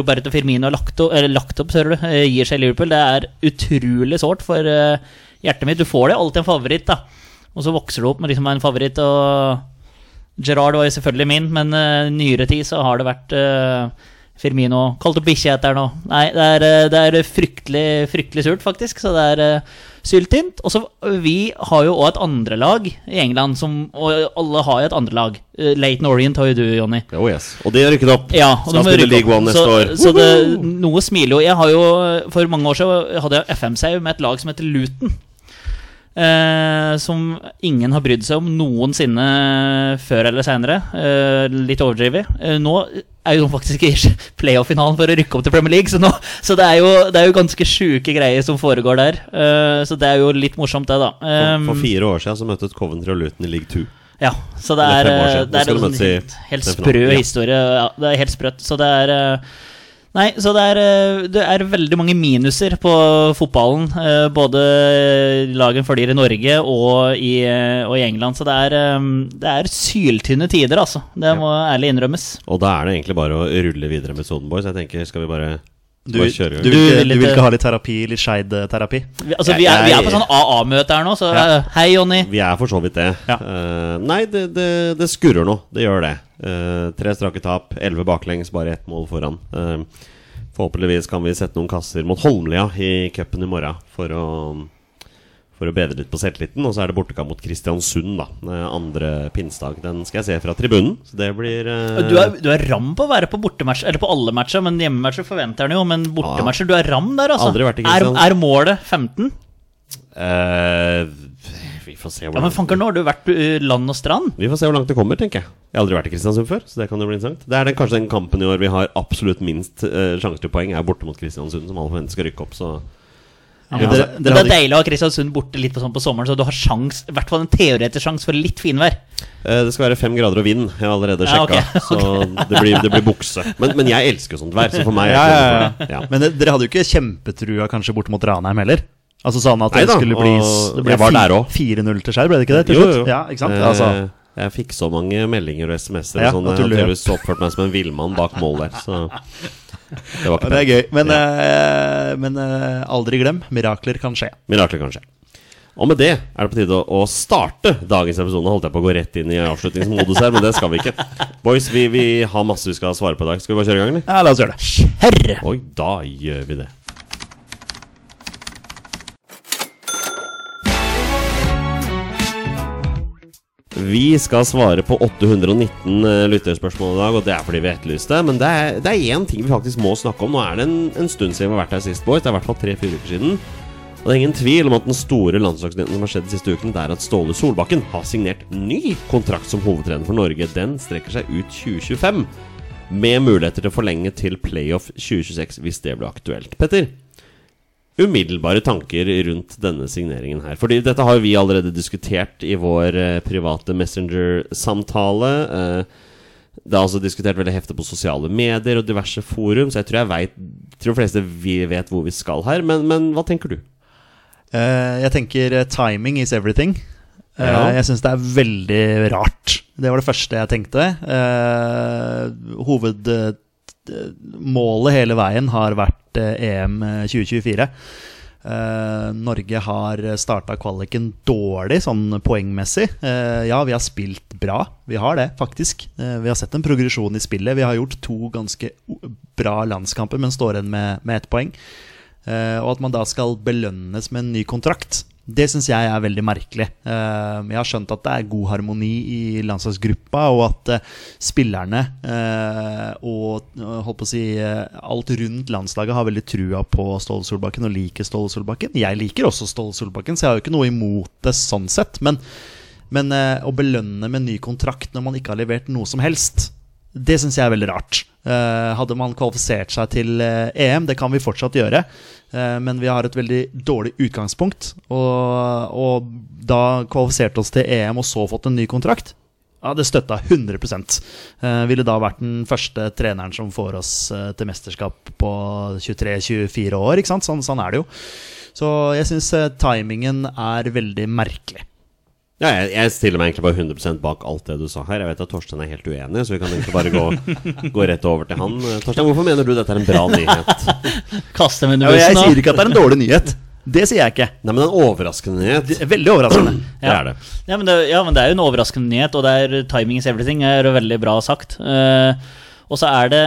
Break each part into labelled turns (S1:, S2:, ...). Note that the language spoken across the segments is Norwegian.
S1: Roberto Firmino har lagt opp, eller lagt opp, ser du, eh, gir seg Liverpool. Det er utrolig sårt for eh, hjertet mitt. Du får det alltid en favoritt, da. Og så vokser du opp med liksom en favoritt, og Gerrard var jo selvfølgelig min, men eh, i nyere tid så har det vært eh, Firmino Kalt opp bikkje heter det nå. Nei, det er, eh, det er fryktelig, fryktelig surt, faktisk. Så det er uh, syltynt. Og så eh, Vi har jo òg et andrelag i England, som, og alle har jo et andrelag. Uh, Laton Orient har jo du, Jonny.
S2: Oh, yes. Og det rykket opp.
S1: Ja, og
S2: Skal
S1: de må
S2: spille
S1: rykke opp.
S2: League One neste
S1: så, eh,
S2: år.
S1: Så det, noe smiler jo. Jeg har jo For mange år siden hadde jeg FM-save med et lag som heter Luton. Eh, som ingen har brydd seg om noensinne før eller senere. Eh, litt overdrevet. Eh, nå er jo de faktisk i playoff-finalen for å rykke opp til Premier League, så, nå, så det, er jo, det er jo ganske sjuke greier som foregår der. Eh, så det er jo litt morsomt, det, da.
S2: For, for
S1: Eh,
S2: fire år siden så møtte Coventry og Luton i league two.
S1: ja, så det
S2: Eller
S1: er,
S2: fem år siden.
S1: det er
S2: Nå skal du
S1: en sånn
S2: møtes i
S1: helt
S2: semifinalen.
S1: sprø
S2: Ja.
S1: historie. Ja, det er helt sprøtt. Så det er eh, Nei, så det er, eh, det er veldig mange minuser på fotballen. eh, Både lagen følger i Norge og i, eh, og i England. Så det er, eh, det er syltynne tider, altså. Det må ærlig innrømmes.
S2: Og da er det egentlig bare å rulle videre med Soden Boys. Jeg tenker, skal vi bare,
S3: Du,
S2: bare kjøre
S3: du,
S2: i gang?
S3: vil ikke,
S1: Du vil
S3: du vil
S1: ikke-
S3: ikke ha litt terapi, litt Skeid-terapi?
S1: Vi, altså, vi, er, vi er på
S2: Jeg-
S1: sånn AA-møte her nå, så
S3: Ja.
S1: eh, hei, Jonny.
S2: Vi er for så vidt det.
S3: Ja.
S2: Eh, nei, det, det, det skurrer nå. Det gjør det. Eh, tre strake tap, elleve baklengs, bare ett mål foran. Eh, forhåpentligvis kan vi sette noen kasser mot Holmlia i cupen i morgen for å, for å bedre litt på selvtilliten. Og så er det bortekamp mot Kristiansund, da. Eh, andre pinsedag. Den skal jeg se fra tribunen, så det blir eh,
S1: Du er, du er ram på å være på bortematcher, eller på alle matcher, men hjemmematcher forventer han jo. Men bortematcher, du er ram der, altså.
S2: Aldri vært i
S1: er,
S2: Kristiansand.
S1: er målet 15?
S2: eh, Vi får se
S1: Ja,
S2: hvordan
S1: men fanker, nå har du vært ø, land og strand.
S2: Vi får se hvor langt det kommer, tenker jeg. Jeg har aldri vært i Kristiansund før, så det kan jo bli interessant. Det er den, kanskje den kampen i år vi har absolutt minst eh, sjanse til poeng, er borte mot Kristiansund, som alle forventer skal rykke opp, så
S3: Ja,
S2: men
S3: dere,
S2: altså,
S1: Men
S3: dere
S1: det er
S3: hadde,
S1: deilig å ha Kristiansund borte litt på, sånn på sommeren, så du har sjans, i hvert fall en teoretisk sjanse for litt finvær.
S2: eh, Det skal være fem grader og vind, jeg har allerede
S1: Ja,
S2: sjekka, så det blir, det blir bukse. Men, men jeg elsker sånt vær, så for meg er
S3: Ja,
S2: det
S3: ja, ja.
S2: noe for det. Ja.
S3: men dere- dere hadde jo ikke kjempetrua kanskje bort mot Ranheim heller? Altså sånn at det
S2: Neida,
S3: skulle bli s-
S2: og
S3: Det ble
S2: jeg var
S3: fi-
S2: der også.
S3: 4-0 til Skeid, ble det ikke det? Til
S2: Jo,
S3: slutt?
S2: jo.
S3: Ja, ikke sant?
S2: Eh,
S3: Altså,
S2: jeg fikk så mange meldinger og SMS-er
S3: Ja,
S2: og sånn. Jeg
S3: at du
S2: har
S3: løp.
S2: tydeligvis oppført meg som en villmann bak mål der, så Det var ikke
S3: det er
S2: pent.
S3: gøy. Men, eh, men eh, aldri glem, mirakler kan skje.
S2: Mirakler kan skje. Og med det er det på tide å å starte dagens episode. Nå Holdt jeg på å gå rett inn i avslutningsmodus her, men det skal vi ikke. Boys, vi, vi har masse vi skal svare på i dag. Skal vi bare kjøre i gang, eller?
S3: Ja, la oss gjøre det.
S1: Herre!
S2: Oi, da gjør vi det. Vi skal svare på 819 eh, lytterspørsmål i dag, og det er fordi vi etterlyste. Men det er, det er én ting vi faktisk må snakke om. Nå er det en, en stund siden vi har vært her sist, boys. Det er i hvert fall tre-fire uker siden. Og det er ingen tvil om at den store landslagsnyheten som har skjedd de siste ukene, det er at Ståle Solbakken har signert ny kontrakt som hovedtrener for Norge. Den strekker seg ut 2025 med muligheter til å forlenge til playoff 2026 hvis det blir aktuelt. Petter, umiddelbare tanker rundt denne signeringen her. Fordi dette har jo vi allerede diskutert i vår eh, private Messenger-samtale. Eh, det er altså diskutert veldig heftig på sosiale medier og diverse forum, så jeg tror jeg vet, tror de fleste vi vet hvor vi skal her. Men, men hva tenker du?
S3: Eh, jeg tenker eh, timing is everything. Eh,
S2: Ja.
S3: Jeg syns det er veldig rart. Det var det første jeg tenkte. Eh, hovedmålet hele veien har vært eh, EM 2024. Eh, Norge har starta kvaliken dårlig, sånn poengmessig. Eh, ja, vi har spilt bra. Vi har det, faktisk. Eh, vi har sett en progresjon i spillet. Vi har gjort to ganske o- bra landskamper, men står igjen med, med ett poeng. Eh, og at man da skal belønnes med en ny kontrakt. Det syns jeg er veldig merkelig. Eh, Jeg har skjønt at det er god harmoni i landslagsgruppa, og at eh, spillerne eh, og eh, holdt på å si, eh, alt rundt landslaget har veldig trua på Ståle Solbakken og liker Ståle Solbakken. Jeg liker også Ståle Solbakken, så jeg har jo ikke noe imot det sånn sett. Men, men eh, å belønne med ny kontrakt når man ikke har levert noe som helst, det syns jeg er veldig rart. Eh, hadde man kvalifisert seg til eh, EM, det kan vi fortsatt gjøre, eh, men vi har et veldig dårlig utgangspunkt. Og, og da kvalifiserte oss til EM og så fått en ny kontrakt, ja, det støtta 100 eh, Ville da vært den første treneren som får oss eh, til mesterskap på 23-24 år, ikke sant? Sånn, sånn er det jo. Så jeg syns eh, timingen er veldig merkelig.
S2: Ja, jeg, jeg stiller meg egentlig bare 100 bak alt det du sa her. Jeg vet at Torstein er helt uenig, så vi kan egentlig bare gå, gå rett over til han. Eh, Torstein, hvorfor mener du dette er en bra nyhet?
S1: Kaste med
S3: jeg
S1: bussen
S3: sier
S1: nå.
S3: ikke at det er en dårlig nyhet. Det sier jeg ikke.
S2: Nei, men en overraskende nyhet.
S3: Det er Veldig overraskende.
S2: Det er det.
S1: Ja men det, ja, men det er jo en overraskende nyhet, og det er timing is everything. er veldig bra sagt. Eh, og så er det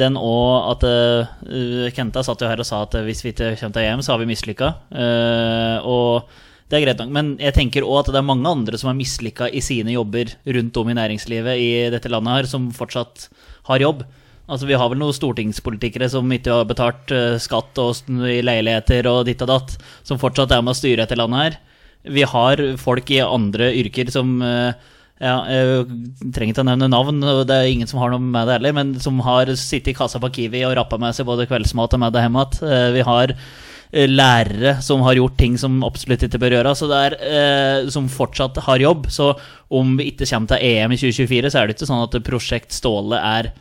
S1: den òg at eh, Kenta satt jo her og sa at eh, hvis vi ikke kommer til EM, så har vi mislykka. Eh, og det er greit nok, men jeg tenker òg at det er mange andre som er mislykka i sine jobber rundt om i næringslivet i dette landet her, som fortsatt har jobb. Altså Vi har vel noen stortingspolitikere som ikke har betalt eh, skatt og st- i leiligheter og ditt og datt, som fortsatt er med å styre dette landet her. Vi har folk i andre yrker som eh, ja, jeg trenger ikke å nevne navn, og det er ingen som har noe med det heller, men som har sittet i kassa på Kiwi og rappa med seg både kveldsmat og med det hjemme igjen. Eh, Vi har eh, lærere som har gjort ting som absolutt ikke bør gjøre, så det er, eh, som fortsatt har jobb. Så om vi ikke kommer til EM i 2024, så er det ikke sånn at Prosjekt Ståle er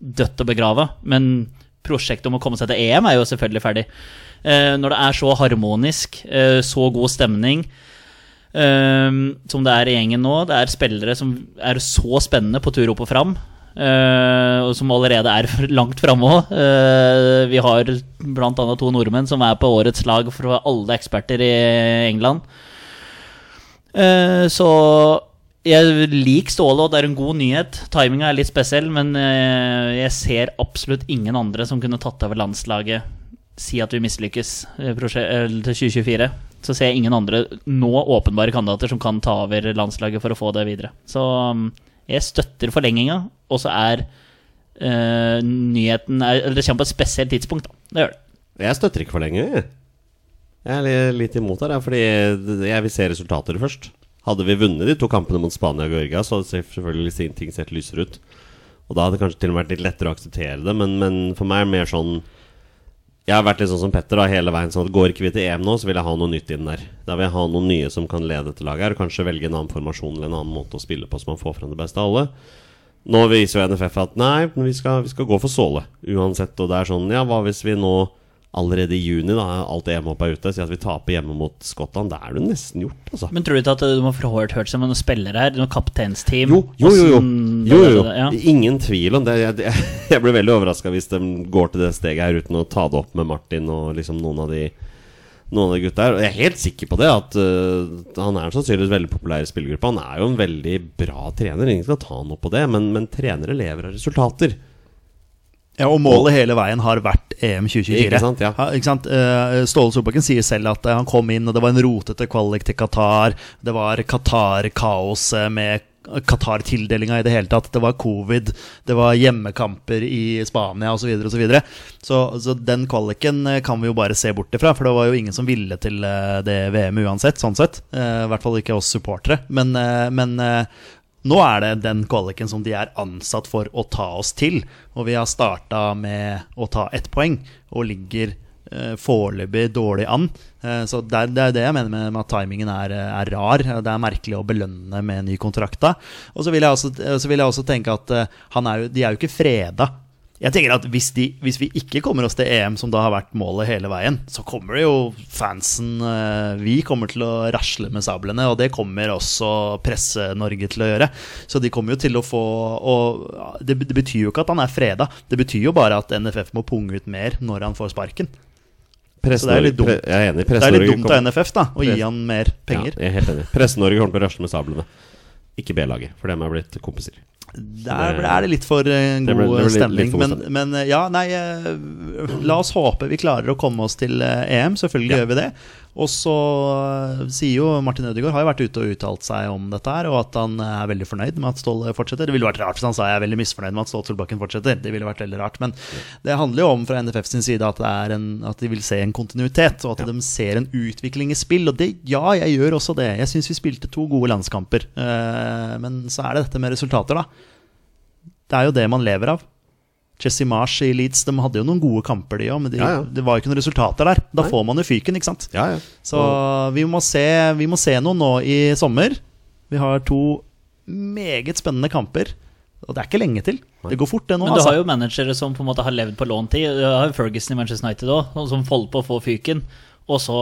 S1: dødt og begrava, men prosjektet om å komme seg til EM er jo selvfølgelig ferdig. Eh, når det er så harmonisk, eh, så god stemning, Ehm, som det er i gjengen nå. Det er spillere som er så spennende på tur opp og fram. eh, og som allerede er langt framme òg. vi har bl.a. to nordmenn som er på årets lag fra alle eksperter i England. Eh, så jeg liker Ståle, og det er en god nyhet. Timinga er litt spesiell, men eh, jeg ser absolutt ingen andre som kunne tatt over landslaget. Si at vi mislykkes eh, prosje- eller til 2024. Så ser jeg ingen andre nå åpenbare kandidater som kan ta over landslaget for å få det videre. Så mm, jeg støtter forlenginga, og så er eh, nyheten er, Eller det kommer på et spesielt tidspunkt, da. Det gjør det.
S2: Jeg støtter ikke for lenge. jeg. Jeg er li- litt imot her, jeg, fordi jeg vil se resultater først. Hadde vi vunnet de to kampene mot Spania og Georgia, så hadde selvfølgelig sett- ting sett lysere ut. Og da hadde det kanskje til og med vært litt lettere å akseptere det, men, men for meg er det mer sånn Jeg har vært litt sånn som Petter da, hele veien. sånn at Går ikke vi til EM nå, så vil jeg ha noe nytt inn der. Da vil jeg ha noen nye som kan lede dette laget her, og kanskje velge en annen formasjon eller en annen måte å spille på, så man får frem det beste av alle. Nå viser jo NFF at nei, men vi skal, vi skal gå for Såle uansett. Og det er sånn, ja, hva hvis vi nå allerede i juni, da alt EM-hopp er ute, sier at vi taper hjemme mot Skottland? Da er det nesten gjort, altså.
S1: Men tror du ikke at eh, du må få hørt, hørt seg med noen spillere her? Noen kapteinsteam?
S2: Jo, jo, jo. jo.
S1: Hvordan-
S2: jo, jo, jo.
S1: Ja.
S2: Ingen tvil om det. Jeg, jeg, jeg blir veldig overraska hvis de går til det steget her uten å ta det opp med Martin og liksom noen av de noen av de gutta her. Og jeg er helt sikker på det, at øh, han er sannsynligvis veldig populær i spillergruppa. Han er jo en veldig bra trener, ingen skal ta han opp på det, men, men trenere lever av resultater.
S3: Ja, og målet hele veien har vært EM 2024.
S2: Ikke sant, ja.
S3: Ha, ikke sant? Eh, Ståle Solbakken sier selv at eh, han kom inn, og det var en rotete kvalik til Qatar. Det var Qatar-kaos eh, med Qatar-tildelinga i det hele tatt. Det var covid, det var hjemmekamper i Spania osv. Så, videre, og så, videre. så så den kvaliken eh, kan vi jo bare se bort ifra, for det var jo ingen som ville til eh, det VM uansett, sånn sett. Eh, I hvert fall ikke oss supportere. Men, eh, men eh, nå er det den kvaliken som de er ansatt for å ta oss til. Og vi har starta med å ta ett poeng, og ligger eh, foreløpig dårlig an. Eh, så det er, det er det jeg mener med, med at timingen er, eh, er rar. Det er merkelig å belønne med en ny kontrakt da. Og så vil jeg også, eh, så vil jeg også tenke at eh, han er jo, de er jo ikke freda. Jeg tenker at hvis, de, hvis vi ikke kommer oss til EM, som da har vært målet hele veien, så kommer det jo fansen eh, Vi kommer til å rasle med sablene, og det kommer også Presse-Norge til å gjøre. Så de kommer jo til å få og ja, det, det betyr jo ikke at han er freda, det betyr jo bare at NFF må punge ut mer når han får sparken.
S2: Press
S3: Så det er litt
S2: Norge-
S3: dumt.
S2: pre- Jeg er enig.
S3: Det er litt
S2: Press-Norge
S3: dumt av NFF da, å gi han mer penger.
S2: Ja, jeg er helt enig. Presse-Norge kommer til å rasle med sablene. Ikke B-laget, for dem er blitt kompiser.
S3: Der ble- er det litt for eh, god
S2: Det ble- det ble litt-
S3: stemning.
S2: litt for god
S3: men, men eh, ja, nei eh, La oss håpe vi klarer å komme oss til eh, EM. Selvfølgelig gjør vi det. Og så eh, sier jo Martin Ødegaard har jo vært ute og uttalt seg om dette her, og at han eh, er veldig fornøyd med at Ståle fortsetter. Det ville vært rart hvis han sa jeg er veldig misfornøyd med at Ståle Solbakken fortsetter. Det ville vært veldig rart. Men det handler jo om fra NFF sin side at, det er en, at de vil se en kontinuitet, og at de ser en utvikling i spill. Og det, ja, jeg gjør også det. Jeg syns vi spilte to gode landskamper. Eh, Men så er det dette med resultater, da. Det er jo det man lever av. Jesse Marsh i Leeds de hadde jo noen gode kamper, de òg, men de,
S2: Ja, ja.
S3: det var jo ikke noen resultater der. Da
S2: Nei.
S3: får man jo fyken, ikke sant.
S2: Ja, ja.
S3: Så vi må, se, vi må se noe nå i sommer. Vi har to meget spennende kamper, og det er ikke lenge til. Det går fort, det nå.
S1: Men du
S3: Altså.
S1: har jo managere som på en måte har levd på låntid. Du har jo Ferguson i Manchester United òg, som holdt på å få fyken. Og så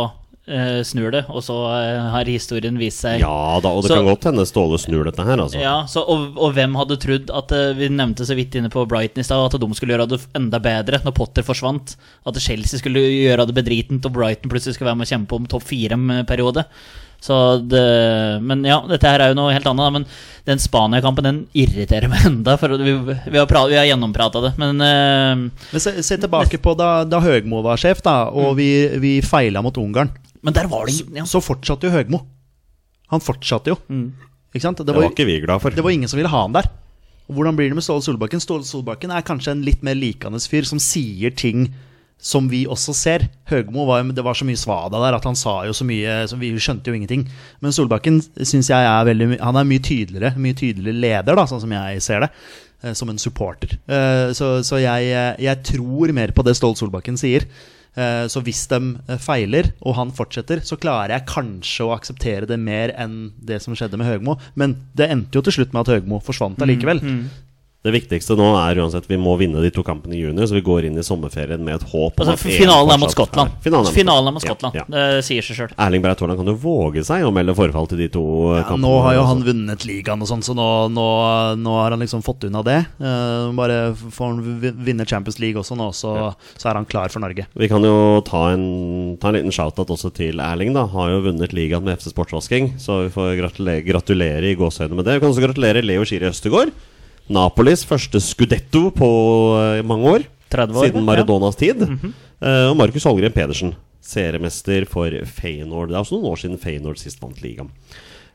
S1: eh, snur det, og så eh, har historien vist seg
S2: Ja da, og det
S1: Så-
S2: kan godt hende Ståle snur dette her, altså.
S1: Ja, så, og, og hvem hadde trodd at eh, Vi nevnte så vidt inne på Brighton i stad at de skulle gjøre det enda bedre når Potter forsvant. At Chelsea skulle gjøre det bedritent, og Brighton plutselig skulle være med å kjempe om topp fire-periode. Så det, men ja, dette her er jo noe helt annet. da, Men den Spania-kampen den irriterer meg enda. For vi, vi har, pra- vi har gjennomprata det. Men eh,
S3: Men se, se tilbake på da, da Høgmo var sjef, da, og vi, vi feila mot Ungarn.
S1: Men der var det ingen Mm. ja. Mm.
S3: Så fortsatte jo Høgmo. Han fortsatte jo. Ikke sant?
S2: Det var ikke vi glad for.
S3: Det var ingen som ville ha han der. Og hvordan blir det med Ståle Solbakken? Ståle Solbakken er kanskje en litt mer likende fyr som sier ting som vi også ser. Høgmo var, jo- det var så mye svada der at han sa jo så mye så Vi skjønte jo ingenting. Men Solbakken syns jeg er veldig my- Han er mye tydeligere, mye tydeligere leder, da, sånn som jeg ser det. eh, Som en supporter. Eh, Så, så jeg, eh, jeg tror mer på det Ståle Solbakken sier. Eh, Så hvis de eh, feiler, og han fortsetter, så klarer jeg kanskje å akseptere det mer enn det som skjedde med Høgmo. Men det endte jo til slutt med at Høgmo forsvant
S2: Mm,
S3: allikevel.
S2: Det viktigste nå er uansett vi må vinne de to kampene i juni, så vi går inn i sommerferien med et håp om
S1: altså,
S2: at en
S1: Finalen er mot
S2: fortsatt
S1: Skottland.
S2: er- Finalen er mot
S1: Finalen er mot Skottland.
S2: Ja, ja.
S1: Det sier seg sjøl.
S2: Erling Breit Haaland kan jo våge seg å melde forfall til de to eh,
S3: Ja,
S2: kampene.
S3: nå har jo han
S2: altså.
S3: vunnet ligaen og sånn, så nå, nå, nå har han liksom fått unna det. Eh, Bare får han vi- vinne Champions League også nå, så, så er han klar for Norge.
S2: Vi kan jo ta en, ta en liten shout-out også til Erling. da Har jo vunnet ligaen med FC Sportsvasking, så vi får gratulere, gratulere i gåseøyne med det. Vi kan også gratulere Leo Skiri Østegård. Napolis første skudetto på eh, mange år.
S1: 30 år,
S2: siden
S1: ja. Mhm.
S2: Maradonas tid. Eh, og Markus Holgren Pedersen, seriemester for Feyenoord. Det er også noen år siden Feyenoord sist vant ligaen.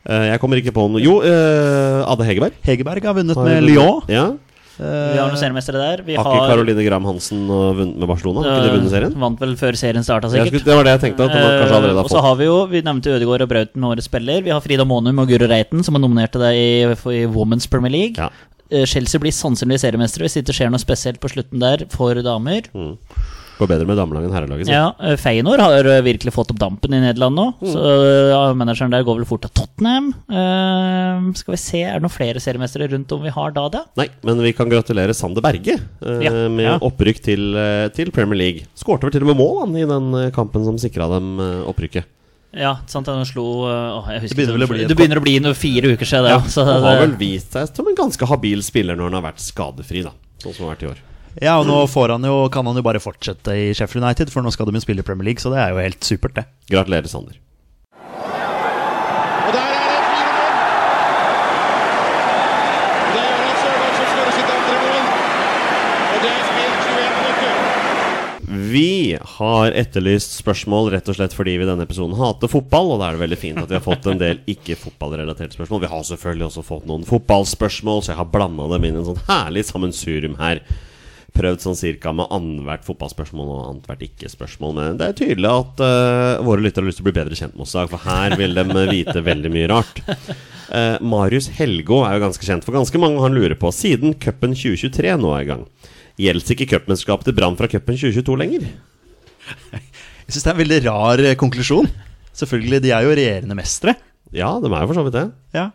S2: Eh, jeg kommer ikke på noe Jo, eh, Ade Hegerberg.
S3: Hegerberg har vunnet
S2: har
S3: med
S2: vunnet-
S3: Lyon.
S2: Ja.
S1: Vi har noen seriemestere der. Vi
S2: Har ikke Caroline Graham Hansen eh, vunnet med Barcelona? Har ikke de vunnet serien?
S1: eh, Vant vel før serien starta,
S2: Jeg
S1: sikkert.
S2: skulle, det var det jeg tenkte. At hun kanskje allerede
S1: Eh,
S2: har
S1: og så
S2: fått
S1: har vi jo, vi nevnte Ødegaard og Brauten med årets spiller. Vi har Frida Monum og Guro Reiten, som er nominerte deg i, for- i Women's Premier League.
S2: ja.
S1: Eh, Chelsea blir sannsynligvis seriemestere hvis det ikke skjer noe spesielt på slutten der for damer.
S2: Mm. Går bedre med damelaget enn herrelaget. sier jeg.
S1: Ja, eh, Feyenoord har eh, virkelig fått opp dampen i Nederland nå.
S2: Mm.
S1: Så eh, ja, manageren der går vel fort til Tottenham. Eh, skal vi se, er det noen flere seriemestere rundt om vi har da, da?
S2: Nei, men vi kan gratulere Sander Berge eh,
S1: Ja,
S2: med
S1: ja.
S2: opprykk til, eh, til Premier League. Skårte vel til og med mål han, i den eh, kampen som sikra dem eh, opprykket.
S1: Ja, sant, han slo eh, åh, jeg
S3: Det
S1: husker
S3: begynner vel
S1: ikke.
S3: å bli et
S1: Det begynner å bli noe fire uker siden, det.
S2: Ja,
S1: ja, så
S2: og har
S1: det-
S2: vel vist seg som en ganske habil spiller når han har vært skadefri, da. Sånn som han har vært i år.
S3: Ja, og nå får han jo, kan han jo bare fortsette i Sheffield United, for nå skal de jo spille i Premier League, så det er jo helt supert, det.
S2: Gratulerer, Sander.
S4: Og der er det fire mål! Det er Harald Sørdal som skårer sitt andre mål. Og det er spilt 21 minutter.
S2: Vi har etterlyst spørsmål rett og slett fordi vi i denne episoden hater fotball, og da er det veldig fint at vi har fått en del ikke-fotballrelaterte spørsmål. Vi har selvfølgelig også fått noen fotballspørsmål, så jeg har blanda dem inn i en sånn herlig sammensurium her. Prøvd sånn cirka med annethvert fotballspørsmål og annethvert ikke-spørsmål. Men det er tydelig at eh, våre lyttere har lyst til å bli bedre kjent med oss i dag, for her vil de eh, vite veldig mye rart. Eh, Marius Helgå er jo ganske kjent for ganske mange, og han lurer på siden cupen 2023 nå er i gang. Gjelder ikke cupmesterskapet til Brann fra cupen 2022 lenger?
S3: Jeg syns det er en veldig rar eh, konklusjon. Selvfølgelig, de er jo regjerende mestere.
S2: Ja, de er jo for så vidt det.
S3: Ja.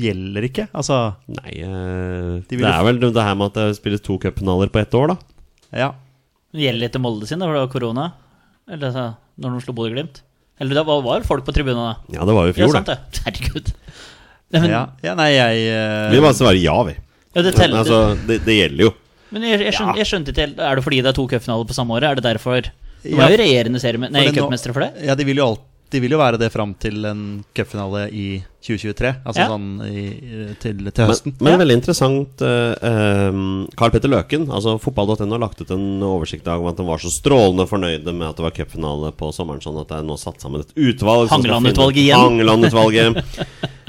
S3: Gjelder ikke, altså.
S2: Nei eh,
S3: De
S2: Det
S3: ville
S2: er vel det her med at det spilles to cupfinaler på ett år, da.
S3: Ja.
S1: Gjelder litt til Molde sin, da, for det var korona. Eller så, når de slo Bodø-Glimt. Eller det var, var folk på tribunen da.
S2: Ja, det var jo i
S1: Ja,
S2: fjor,
S1: sant
S2: det.
S1: det. Herregud. Nei, men, ja.
S3: ja. ja, nei, jeg eh,
S2: Vi bare svarer ja, vi.
S1: det
S2: Men,
S1: teller.
S2: altså, det, det gjelder jo.
S1: men jeg, jeg, skjønte, jeg skjønte ikke helt Er det fordi det er to cupfinaler på samme året? Er det derfor? De
S3: Ja.
S1: var jo regjerende serie, nei,
S3: For det nå-
S1: cupmestere for det.
S3: Ja, de vil jo alt- de vil jo være det fram til en cupfinale i 2023. Altså
S1: Ja.
S3: sånn i, til, til høsten.
S2: Men, men veldig interessant. eh, ehm, Carl Petter Løken, altså fotball.no, har lagt ut en oversikt i dag om at de var så strålende fornøyde med at det var cupfinale på sommeren, sånn at det er nå satt sammen et utvalg. som skal
S1: Hangeland-utvalget
S2: finne-
S1: igjen.
S2: Hangeland-utvalget.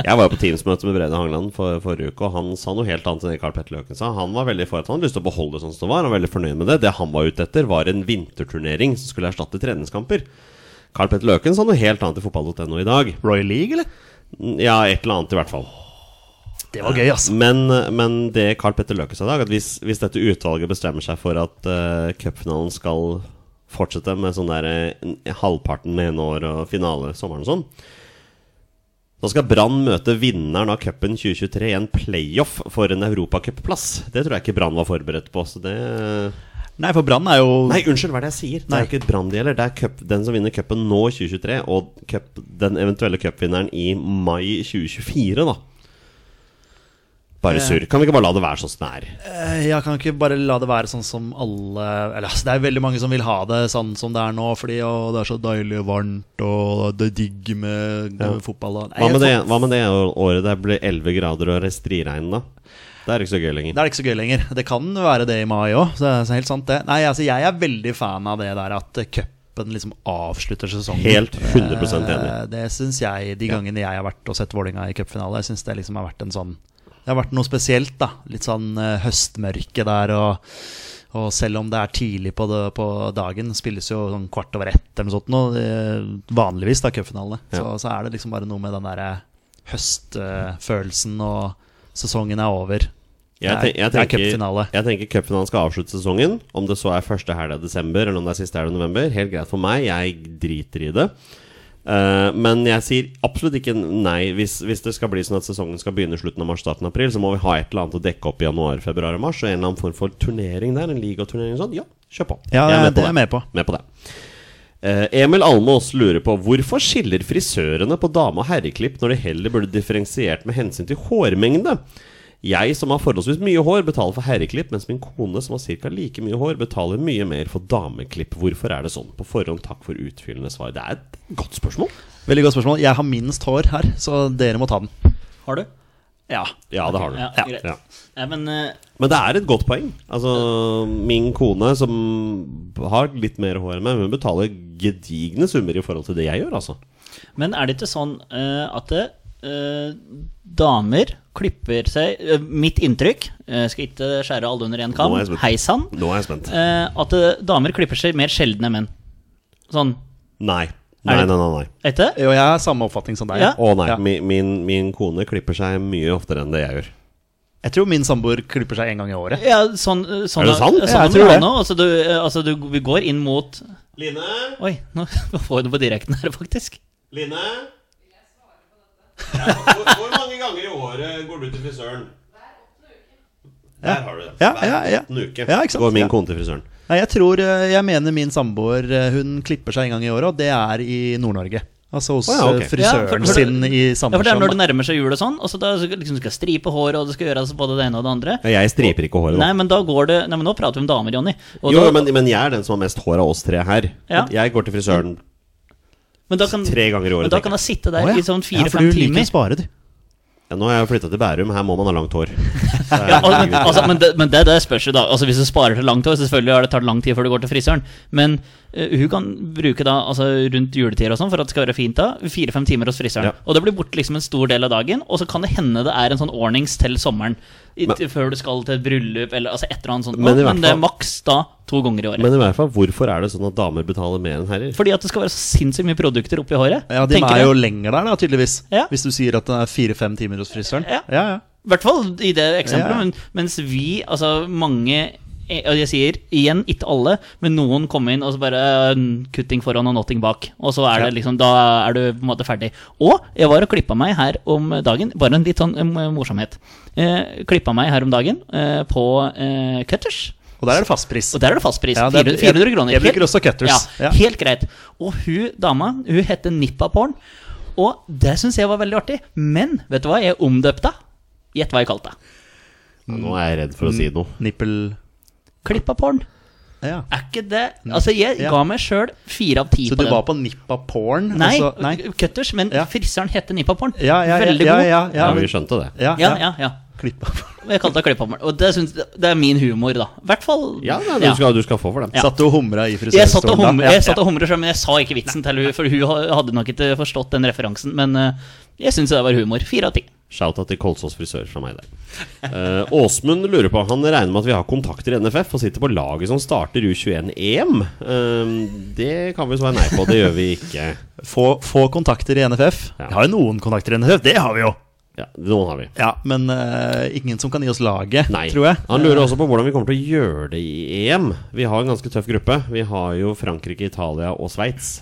S2: Jeg var jo på Teams-møte med Brede Hangeland for, forrige uke, og han sa noe helt annet enn det Carl Petter Løken sa. Han var veldig for at han hadde lyst til å beholde det sånn som det var, han var veldig fornøyd med det. Det han var ute etter, var en vinterturnering som skulle erstatte treningskamper. Carl Petter Løken sa noe helt annet i fotball.no i dag.
S3: Royal League, eller?
S2: Ja, et eller annet i hvert fall.
S3: Det var gøy, altså.
S2: Men, men det Carl Petter Løke sa i dag, at hvis, hvis dette utvalget bestemmer seg for at uh, cupfinalen skal fortsette med sånn der eh, halvparten det ene år og finale sommeren og sånn, da skal Brann møte vinneren av cupen 2023 i en playoff for en europacupplass. Det tror jeg ikke Brann var forberedt på, så det
S3: Nei, for Brann er jo
S2: Nei, unnskyld, hva er det jeg sier? Det
S3: Nei.
S2: er jo ikke Brann det gjelder. Det er cup, den som vinner cupen nå, 2023, og cup, den eventuelle cupvinneren i mai 2024, da. Bare surr. Kan vi ikke bare la det være sånn som det er?
S3: Eh, Jeg kan ikke bare la det være sånn som alle Eller altså, det er veldig mange som vil ha det sånn som det er nå, fordi å, det er så deilig og varmt, og det er digg med,
S2: Ja.
S3: med fotball og
S2: Hva med det, hva med det året det blir 11 grader og striregn, da? Det er ikke så gøy lenger.
S3: Da er det ikke så gøy lenger. Det kan være det i mai òg. Så, så helt sant det. Nei, altså, jeg er veldig fan av det der at eh, cupen liksom avslutter sesongen.
S2: Helt 100% enig.
S3: Eh, Det syns jeg de gangene jeg har vært og sett Vålinga i cupfinale. Jeg synes det liksom har vært en sånn Det har vært noe spesielt, da. Litt sånn eh, høstmørke der og og selv om det er tidlig på, det, på dagen, spilles jo sånn kvart over ett eller noe sånt. nå, eh, vanligvis da, cupfinalene. Så, så er det liksom bare noe med den derre høstfølelsen og sesongen er over.
S2: Jeg,
S3: Det
S2: ten
S3: er-
S2: jeg
S3: det er
S2: tenker
S3: cupfinale.
S2: jeg tenker cupfinalen skal avslutte sesongen. Om det så er første helg av desember eller om det er siste helg av november, helt greit for meg. Jeg driter i det. Eh, men jeg sier absolutt ikke nei. Hvis, hvis det skal bli sånn at sesongen skal begynne i slutten av mars, starten av april, så må vi ha et eller annet å dekke opp i januar, februar og mars. Og en eller annen form for turnering der. En ligaturnering og sånn. Ja, kjør på.
S3: Ja,
S2: Jeg er med
S3: det
S2: på
S3: er jeg med på.
S2: Med på det. Eh, Emil Almås lurer på hvorfor skiller frisørene på dame- og herreklipp når de heller burde differensiert med hensyn til hårmengde? Jeg som har forholdsvis mye hår, betaler for herreklipp, mens min kone som har ca. like mye hår, betaler mye mer for dameklipp. Hvorfor er det sånn? På forhånd takk for utfyllende svar. Det er et godt spørsmål.
S3: Veldig godt spørsmål. Jeg har minst hår her, så dere må ta den.
S1: Har du?
S3: Ja.
S2: Ja, det har du.
S1: Ja, greit.
S2: Ja.
S1: Nei, men eh,
S2: Men det er et godt poeng. Altså, min kone, som har litt mer hår enn meg, hun betaler gedigne summer i forhold til det jeg gjør, altså.
S1: Men er det ikke sånn eh, at det, eh, damer klipper seg eh, Mitt inntrykk, eh, skal ikke skjære alle under én kam,
S2: Nå er jeg spent.
S1: hei sann,
S2: Nå er jeg spent.
S1: eh, at eh, damer klipper seg mer sjelden enn menn. Sånn.
S2: Nei. Nei,
S1: det-
S2: nei, nei. nei.
S1: Vet du?
S3: Jo, jeg har samme oppfatning som deg.
S1: Ja.
S2: Å nei,
S3: Ja.
S2: min, min, min kone klipper seg mye oftere enn det jeg gjør.
S3: Jeg tror min samboer klipper seg en gang i året.
S1: Ja, sånn, eh, sånn
S2: Er det sant?
S1: Sånn
S3: Ja, jeg
S1: er
S3: tror
S1: det
S3: det.
S1: nå. Altså, du, eh, altså, du, vi går inn mot
S2: Line?
S1: Oi, nå får jeg det på direkten her, faktisk.
S2: Line? Ja, hvor, hvor mange ganger i året går du til frisøren? Der har du det.
S3: Ja,
S2: Hver
S3: ja, ja.
S2: åttende uke
S3: Ja, ikke sant?
S2: går min
S3: Ja.
S2: kone til frisøren.
S3: Nei, jeg tror eh, Jeg mener min samboer eh, Hun klipper seg en gang i året, og det er i Nord-Norge. Altså hos
S2: Å ja, ok.
S3: eh, frisøren
S1: Ja, for- for-
S3: sin i
S1: Ja, for det er når
S3: Sandnessjøen.
S1: det nærmer seg jul og sånn. Og så da så liksom, du skal stripe håret, og det skal gjøres både det ene og det andre.
S2: Ja, Jeg striper ikke håret, da.
S1: Nei, men da går det Nei, men nå prater vi om damer, Jonny. Og
S2: jo,
S1: da-
S2: men, men jeg er den som har mest hår av oss tre her.
S1: Ja.
S2: Jeg går til frisøren
S1: men da kan,
S2: tre ganger i året.
S1: Men da
S2: tenker
S1: kan jeg sitte der
S3: Å, ja.
S1: i sånn
S3: ja, for
S1: fire-fem
S3: du liker
S1: timer.
S3: å spare, du.
S2: jeg. Ja, nå har jeg flytta til Bærum, her må man ha langt hår. Så jeg-
S1: Ja, al- men, altså, men, det, men det, det spørs jo, da. Altså, hvis du sparer til langt år, så selvfølgelig har det tatt lang tid før du går til frisøren. Men eh, hun kan bruke da altså, rundt juletider og sånn for at det skal være fint da, fire-fem timer hos frisøren.
S2: Ja.
S1: Og det blir borte liksom en stor del av dagen, og så kan det hende det er en sånn ordnings til sommeren. I,
S2: Men-
S1: til- før du skal til et bryllup eller altså, et eller annet sånt.
S2: Men i
S1: Men,
S2: hvert
S1: det
S2: fall-
S1: er maks da to ganger i året.
S2: Men i hvert fall, hvorfor er det sånn at damer betaler mer enn herrer?
S1: Fordi at det skal være så sinnssykt mye produkter oppi håret.
S3: Ja, De
S1: tenker
S3: er
S1: jeg.
S3: jo lenger der, da, tydeligvis.
S1: Ja.
S3: Hvis du sier at det er fire-fem timer hos frisøren.
S1: Ja.
S3: ja, ja.
S1: I hvert fall i det eksempelet.
S3: Ja.
S1: Men, mens vi, altså mange eh, og jeg sier igjen, ikke alle, men noen kom inn og så bare eh, Kutting foran og notting bak. Og så er det liksom, da er du på en måte ferdig. Og jeg var og klippa meg her om dagen. Bare en litt sånn eh, morsomhet. Eh, klippa meg her om dagen eh, på eh, Cutters.
S3: Og der er det fastpris.
S1: Og der er det fastpris.
S3: Ja, det er-
S1: 400, 400 kroner.
S3: jeg bruker
S1: Helt-
S3: også Cutters.
S1: Ja,
S3: Ja.
S1: Helt greit. Og hun dama, hun heter Nippa Porn. Og det syns jeg var veldig artig. Men vet du hva jeg omdøpte? Gjett hva jeg kalte det.
S2: Nå er jeg redd for å si noe.
S3: Nippel
S1: Klippa porn.
S3: ja.
S1: Er ikke det Altså, jeg
S3: Ja.
S1: ga meg sjøl fire av ti
S3: Så
S1: på
S3: du
S1: den.
S3: var på nippa porn?
S1: Nei,
S3: og så- nei.
S1: Cutters, men
S3: Ja.
S1: frisøren heter Nippa Porn.
S3: Ja, ja, ja,
S1: veldig
S3: ja,
S1: god.
S3: ja, ja,
S2: Ja, vi
S3: men-
S2: skjønte det.
S3: ja,
S1: ja, ja, ja.
S3: Klippa porn.
S1: Og Jeg kalte det klippa porn. Og det, syns- det er min humor, da. I hvert fall
S2: Ja, nei, du, Skal, du skal få for den.
S1: Ja.
S3: Satt du og humra i
S1: Jeg satt og
S3: frisørstolen da?
S1: humret- jeg satt og humret selv, men jeg sa ikke vitsen til hun for hun ha- hadde nok ikke forstått den referansen. Men eh, jeg syns det var humor. Fire av ti.
S2: Shout-out til Kolsås frisør fra meg der. Eh, Åsmund lurer på Han regner med at vi har kontakter i NFF og sitter på laget som starter U21-EM. Eh, det kan vi svare nei på. Det gjør vi ikke.
S3: Få, få kontakter i NFF.
S2: Ja.
S3: Vi har jo noen kontakter i NFF, det har vi jo!
S2: Ja, Noen har vi.
S3: Ja, Men eh, ingen som kan gi oss laget,
S2: Nei.
S3: tror jeg.
S2: Han lurer også på hvordan vi kommer til å gjøre det i EM. Vi har en ganske tøff gruppe. Vi har jo Frankrike, Italia og Sveits.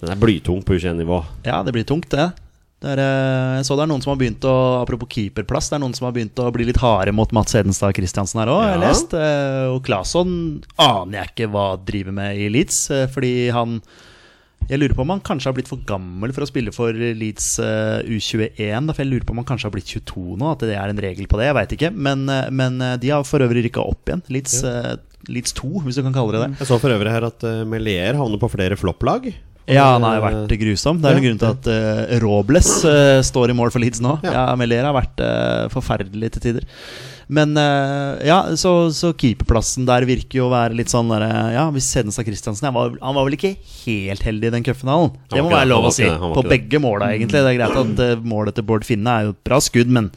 S2: Den er blytung på U21-nivå.
S3: Ja, det blir tungt, det. Det er, eh, jeg så det er noen som har begynt å Apropos keeperplass, det er noen som har begynt å bli litt harde mot Mats Hedenstad Christiansen her òg, har jeg
S2: Ja.
S3: lest. Eh, Og Claesson aner jeg ikke hva driver med i Leeds, eh, fordi han jeg lurer på om han kanskje har blitt for gammel for å spille for Leeds eh, U21. da, For jeg lurer på om han kanskje har blitt 22 nå, at det er en regel på det. Jeg veit ikke. Men, eh, men eh, de har for øvrig rykka opp igjen. Leeds, eh, Leeds 2, hvis du kan kalle det det.
S2: Jeg så for øvrig her at eh, Melier havner på flere flopplag. Eh,
S3: Ja, han har jo vært grusom. Det er en grunn til at eh, Robles eh, står i mål for Leeds nå.
S2: Ja.
S3: Ja, Melier har vært eh, forferdelig til tider. Men eh, ja, så, så keeperplassen der virker jo å være litt sånn derre Ja, hvis Hedenstad Christiansen han var, han var vel ikke helt heldig i den cupfinalen?
S2: Han
S3: Det
S2: var ikke
S3: må
S2: det,
S3: være
S2: han
S3: lov
S2: var
S3: å si.
S2: ikke det, han var
S3: På
S2: ikke det.
S3: begge måla, egentlig. Det er greit at eh, målet til Bård Finne er jo et bra skudd, men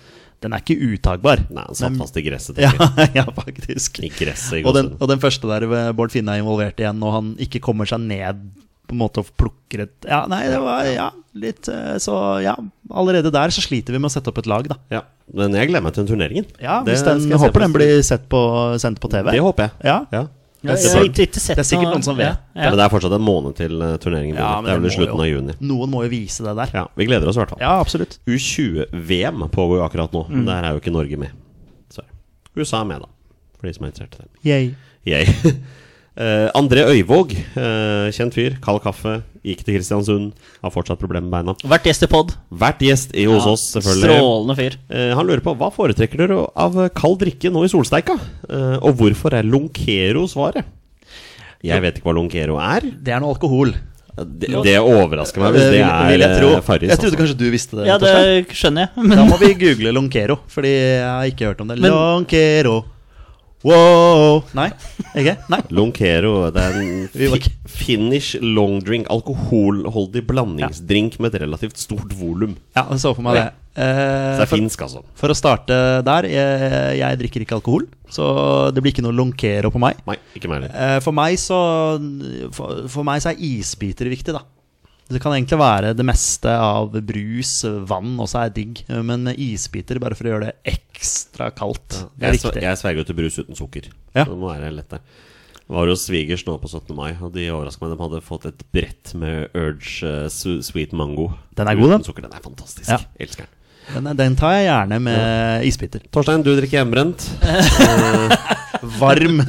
S3: den er ikke uttagbar.
S2: Nei, han satt fast i gresset.
S3: Ja,
S2: tenker jeg.
S3: ja, faktisk.
S2: I gresset i
S3: Og den,
S2: gåsehudet.
S3: og den første der eh, Bård Finne er involvert igjen, og han ikke kommer seg ned på en måte og plukker et Ja, nei, det var ja, litt eh, Så ja, allerede der så sliter vi med å sette opp et lag, da.
S2: Ja. Men jeg gleder meg til den turneringen.
S3: Ja,
S2: Det
S3: hvis den,
S2: skal jeg se på.
S3: Håper den blir sett på, sendt på TV.
S2: Det håper jeg.
S3: Ja.
S2: Ja.
S1: Ja,
S2: Det er
S1: jeg har
S2: sikkert-
S1: ikke- ikke sett
S3: Det er sikkert
S1: noe-
S3: noen som vet.
S1: Ja,
S2: Ja,
S1: ja.
S2: men det er fortsatt en måned til eh, turneringen
S3: Ja,
S2: begynner.
S3: men
S2: det er vel i
S3: det må
S2: slutten av
S3: jo-
S2: juni.
S3: Noen må jo vise det der.
S2: Ja, Vi gleder oss i hvert fall.
S3: Ja, Mm. absolutt.
S2: U20-VM pågår jo akkurat nå. men Der er jo ikke Norge med. Sorry. USA er med, da. For de som er interessert i det.
S3: Yay.
S2: Jeg. Eh, André Øyvåg, eh, kjent fyr. Kald kaffe. Gikk til Kristiansund. Har fortsatt problemer med beina.
S1: Vært gjest i pod.
S2: Vært gjest i hos oss, selvfølgelig.
S1: Strålende fyr.
S2: Eh, han lurer på hva foretrekker dere av kald drikke nå i solsteika? Eh, og hvorfor er Lonkero svaret? Jeg vet ikke hva Lonkero er.
S3: Det er noe alkohol.
S2: Det, det overrasker meg hvis det
S3: vil- vil Eh, jeg
S2: er
S3: tro.
S2: eh, Farris.
S3: Jeg trodde
S2: altså.
S3: kanskje du visste det.
S1: Ja,
S3: Torstein.
S1: det skjønner jeg. Men
S3: Da må vi google Lonkero, fordi jeg har ikke hørt om det.
S1: Men-
S3: Lonkero. Wow. Nei? Ikke? Nei.
S2: Lonkero det er en
S3: Vi var
S2: fi finish long drink, alkoholholdig blandingsdrink med et relativt stort volum.
S3: Ja, jeg så for meg det.
S2: Så
S3: Eh,
S2: det er
S3: for,
S2: finsk, altså.
S3: for å starte der, jeg, jeg drikker ikke alkohol, så det blir ikke noe lonkero på meg.
S2: Nei, ikke meg heller.
S3: Eh, for, meg så, for, for meg så er isbiter viktig, da. Det kan egentlig være det meste av brus, vann også er digg, men isbiter bare for å gjøre det ekstra kaldt. Det er
S2: Jeg, sver-
S3: viktig.
S2: jeg sverger jo til brus uten sukker.
S3: Ja.
S2: Så det må være lett der. Var hos svigers nå på 17. mai, og de overrasket meg. De hadde fått et brett med Urge eh, su Sweet Mango.
S3: Den er god, den.
S2: Uten sukker. Den er fantastisk.
S3: Ja.
S2: Elsker den.
S3: Den, den tar jeg gjerne med isbiter.
S2: Torstein, du drikker hjemmebrent.
S3: Varm.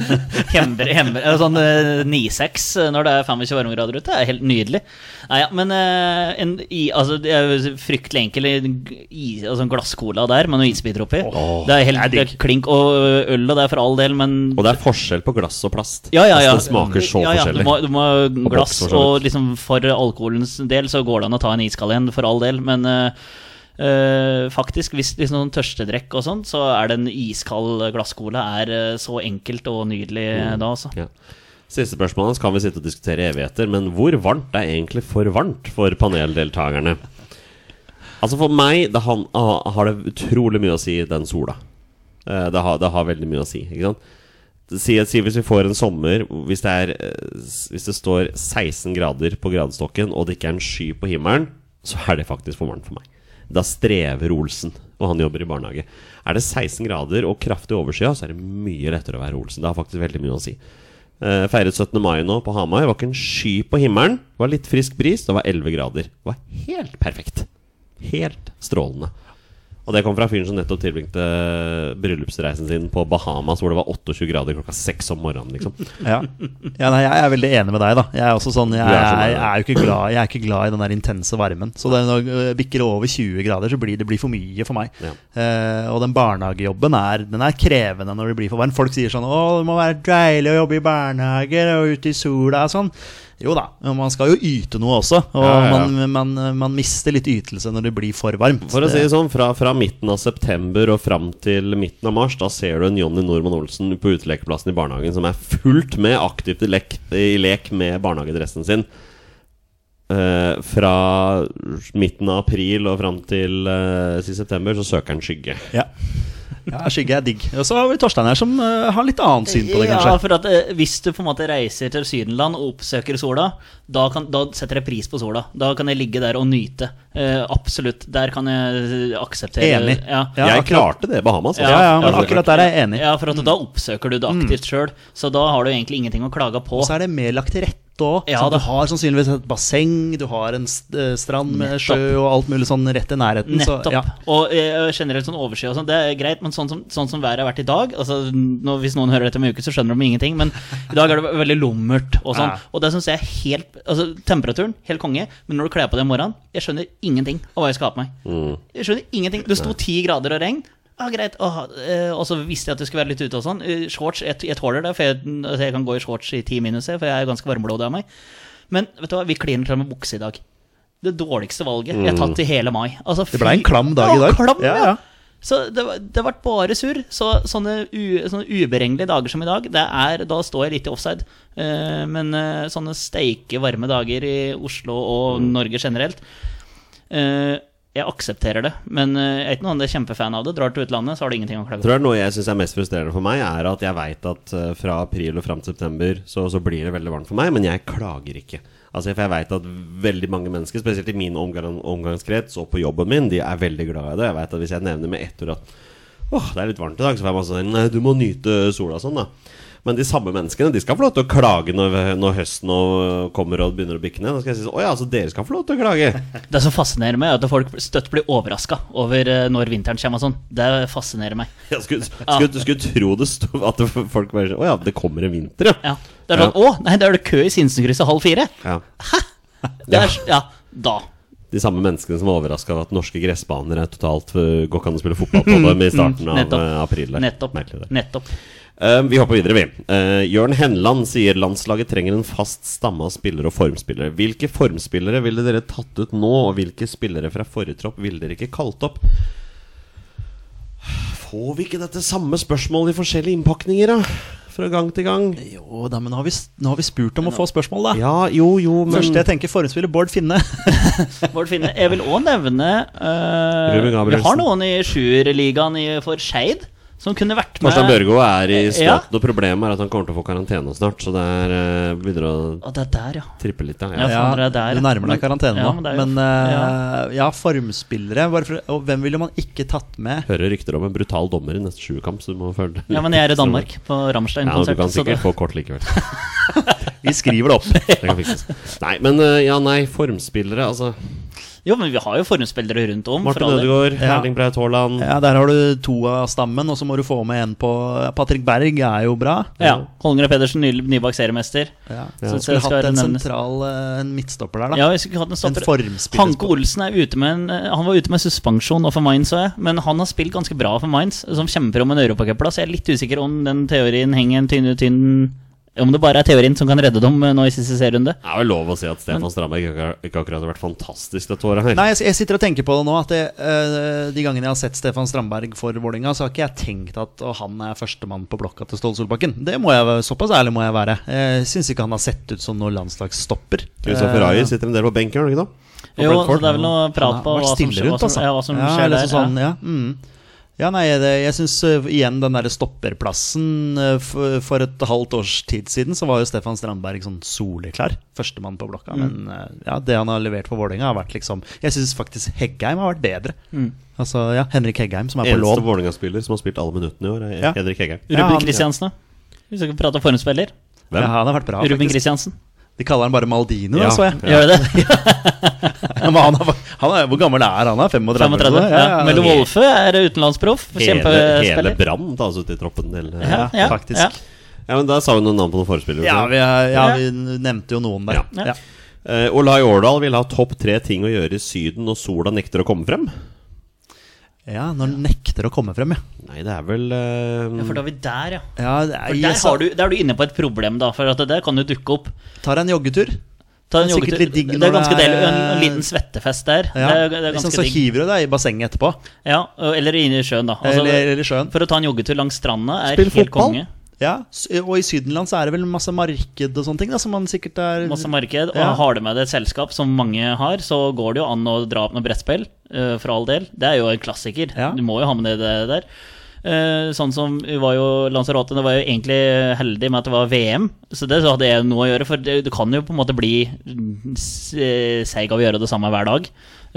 S1: Hemmer, hemmer, eller sånn eh, 9-6 eh, når det er 25 varmegrader ute, er helt nydelig. Nei, ja, men eh, en, i, altså, det er jo fryktelig enkel i, i, altså, en glasscola der med noen isbiter oppi. det er helt det er klink og ø, øl og det er for all del, men
S2: Og det er forskjell på glass og plast.
S1: ja, ja, ja.
S2: Altså, det smaker så
S1: ja, ja,
S2: forskjellig.
S1: Du må, du må
S2: Og
S1: glass,
S2: boks, for så vidt.
S1: og liksom for alkoholens del så går det an å ta en iskald en, for all del, men eh, eh, faktisk, hvis liksom noen tørstedrekk og sånn, så er den iskald glasscola er eh, så enkelt og nydelig eh,
S2: Mm.
S1: da, altså.
S2: Ja. Siste spørsmål hans kan vi sitte og diskutere i evigheter, men hvor varmt er egentlig for varmt for paneldeltakerne? Altså For meg det han, ha- har det utrolig mye å si, den sola. Eh, Det har, det har veldig mye å si. ikke sant? Si, si hvis vi får en sommer hvis det, er, eh, s- hvis det står 16 grader på gradestokken, og det ikke er en sky på himmelen, så er det faktisk for varmt for meg. Da strever Olsen, og han jobber i barnehage. Er det 16 grader og kraftig overskya, så er det mye lettere å være Olsen. Det har faktisk veldig mye å si. Eh, feiret 17. mai nå på Hamar. Det var ikke en sky på himmelen. Det var litt frisk bris. Det var 11 grader. Det var helt perfekt. Helt strålende. Og det kom fra fyren som nettopp tilbringte bryllupsreisen sin på Bahamas, hvor det var 28 grader klokka seks om morgenen, liksom.
S3: Ja, ja nei, jeg er veldig enig med deg, da. Jeg er også sånn, jeg,
S2: Du er som meg,
S3: jeg,
S2: ja.
S3: er jo ikke glad, jeg er ikke glad i den der intense varmen. Så det, når øh, bikker det over 20 grader, så blir det blir for mye for meg.
S2: Ja.
S3: Eh, og den barnehagejobben er, den er krevende når det blir for varmt. Folk sier sånn 'Å, det må være deilig å jobbe i barnehage og ute i sola' og sånn. Jo da, men man skal jo yte noe også. Og
S2: Ja, ja, ja.
S3: Man, man, man mister litt ytelse når det blir for varmt.
S2: For å si
S3: Det-
S2: det sånn, fra, fra midten av september og fram til midten av mars, da ser du en Jonny Normann Olsen på utelekeplassen i barnehagen som er fullt med aktivt i lek, i lek med barnehagedressen sin. Eh, fra midten av april og fram til eh, sist september så søker han skygge.
S3: ja. ja, skygge er digg. Og så har vi Torstein her som øh, har litt annet syn på det, kanskje.
S1: Ja, for at eh, Hvis du på en måte reiser til Sydenland og oppsøker sola, da, kan, da setter jeg pris på sola. Da kan jeg ligge der og nyte. Eh, absolutt. Der kan jeg eh, akseptere
S3: Enig.
S1: Ja.
S3: Ja,
S2: jeg
S3: akkurat.
S2: klarte det i Bahamas.
S3: Ja, ja, men
S2: Altså,
S3: akkurat der er jeg enig. Mm.
S1: Ja, for at da oppsøker du det aktivt sjøl, så da har du egentlig ingenting å klage på.
S3: Og så er det mer lagt til rette flott òg.
S1: Ja,
S3: du
S1: da.
S3: har sannsynligvis et basseng, du har en st- eh, strand med
S1: Nettopp.
S3: sjø og alt mulig sånn rett i nærheten.
S1: Nettopp.
S3: Så, ja.
S1: Og eh, generelt sånn overskyet og sånn, det er greit, men sånn som, sånn som været har vært i dag altså, nå, Hvis noen hører dette om en uke, så skjønner de ingenting, men i dag er det veldig lummert og sånn.
S3: Ja.
S1: Og det syns jeg er helt altså, Temperaturen, helt konge, men når du kler på deg om morgenen Jeg skjønner ingenting av hva jeg skal ha på meg. Jeg skjønner ingenting. Det sto ti grader og regn. Ja, greit. Åh, eh, og så visste jeg at du skulle være litt ute og sånn. Eh, Shorts, jeg, jeg tåler det, for jeg, altså, jeg kan gå i shorts i ti minus, jeg, for jeg er ganske varmblodig av meg. Men vet du hva, vi kliner til med bukse i dag. Det dårligste valget jeg har tatt i hele mai. Altså,
S3: Mm. Det ble en klam dag i
S1: Ja,
S3: dag.
S1: Klam, ja.
S3: Ja, ja.
S1: Så det, var- det ble bare surr. Så sånne, u, sånne uberegnelige dager som i dag, det er, da står jeg litt i offside. Eh, men eh, sånne steike varme dager i Oslo og
S3: Mm.
S1: Norge generelt eh, Jeg aksepterer det, men eh, jeg er ikke noen andre kjempefan av det. Drar til utlandet, så har du ingenting å klage på.
S2: tror det er noe jeg syns er mest frustrerende for meg, er at jeg veit at eh, fra april og fram til september så, så blir det veldig varmt for meg, men jeg klager ikke. Altså, for jeg veit at veldig mange mennesker, spesielt i min omgang, omgangskrets og på jobben min, de er veldig glad i det. Jeg veit at hvis jeg nevner med ett ord at åh, det er litt varmt i dag, så får jeg masse sånn Nei, du må nyte sola sånn, da. Men de samme menneskene de skal få lov til å klage når, når høsten og kommer og begynner å bikke ned. Da skal jeg si sånn Å ja, så dere skal få lov til å klage.
S1: Det som fascinerer meg, er at folk støtt blir overraska over eh, når vinteren kommer og sånn. Det fascinerer meg.
S2: Jeg skulle, skulle, skulle tro det sto at det- folk bare sånn Å ja, det kommer en vinter, ja.
S1: Ja. Det er sånn Å, nei, da er det kø i Sinsenkrysset halv fire!
S2: ja.
S1: Det er, ja, da.
S2: De samme menneskene som var overraska over at norske gressbaner er totalt eh, Går ikke an å spille fotball på dem i starten av
S1: Nettopp.
S2: eh, april. der.
S1: Nettopp.
S2: Merkelig det.
S1: Nettopp.
S2: Eh, vi hopper videre, vi. Uh, Jørn Henland sier landslaget trenger en fast stamme av spillere og formspillere. Hvilke formspillere ville dere tatt ut nå, og hvilke spillere fra forrige tropp ville dere ikke kalt opp? Får vi ikke dette samme spørsmålet i forskjellige innpakninger, da? Fra gang til gang.
S3: Jo da, men nå har, vi, s- nå har vi spurt om å få spørsmål, da.
S2: Ja, jo, jo, men
S3: Første jeg tenker, forhåndsspiller Bård Finne.
S1: Bård Finne. Jeg vil òg nevne eh,
S2: Ruben
S1: Vi
S2: Gabrielsen.
S1: har noen i sjuerligaen i- for Skeid som kunne vært med.
S2: Torstein Børgo er i
S1: Eh, Ja.
S2: støtten, og problemet er at han kommer til å få karantene snart. Så det er, eh, begynner å
S1: Å, det er der, ja.
S2: trippe litt,
S1: Ja,
S2: ja. ja.
S1: faen, dere er der,
S3: du
S1: ja.
S3: nærmer deg
S1: Men-
S3: karantene nå.
S1: ja, men
S3: men
S1: det er jo-
S3: eh, ja, formspillere. Bare for, og hvem ville man ikke tatt med?
S2: Hører rykter om en brutal dommer i neste sjukamp, så du må følge
S1: ja. Men jeg er i Danmark, på
S2: Ja, du
S1: Rammstein-konsert.
S2: kan
S1: så
S2: sikkert
S1: det-
S2: få kort likevel.
S3: Vi skriver det opp.
S2: Det kan fikses. Nei, men eh, ja, nei, formspillere, altså.
S1: jo, men vi har jo formspillere rundt om. for
S2: Martin
S1: alle.
S2: Ødegaard,
S3: Ja.
S2: Erling Braut Haaland.
S3: Ja, Der har du to av stammen, og så må du få med en på Patrick Berg er jo bra.
S1: Ja. Holmgren og Pedersen, ny, nybakt seriemester.
S3: Ja.
S1: Ja.
S3: Så
S1: Synes jeg
S3: skulle
S1: skal
S3: hatt en
S1: nevnes.
S3: sentral eh, en midtstopper der, da.
S1: Ja, vi skulle hatt en
S3: en
S1: stopper. Hanke
S3: formspiller.
S1: Olsen er ute med en, eh, han var ute med suspensjon og for Mainz, så jeg, men han har spilt ganske bra for Mainz, som kjemper om en europacupplass. Jeg er litt usikker om den teorien henger en tynn tynn Om det bare er teorien som kan redde dem eh, nå i siste serierunde.
S2: Det er vel lov å si at Stefan Strandberg ikke, ikke akkurat har vært fantastisk dette året her.
S3: Nei, jeg, jeg sitter og tenker på det nå. At det, eh, De gangene jeg har sett Stefan Strandberg for Vålinga så har ikke jeg tenkt at å, han er førstemann på blokka til Ståle Solbakken. Det må jeg, være- Såpass ærlig må jeg være. Jeg syns ikke han har sett ut som noen landslagsstopper.
S2: Christopher
S3: Eh,
S2: Ayer sitter en del på benken, gjør han ikke det? På
S1: Jo, så
S2: Brentford.
S1: det er vel noe prat
S3: han
S1: på
S3: har vært
S1: hva som,
S3: stille
S1: skjer- hva
S3: rundt,
S1: som,
S3: altså.
S1: ja, hva som
S3: Ja,
S1: skjer
S3: eller
S1: der.
S3: Sånn,
S1: ja.
S3: ja. Mm. ja, nei, det, jeg syns igjen den derre stopperplassen eh, for, for et halvt års tid siden, så var jo Stefan Strandberg sånn soleklar. Førstemann på
S1: Mm.
S3: blokka. Men eh, ja, det han har levert for Vålerenga, har vært liksom Jeg syns faktisk Heggheim har vært bedre.
S1: Mm.
S3: Altså, ja, Henrik Heggheim, som er på
S2: Eneste
S3: lån.
S2: Vålerenga-spiller som har spilt alle minuttene i år, er
S3: Ja.
S2: Henrik Heggheim.
S3: Ja, han-
S1: Ruben Kristiansen, da? Hvis vi skal prate om formspiller.
S2: Hvem?
S3: Ja, han har vært bra,
S1: Ruben
S3: faktisk.
S1: Kristiansen.
S3: De kaller han bare Maldino,
S2: Ja.
S3: da, så jeg.
S1: Gjør det det?
S3: Men han er, han er, hvor gammel er han? da? 35?
S1: 35.
S3: eller noe?
S1: Ja, Melo Wolfe er utenlandsproff.
S2: Hele, hele
S1: Kjempespiller.
S2: Brann tas ut i troppen til eh,
S1: Ja, ja,
S3: faktisk.
S1: ja.
S2: Ja, men Der sa hun noen navn på noen forespillere.
S3: Ja,
S2: så.
S3: vi, er- ja, vi nevnte jo noen der.
S1: Ja.
S3: Ja.
S2: Eh, Olai Årdal vil ha topp tre ting å gjøre i Syden når sola nekter å komme frem.
S3: Ja, når han nekter å komme frem, ja.
S2: Nei, det er vel eh,
S1: Ja, for da er vi der, ja.
S3: ja det er,
S1: For der,
S3: jeg
S1: har du, der er du inne på et problem, da. For at det der kan jo dukke opp.
S3: tar en joggetur.
S1: Ta en
S3: Det er sikkert
S1: joggetur.
S3: litt digg
S1: Det
S3: når
S1: er ganske
S3: det er-
S1: deilig. En, en liten svettefest der.
S3: Ja.
S1: Det er, det er
S3: liksom,
S1: ganske
S3: så
S1: digg.
S3: hiver du deg i bassenget etterpå.
S1: Ja, eller inne i sjøen, da. Altså,
S3: eller, eller i sjøen.
S1: for å ta en joggetur langs stranda er
S2: Spille
S1: helt
S2: fotball.
S1: konge.
S3: Ja, s- Og i Sydenland så er det vel masse marked og sånne ting, da, som man sikkert er
S1: Masse marked, og
S3: Ja.
S1: har du med deg et selskap som mange har, så går det jo an å dra opp noe brettspill, eh, for all del. Det er jo en klassiker.
S3: Ja.
S1: Du må jo ha med deg det der. Eh, sånn som vi var jo Lanzarote, det var jo egentlig heldig med at det var VM, så det så hadde jeg noe å gjøre, for det, det kan jo på en måte bli mm, s- eh, seig av å gjøre det samme hver dag.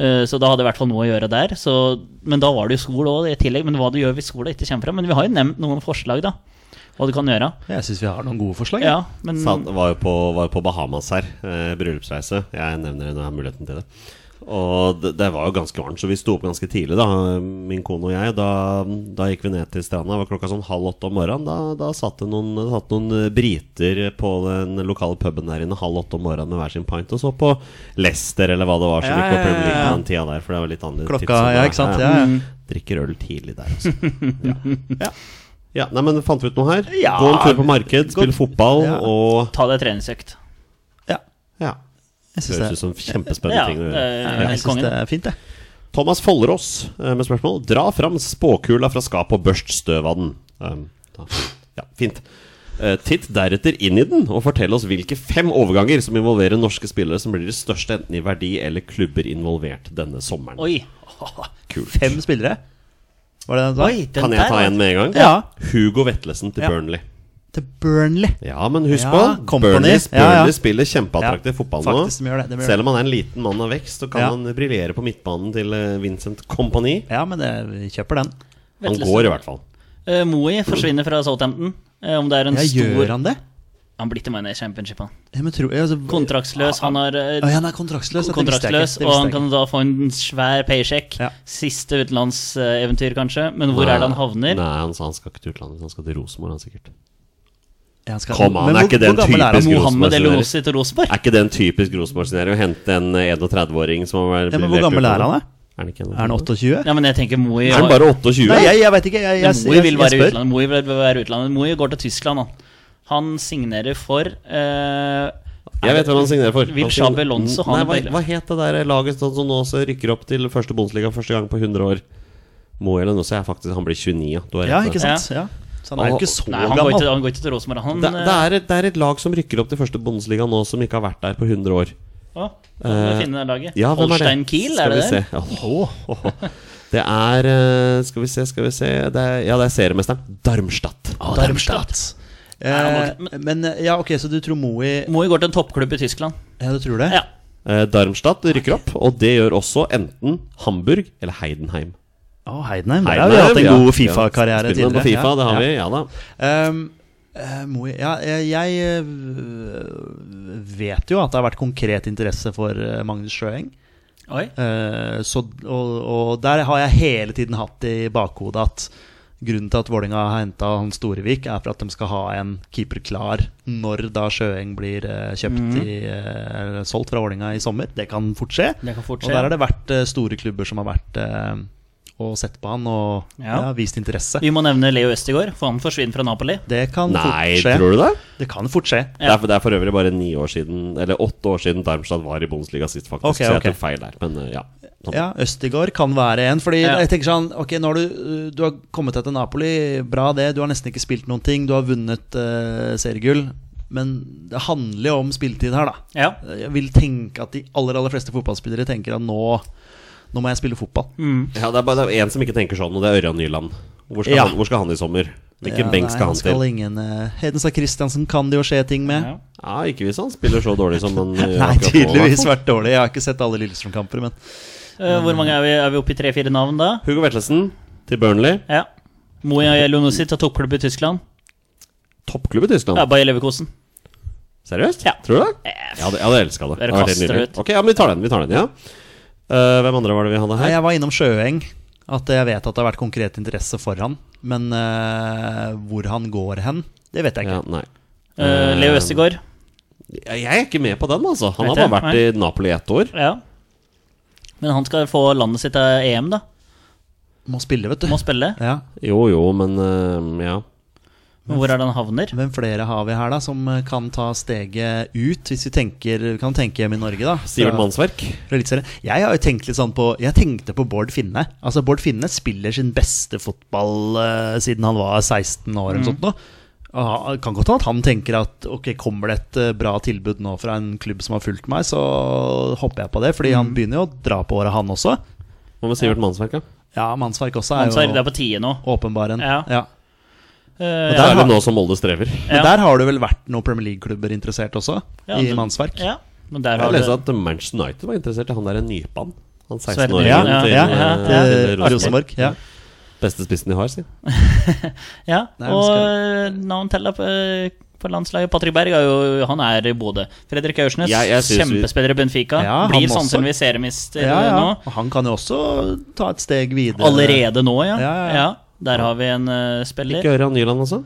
S1: Eh, Så da hadde jeg i hvert fall noe å gjøre der. Så, men da var det jo skole òg i tillegg. Men hva du gjør hvis skolen ikke kommer frem. Men vi har jo nevnt noen forslag, da. hva du kan gjøre.
S3: Jeg syns vi har noen gode forslag.
S1: Ja, men
S2: Sa- var jo på, var jo på Bahamas her, eh, bryllupsreise. Jeg nevner det når jeg har muligheten til det. Og det, det var jo ganske varmt, så vi sto opp ganske tidlig, da, min kone og jeg. Da, da gikk vi ned til stranda. Det var klokka sånn halv åtte om morgenen. Da, da satt det noen, det satt noen eh, briter på den lokale puben der inne halv åtte om morgenen med hver sin pint, og så på Leicester eller hva det var. Så
S3: Ja,
S2: det ikke var
S3: ja,
S2: Premier League
S3: ja, ja.
S2: på den tida der, for det var litt annerledes
S3: Klokka,
S2: tidssone.
S3: ja, ikke sant? Ja, ja.
S2: Drikker øl tidlig der, altså. Ja. ja. Nei, men fant vi ut noe her?
S3: Ja.
S2: Gå en tur på marked, spille fotball
S3: Ja.
S2: og
S1: ta deg en treningsøkt.
S2: Ja.
S3: Jeg syns
S2: Høres
S3: det,
S2: ut som kjempespennende
S1: Ja,
S2: ting å
S1: det
S2: gjøre.
S1: er
S3: jeg
S1: helt
S3: synes det
S1: kongen.
S3: er fint, det.
S2: Thomas Follerås eh, med spørsmål. Dra fram spåkula fra skapet og børst støv av den. Um, da. Ja, fint. Eh, Titt deretter inn i den og fortell oss hvilke fem overganger som involverer norske spillere som blir de største enten i verdi eller klubber involvert denne sommeren.
S1: Oi,
S2: Kult.
S3: Fem spillere. Var det den sa?
S1: oi, den
S2: Kan jeg ta
S1: der,
S2: en med en gang?
S3: Ja.
S2: Hugo Vetlesen til
S3: Ja.
S2: Burnley.
S3: Til Burnley.
S2: Ja, men husk
S3: Ja,
S2: på
S3: Company.
S2: Burnley,
S3: Ja, ja.
S2: Burnley spiller kjempeattraktiv
S3: Ja,
S2: fotball nå.
S3: faktisk, de gjør det, de gjør
S2: Selv om han er en liten mann av vekst, så kan
S3: Ja.
S2: han briljere på midtbanen til eh, Vincent Company.
S3: Ja, men det, vi kjøper den.
S2: Han
S1: Vetlesen.
S2: går i hvert fall.
S1: Eh, Moey forsvinner fra Southampton. Eh, om det er en
S3: Ja,
S1: stor
S3: gjør han det?
S1: Han blir til Mayonnaise Championship. Han.
S3: Ja, men tror, ja, altså,
S1: Kontraktsløs. Han har eh,
S3: Å, ja, han er kontraktsløs. dette visste jeg ikke,
S1: kontraktsløs,
S3: det
S1: og
S3: visste
S1: han
S3: jeg ikke.
S1: kan da få en svær paycheck.
S3: Ja.
S1: Siste utenlandseventyr, kanskje. Men hvor er det han havner?
S2: Nei, han sa han skal ikke til utlandet, han skal til Rosenborg, han sikkert.
S3: Ja, han skal-
S2: Kom an,
S3: Men
S2: er
S3: hvor-
S2: ikke det en
S3: hvor gammel er han?
S2: typisk Rosenborg?
S1: Mohammed
S2: Rosenborg-scenario.
S1: Eloosi til Rosenborg?
S2: Er ikke det en typisk Rosenborg-scenario? å Hente en eh, 31-åring som har vært
S3: Ja, men hvor gammel er han, da?
S2: Er han, ikke en-
S3: Er han 28?
S1: Ja, men jeg tenker Moey
S2: Er han bare 28?
S3: Nei, jeg, jeg vet ikke. Jeg, jeg, jeg,
S1: Moey vil være i
S3: spør.
S1: utlandet. Moey vil være i utlandet. Moey går til Tyskland, han. Han signerer for eh,
S2: Jeg vet hvem han signerer for.
S1: Vil
S2: Han signer-
S1: Xabi Alonso ha
S2: Nei,
S1: den
S2: hva,
S1: på hele?
S2: hva het det der laget som som nå også rykker opp til første Bundesliga første gang på 100 år? Moelund også er faktisk Han blir 29, ja. Du har rett.
S3: Ja,
S2: der.
S3: ikke sant? Ja. Så han er jo ikke så
S1: Nei, han går, ikke,
S3: gammel.
S1: han går ikke til Rosenborg. Han,
S2: Det, det, er et, det er et lag som rykker opp til første Bundesliga nå, som ikke har vært der på 100 år.
S1: Å, kan du
S2: Eh,
S1: finne det laget?
S2: Ja, hvem er det?
S1: Holstein Kiel, er
S2: Skal
S1: det
S2: vi
S1: det?
S2: se. Ja, åh, åh. Det er eh, Skal vi se, skal vi se det er, Ja, det er seriemesteren. Darmstadt.
S3: Å, Darmstadt. Eh, men eh, ja, ok, så du tror Moey
S1: Moey går til en toppklubb i Tyskland.
S3: Ja, du tror det?
S1: Ja.
S2: Eh, Darmstadt rykker opp, og det gjør også enten Hamburg eller Heidenheim.
S3: Å, Heidenheim. Der
S2: Heidenheim
S3: har vi hatt en
S2: ja.
S3: god
S2: Ja,
S3: Fifa-karriere
S2: spiller
S3: tidligere.
S2: man på FIFA,
S3: Ja.
S2: det har
S3: Ja.
S2: vi. Ja da.
S3: Ehm, eh, Moe, ja, eh, jeg eh, vet jo at det har vært konkret interesse for eh, Magnus Sjøeng.
S1: Oi.
S3: Eh, så, og, og der har jeg hele tiden hatt i bakhodet at grunnen til at Vålinga har henta han Storevik, er for at de skal ha en keeper klar når da Sjøeng blir eh, kjøpt
S1: Mhm.
S3: i, eh, eller solgt fra Vålinga i sommer. Det kan fort skje.
S1: Det kan fort
S3: Og
S1: skje.
S3: der har det vært eh, store klubber som har vært eh, og sett på han og
S1: Ja.
S3: ja. vist interesse.
S1: Vi må nevne Leo Østegård, for han forsvinner fra Napoli.
S3: Det kan
S2: Nei,
S3: fort skje.
S2: tror du det?
S3: Det kan fort skje.
S1: Ja.
S2: Det, er for, det er for øvrig bare ni år siden Eller åtte år siden Darmstadt var i Bundesliga sist, faktisk.
S3: Ok,
S2: Så jeg
S3: ok.
S2: tok feil der. Men eh, ja. Sånn.
S3: Ja, Østigård kan være en. Fordi
S1: Ja.
S3: jeg tenker sånn Ok, nå har du, du har kommet deg til Napoli. Bra det. Du har nesten ikke spilt noen ting. Du har vunnet eh, seriegull. Men det handler jo om spilletid her, da.
S1: Ja.
S3: Jeg vil tenke at de aller aller fleste fotballspillere tenker at nå Nå må jeg spille fotball.
S1: Mm.
S2: Ja, det er bare det er en som ikke tenker sånn, og det er Ørjan Nyland. Hvor skal,
S3: Ja.
S2: han, hvor skal han i sommer? Hvilken
S3: Ja,
S2: benk
S3: nei,
S2: skal han til?
S3: ingen, eh, Hedenstad Christiansen kan det jo skje ting med.
S1: Ja.
S2: Ja, Ikke hvis han spiller så dårlig som han gjør
S3: Nei,
S2: akkurat nå,
S3: tydeligvis
S2: da.
S3: vært dårlig. Jeg har ikke sett alle Lillestrøm-kamper, men
S1: Eh, hvor mange er vi, er vi oppe i tre-fire navn da?
S2: Hugo Vetlesen til Burnley.
S1: Ja. Moya Jelunussi tar toppklubb i Tyskland.
S2: Toppklubb i Tyskland.
S1: Ja, Bayer Leverkosen.
S2: Seriøst?
S1: Ja.
S2: Tror du det?
S1: Eh,
S2: Jeg hadde, jeg hadde elska det.
S1: Dere
S2: Det hadde vært
S1: kaster
S2: helt nydelig.
S1: det ut.
S2: Ok, ja, men vi tar den. vi tar den, ja Eh, Hvem andre var det vi hadde
S3: Nei,
S2: her?
S3: jeg var innom Sjøeng. At jeg vet at det har vært konkret interesse for han. Men eh, hvor han går hen, det vet jeg
S2: Ja,
S3: ikke.
S2: nei
S1: eh, Leo Østegård.
S2: Jeg er ikke med på den, altså. Han
S1: Vet
S2: har bare
S1: jeg,
S2: vært i Napoli i ett år.
S1: Ja. Men han skal få landet sitt av EM, da.
S3: Må spille, vet du.
S1: Må spille.
S3: Ja.
S2: Jo jo, men eh, ja.
S1: Men hvor er det han havner?
S3: Hvem flere har vi her da som eh, kan ta steget ut, hvis vi tenker, vi kan tenke hjemme i Norge, da?
S2: Sivert
S3: Fra-
S2: Mannsverk.
S3: fra Eliteserien. Jeg har jo tenkt litt sånn på Jeg tenkte på Bård Finne. Altså Bård Finne spiller sin beste fotball eh, siden han var 16 år
S1: Mm.
S3: eller noe sånt. nå. Og ha- kan godt hende at han tenker at ok, kommer det et eh, bra tilbud nå fra en klubb som har fulgt meg, så hopper jeg på det. Fordi
S1: Mm.
S3: han begynner jo å dra på året, han også.
S2: Hva med Sivert Mannsverk, da?
S3: Ja, Mannsverk også er
S1: Han sier det er
S3: jo
S1: på tide nå.
S3: åpenbar en.
S1: Ja.
S3: Ja.
S1: Eh,
S2: Det
S1: ja.
S2: er det nå som Molde strever.
S3: Men
S1: Ja.
S3: der har det vel vært noen Premier League-klubber interessert også,
S1: Ja,
S3: i
S1: det-
S3: Mannsverk.
S1: ja. Men der har
S2: Jeg
S1: du
S2: leste at Manchester United var interessert i han der Nypan. Han
S1: Sverre, ja,
S2: 16-åringen
S1: ja,
S2: til,
S1: ja, ja.
S2: eh,
S3: Til
S2: til Rosenborg.
S3: Rosenborg. Ja.
S2: Beste spissen de har, si.
S1: Ja,
S3: Nei, men
S1: og
S3: skal-
S1: eh, navn til da på, eh, på landslaget. Patrick Berg er jo han er i Bodø. Fredrik Aursnes,
S2: Jeg- jeg synes vi-
S1: kjempespiller i Benfica.
S3: Ja, han
S1: blir sånn
S3: også.
S1: sannsynligvis seriemester
S3: Ja,
S1: eh,
S3: ja.
S1: nå.
S3: Og han kan jo også ta et steg videre.
S1: Allerede nå, ja.
S3: Ja, ja, ja.
S1: der har vi en eh, spiller.
S2: Ikke Ørjan Nyland også?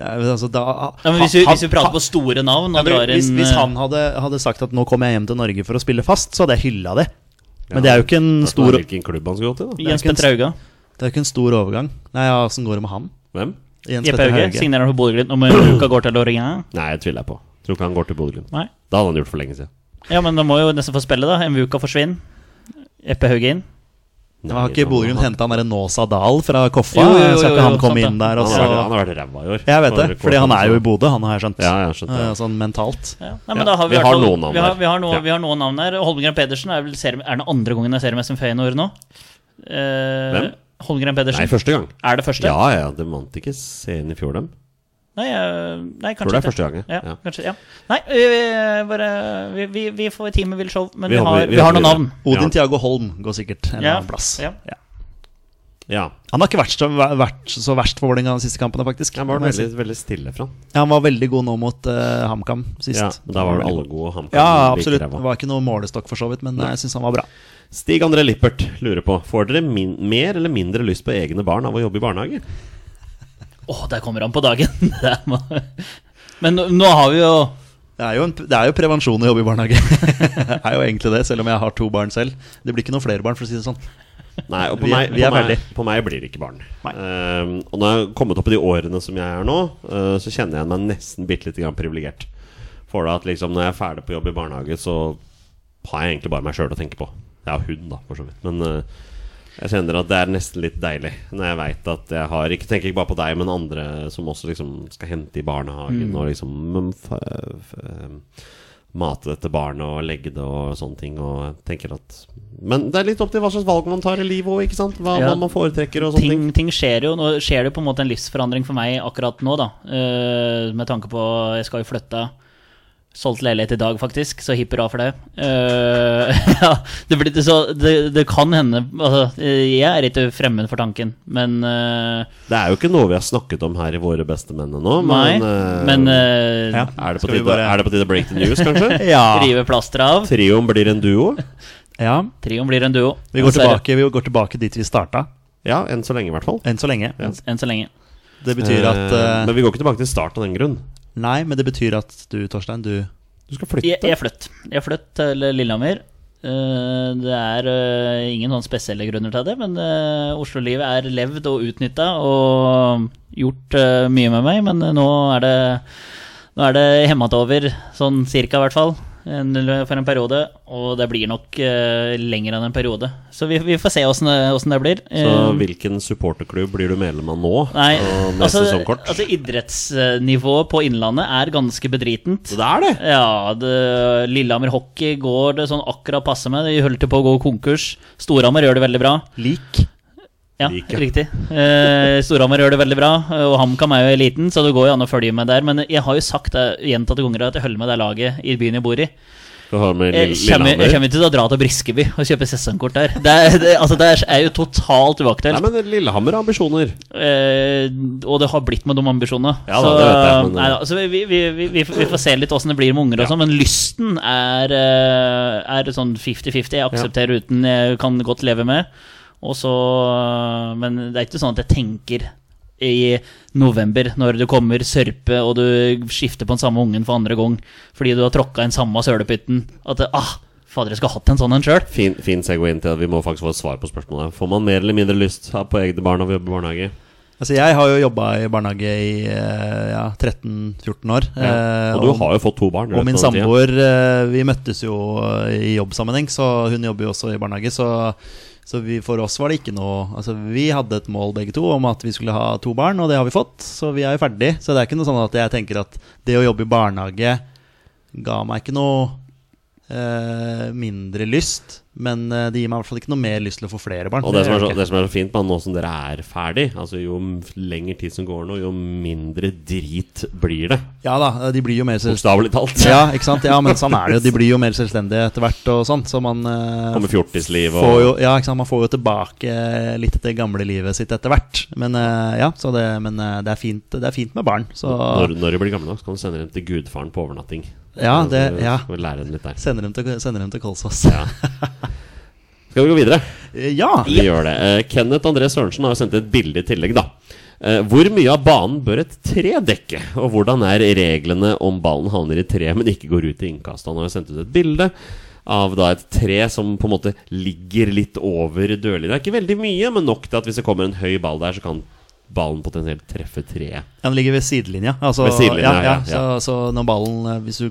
S3: Ja, men altså, da,
S1: Ja, men hvis, vi, hvis vi prater på store navn og
S3: Ja, men
S1: drar
S3: hvis,
S1: inn
S3: hvis
S1: eh,
S3: han hadde, hadde sagt at 'nå kommer jeg hjem til Norge for å spille fast', så hadde jeg hylla det. Men
S2: Ja,
S3: det er jo ikke en
S2: Spørsmålet er
S3: stor,
S2: Hvilken klubb han skulle gå til, da?
S1: Jens
S3: Det er ikke
S1: Petter Hauga.
S3: det er jo ikke en stor overgang. Nei, ja, Åssen går det med han?
S2: Hvem?
S3: Jens
S1: Jeppe
S3: Petter
S1: Hauge
S3: Hauge.
S1: signerer for Bodø-Glimt. Om Luka går til Lorient
S2: Nei, jeg tviler jeg på. Tror ikke han går til Bodø-Glimt.
S1: Nei.
S2: Da hadde han gjort for lenge siden.
S1: Ja, men da må jo nesten få spille, da. Mvuka forsvinner. Jeppe Hauge inn.
S2: Nei,
S3: Men Har ikke
S2: han-
S3: Bodø Glimt henta han derre Nåsa Dahl fra Koffa?
S1: Jo, jo, jo,
S3: Skal
S1: jo,
S3: ikke han
S1: jo,
S3: komme
S1: sant
S3: inn
S1: det.
S3: der? Og
S2: Han
S3: så?
S2: har vært- han har vært ræva i år.
S3: Jeg vet det,
S2: For-
S3: fordi han er jo i Bodø, han har jeg skjønt.
S2: Ja, jeg skjønte
S3: Eh,
S2: det.
S3: Sånn mentalt.
S1: Ja. Nei, men da har vi,
S2: Vi
S1: i hvert
S2: har
S1: fall-
S2: noen navn
S1: vi har,
S2: her.
S1: vi har, noe,
S2: Ja.
S1: vi har noen navn her. Holmgren Pedersen er vel serie, er den andre gangen jeg ser med som Feyenoord nå. Eh,
S2: Hvem?
S1: Holmgren
S2: Nei,
S1: Pedersen.
S2: første gang.
S1: er det første?
S2: Ja, ja, de vant ikke serien i fjor, dem.
S1: Nei, eh, nei,
S2: Tror det er
S1: kanskje ikke.
S2: første gangen.
S1: Ja,
S2: Ja.
S1: kanskje, ja. Nei, vi, vi- bare, vi, vi, vi får teamet Vill Show, men
S2: Vi
S1: vi,
S2: håper-
S1: har,
S2: vi
S1: vi har
S2: håper
S1: noen
S2: vi-
S1: navn.
S2: Ja.
S3: Odin Tiago Holm går sikkert en
S1: Ja,
S3: annen plass.
S1: ja.
S2: Ja.
S3: Han har ikke vært så, vært så verst for Vålerenga de siste kampene, faktisk.
S2: Han var
S3: Må jeg si.
S2: veldig, veldig stille fra.
S3: Ja, han var veldig god nå mot eh, HamKam sist.
S2: Ja, da var det alle
S3: Veldig
S2: gode og HamKam.
S3: god. Ja,
S2: like
S3: absolutt.
S2: ræva.
S3: Det var ikke noe målestokk, for så vidt, men eh, jeg syns han var bra.
S2: Stig André Lippert lurer på Får dere min mer eller mindre lyst på egne barn av å jobbe i barnehage?
S1: Å, der kommer han på dagen! Der må- men nå, nå har vi jo
S3: Det er, jo en, det er jo prevensjon å jobbe i barnehage. det er jo egentlig det, selv om jeg har to barn selv. Det blir ikke noe flere barn, for å si det sånn.
S2: Nei, og på,
S3: Vi-
S2: meg,
S3: vi er
S2: på, meg,
S3: ferdig.
S2: på meg blir det ikke barn.
S3: Nei.
S2: Ehm, og når jeg har kommet opp i de årene som jeg er nå, eh, så kjenner jeg meg nesten bitte lite grann privilegert. For da at liksom når jeg er ferdig på jobb i barnehage, så har jeg egentlig bare meg sjøl å tenke på. Jeg har hund, da, for så vidt. Men eh, jeg kjenner at det er nesten litt deilig når jeg veit at jeg har Ikke tenker ikke bare på deg, men andre som også liksom skal hente i barnehagen og liksom mm, f f eh, Mate dette barnet og legge det og sånne ting. Og jeg tenker at Men det er litt opp til hva slags valg man tar i livet òg, ikke sant? Hva
S1: Ja.
S2: hva man foretrekker og sånne ting.
S1: ting, ting skjer jo. Nå skjer det på en måte en livsforandring for meg akkurat nå, da. Eh, med tanke på Jeg skal jo flytte. Solgt leilighet i dag, faktisk, så hipp hurra for det. Eh, ja, det, blir, så, det, det kan hende altså, eh, Jeg er ikke fremmed for tanken, men eh,
S2: Det er jo ikke noe vi har snakket om her i Våre beste menn ennå,
S1: Nei.
S2: men, eh,
S1: Men eh,
S3: Ja.
S2: er, det på
S3: Skal vi
S2: tide,
S3: bare-
S2: er det på tide å break the news, kanskje?
S3: Ja.
S1: rive plasteret av.
S2: Trioen blir en duo?
S3: ja.
S1: Trioen blir en duo.
S3: Vi, går
S1: Så er det-
S3: tilbake, vi går tilbake dit vi starta,
S2: Ja, enn så lenge, i hvert fall.
S3: enn så lenge.
S1: Enn så lenge.
S3: Det betyr at
S2: Eh,
S3: eh,
S2: Men vi går ikke tilbake til start av den grunn.
S3: Nei, men det betyr at du, Torstein, du
S2: Du skal flytte.
S1: Jeg, jeg flytt. Jeg flytt til Lillehammer. Eh, det er eh, ingen sånn spesielle grunner til det, men eh, Oslo-livet er levd og utnytta og gjort eh, mye med meg, men eh, nå er det Nå er det hemmet over, sånn cirka i hvert fall, en, for en periode. Og det blir nok eh, lenger enn en periode. Så vi, vi får se åssen det, hvordan det blir.
S2: Så
S1: Eh,
S2: hvilken supporterklubb blir du medlem av nå?
S1: Nei,
S2: og med
S1: altså,
S2: sesongkort?
S1: altså idrettsnivået på Innlandet er ganske bedritent.
S2: Så det er det!
S1: Ja, det, Lillehammer hockey går det sånn akkurat passe med. De holdt på å gå konkurs. Storhamar gjør det veldig bra.
S3: Lik.
S1: Ja,
S2: Like.
S1: riktig. Eh, Storhamar gjør det veldig bra, og HamKam er jo eliten, så det går jo an å følge med der. Men jeg har jo sagt det gjentatte ganger at jeg holder med det laget i byen jeg bor i.
S2: Du har med
S1: Jeg
S2: Lill-
S1: kommer, Eh, jeg
S2: Lillehammer.
S1: kommer ikke til å dra til Briskeby og kjøpe sesongkort der. Det er, det, altså, det er jo totalt uaktuelt.
S2: Nei, men Lillehammer har ambisjoner.
S1: Eh, og det har blitt med de ambisjonene.
S2: Ja da,
S1: så
S2: det vet jeg, men- eh.
S1: nei da, så vi, vi, vi, vi, vi får se litt åssen det blir med unger og sånn, men lysten er, eh, er sånn 50-50. Jeg aksepterer uten, jeg kan godt leve med. Og så eh, Men det er ikke sånn at jeg tenker i november, når du kommer sørpe og du skifter på den samme ungen for andre gang fordi du har tråkka en samme sølepytten, at det, ah, fader, jeg skulle hatt en sånn en sjøl.
S2: Fin, fin segway inn til at vi må faktisk få et svar på spørsmålet. Får man mer eller mindre lyst på egne barn av å jobbe i barnehage?
S3: Altså, jeg har jo jobba i barnehage i eh, ja, 13-14 år. eh,
S2: Og du har jo fått to barn. i
S3: Og min
S2: løpet av den tiden.
S3: samboer eh, Vi møttes jo eh, i jobbsammenheng, så hun jobber jo også i barnehage. Så, så vi, for oss var det ikke noe Altså Vi hadde et mål begge to om at vi skulle ha to barn, og det har vi fått. Så vi er jo ferdig. Så det er ikke noe sånn at jeg tenker at det å jobbe i barnehage ga meg ikke noe eh, mindre lyst, men eh, det gir meg i hvert fall ikke noe mer lyst til å få flere barn.
S2: Og det som, er så,
S3: gjør
S2: det
S3: det ikke.
S2: som er så fint med nå som dere er ferdig Altså Jo m- lengre tid som går nå, jo mindre drit blir det.
S3: Ja da, eh, de blir jo mer selvstendige.
S2: Bokstavelig talt.
S3: Ja, ikke sant? Ja, men sånn er det jo. De blir jo mer selvstendige etter hvert og sånt, så man eh,
S2: Kommer fjortisliv og
S3: får jo, ja, ikke sant? Man får jo tilbake eh, litt det gamle livet sitt etter hvert. Men eh, ja, så det, men eh, det, er fint, det er fint med barn. Så
S2: når, når de blir gamle nok, så kan du sende dem til gudfaren på overnatting.
S3: Ja, det-
S2: Så
S3: ja.
S2: Skal vi lære dem litt der.
S3: sender dem til, sender dem til Kolsås.
S2: Ja. Skal vi gå videre?
S3: Eh, Ja!
S2: Vi gjør det. Eh, Kenneth André Sørensen har sendt et bilde i tillegg, da. Eh, Hvor mye av banen bør et tre dekke? Og hvordan er reglene om ballen havner i tre, men ikke går ut i innkastet? Han har sendt ut et bilde av da et tre som på en måte ligger litt over dørlinja. Det er ikke veldig mye, men nok til at hvis det kommer en høy ball der, så kan ballen potensielt treffe treet.
S3: Ja, Den ligger ved sidelinja. Altså,
S2: Ved sidelinja,
S3: ja, ja,
S2: ja, ja.
S3: Så, så når ballen eh, Hvis du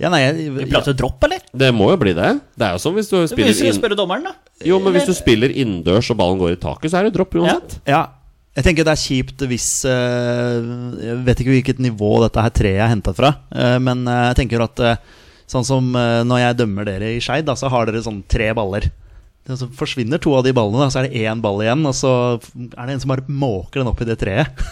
S3: Ja, nei, jeg,
S1: Vi prater dropp, eller?
S2: Det må jo bli det. Det er jo som hvis du
S1: Det vil
S2: spiller,
S1: vi
S2: inn...
S1: spørre dommeren, da.
S2: jo, men hvis du spiller innendørs og ballen går i taket, så er det dropp uansett.
S3: ja, jeg tenker det er kjipt hvis eh, Jeg vet ikke hvilket nivå dette her treet er henta fra, eh, men eh, jeg tenker at eh, sånn som eh, når jeg dømmer dere i Skeid, da, så har dere sånn tre baller. Det- Så forsvinner to av de ballene, da, så er det én ball igjen, og så er det en som bare måker den opp i det treet.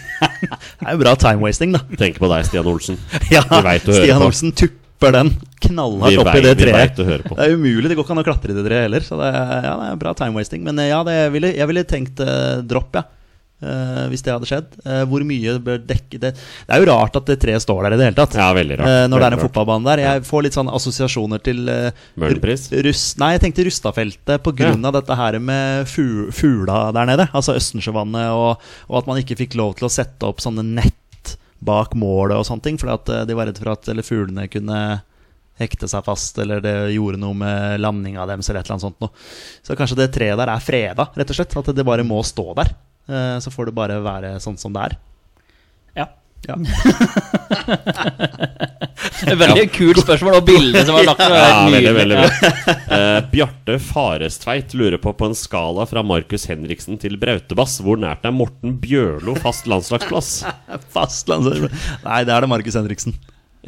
S3: det er jo bra time-wasting, da.
S2: Tenker på deg, Stian Olsen.
S3: Ja,
S2: Vi vet å høre
S3: Stian
S2: på.
S3: Olsen tupper den knallhardt
S2: Vi
S3: opp i
S2: vet-
S3: det
S2: vi
S3: treet.
S2: vet å høre på.
S3: Det er umulig, det går ikke an å klatre i det treet heller. Så det er, ja, det er bra time-wasting. Men eh, ja, det jeg ville, jeg ville tenkt eh, dropp, ja. Eh, hvis det hadde skjedd. Eh, hvor mye bør dekke det Det er jo rart at det treet står der i det hele tatt.
S2: Ja, veldig rart.
S3: Eh, når det er
S2: Veldig
S3: en
S2: rart.
S3: fotballbane der. Jeg får litt sånn assosiasjoner til eh,
S2: Møhlenpris?
S3: Ru- Russ, nei, jeg tenkte Rustafeltet på grunn av dette her med fu- fugla der nede. Altså Østensjøvannet, og, og at man ikke fikk lov til å sette opp sånne nett bak målet og sånne ting. Fordi at eh, de var redd for at eller fuglene kunne hekte seg fast, eller det gjorde noe med landinga deres, eller et eller annet sånt noe. Så kanskje det treet der er freda, rett og slett. At det bare må stå der. Eh, Så får det bare være sånn som det er.
S1: Ja.
S3: Ja.
S1: Et Veldig kult spørsmål, og bildet som var lagt det var
S2: Ja,
S1: helt
S2: veldig,
S1: nydelig.
S2: veldig bra. Eh, Bjarte Farestveit lurer på på en skala fra Markus Henriksen til Brautebass, hvor nært er Morten Bjørlo fast landslagsplass?
S3: Fastlands... Nei, det er det Markus Henriksen.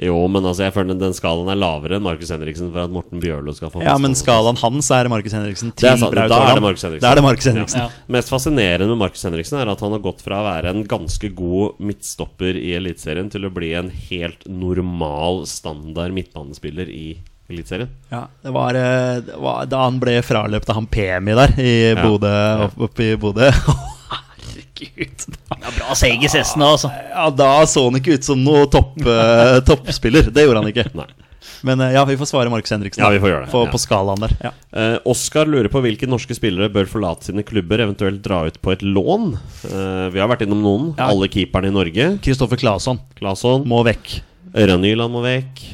S2: Jo, men altså, jeg føler den- den skalaen er lavere enn Markus Henriksen for at Morten Bjørlo skal få fast
S3: Ja, men
S2: landslagsplass.
S3: skalaen hans er Markus Henriksen
S2: Det
S3: til
S2: er sant,
S3: Braut
S2: da er det
S3: Haaland.
S2: Markus Henriksen.
S3: Da er det Markus Henriksen.
S1: Ja.
S2: Mest fascinerende med Markus Henriksen er at han har gått fra å være en ganske god midtstopper i Eliteserien til å bli en helt normal standard midtbanespiller i Eliteserien.
S3: Ja, det var, eh, det var da han ble fraløpt av han Pemi der i
S2: Ja.
S3: Bodø, opp, oppe i Bodø.
S1: Herregud.
S2: Altså.
S1: Ja, bra seg i cessen da, altså.
S3: Ja, da så han ikke ut som noe topp, eh, toppspiller. Det gjorde han ikke.
S2: Nei.
S3: Men eh, ja, vi får svare Markus Henriksen
S2: Ja,
S3: da,
S2: vi får gjøre det.
S3: på,
S2: Ja.
S3: på skalaen der. Ja.
S2: Eh, Oskar lurer på hvilke norske spillere bør forlate sine klubber, eventuelt dra ut på et lån. Eh, vi har vært innom noen.
S3: Ja.
S2: Alle keeperne i Norge.
S3: Kristoffer Claesson
S2: Claesson.
S3: må vekk.
S2: Ørjan Nyland må vekk.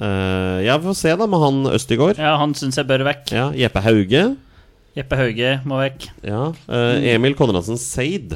S2: Eh, ja, vi får se da med han Østigård.
S1: Ja, han syns jeg bør vekk.
S2: Ja, Jeppe Hauge.
S1: Jeppe Hauge må vekk.
S2: Ja. Eh, Emil Konradsen Seid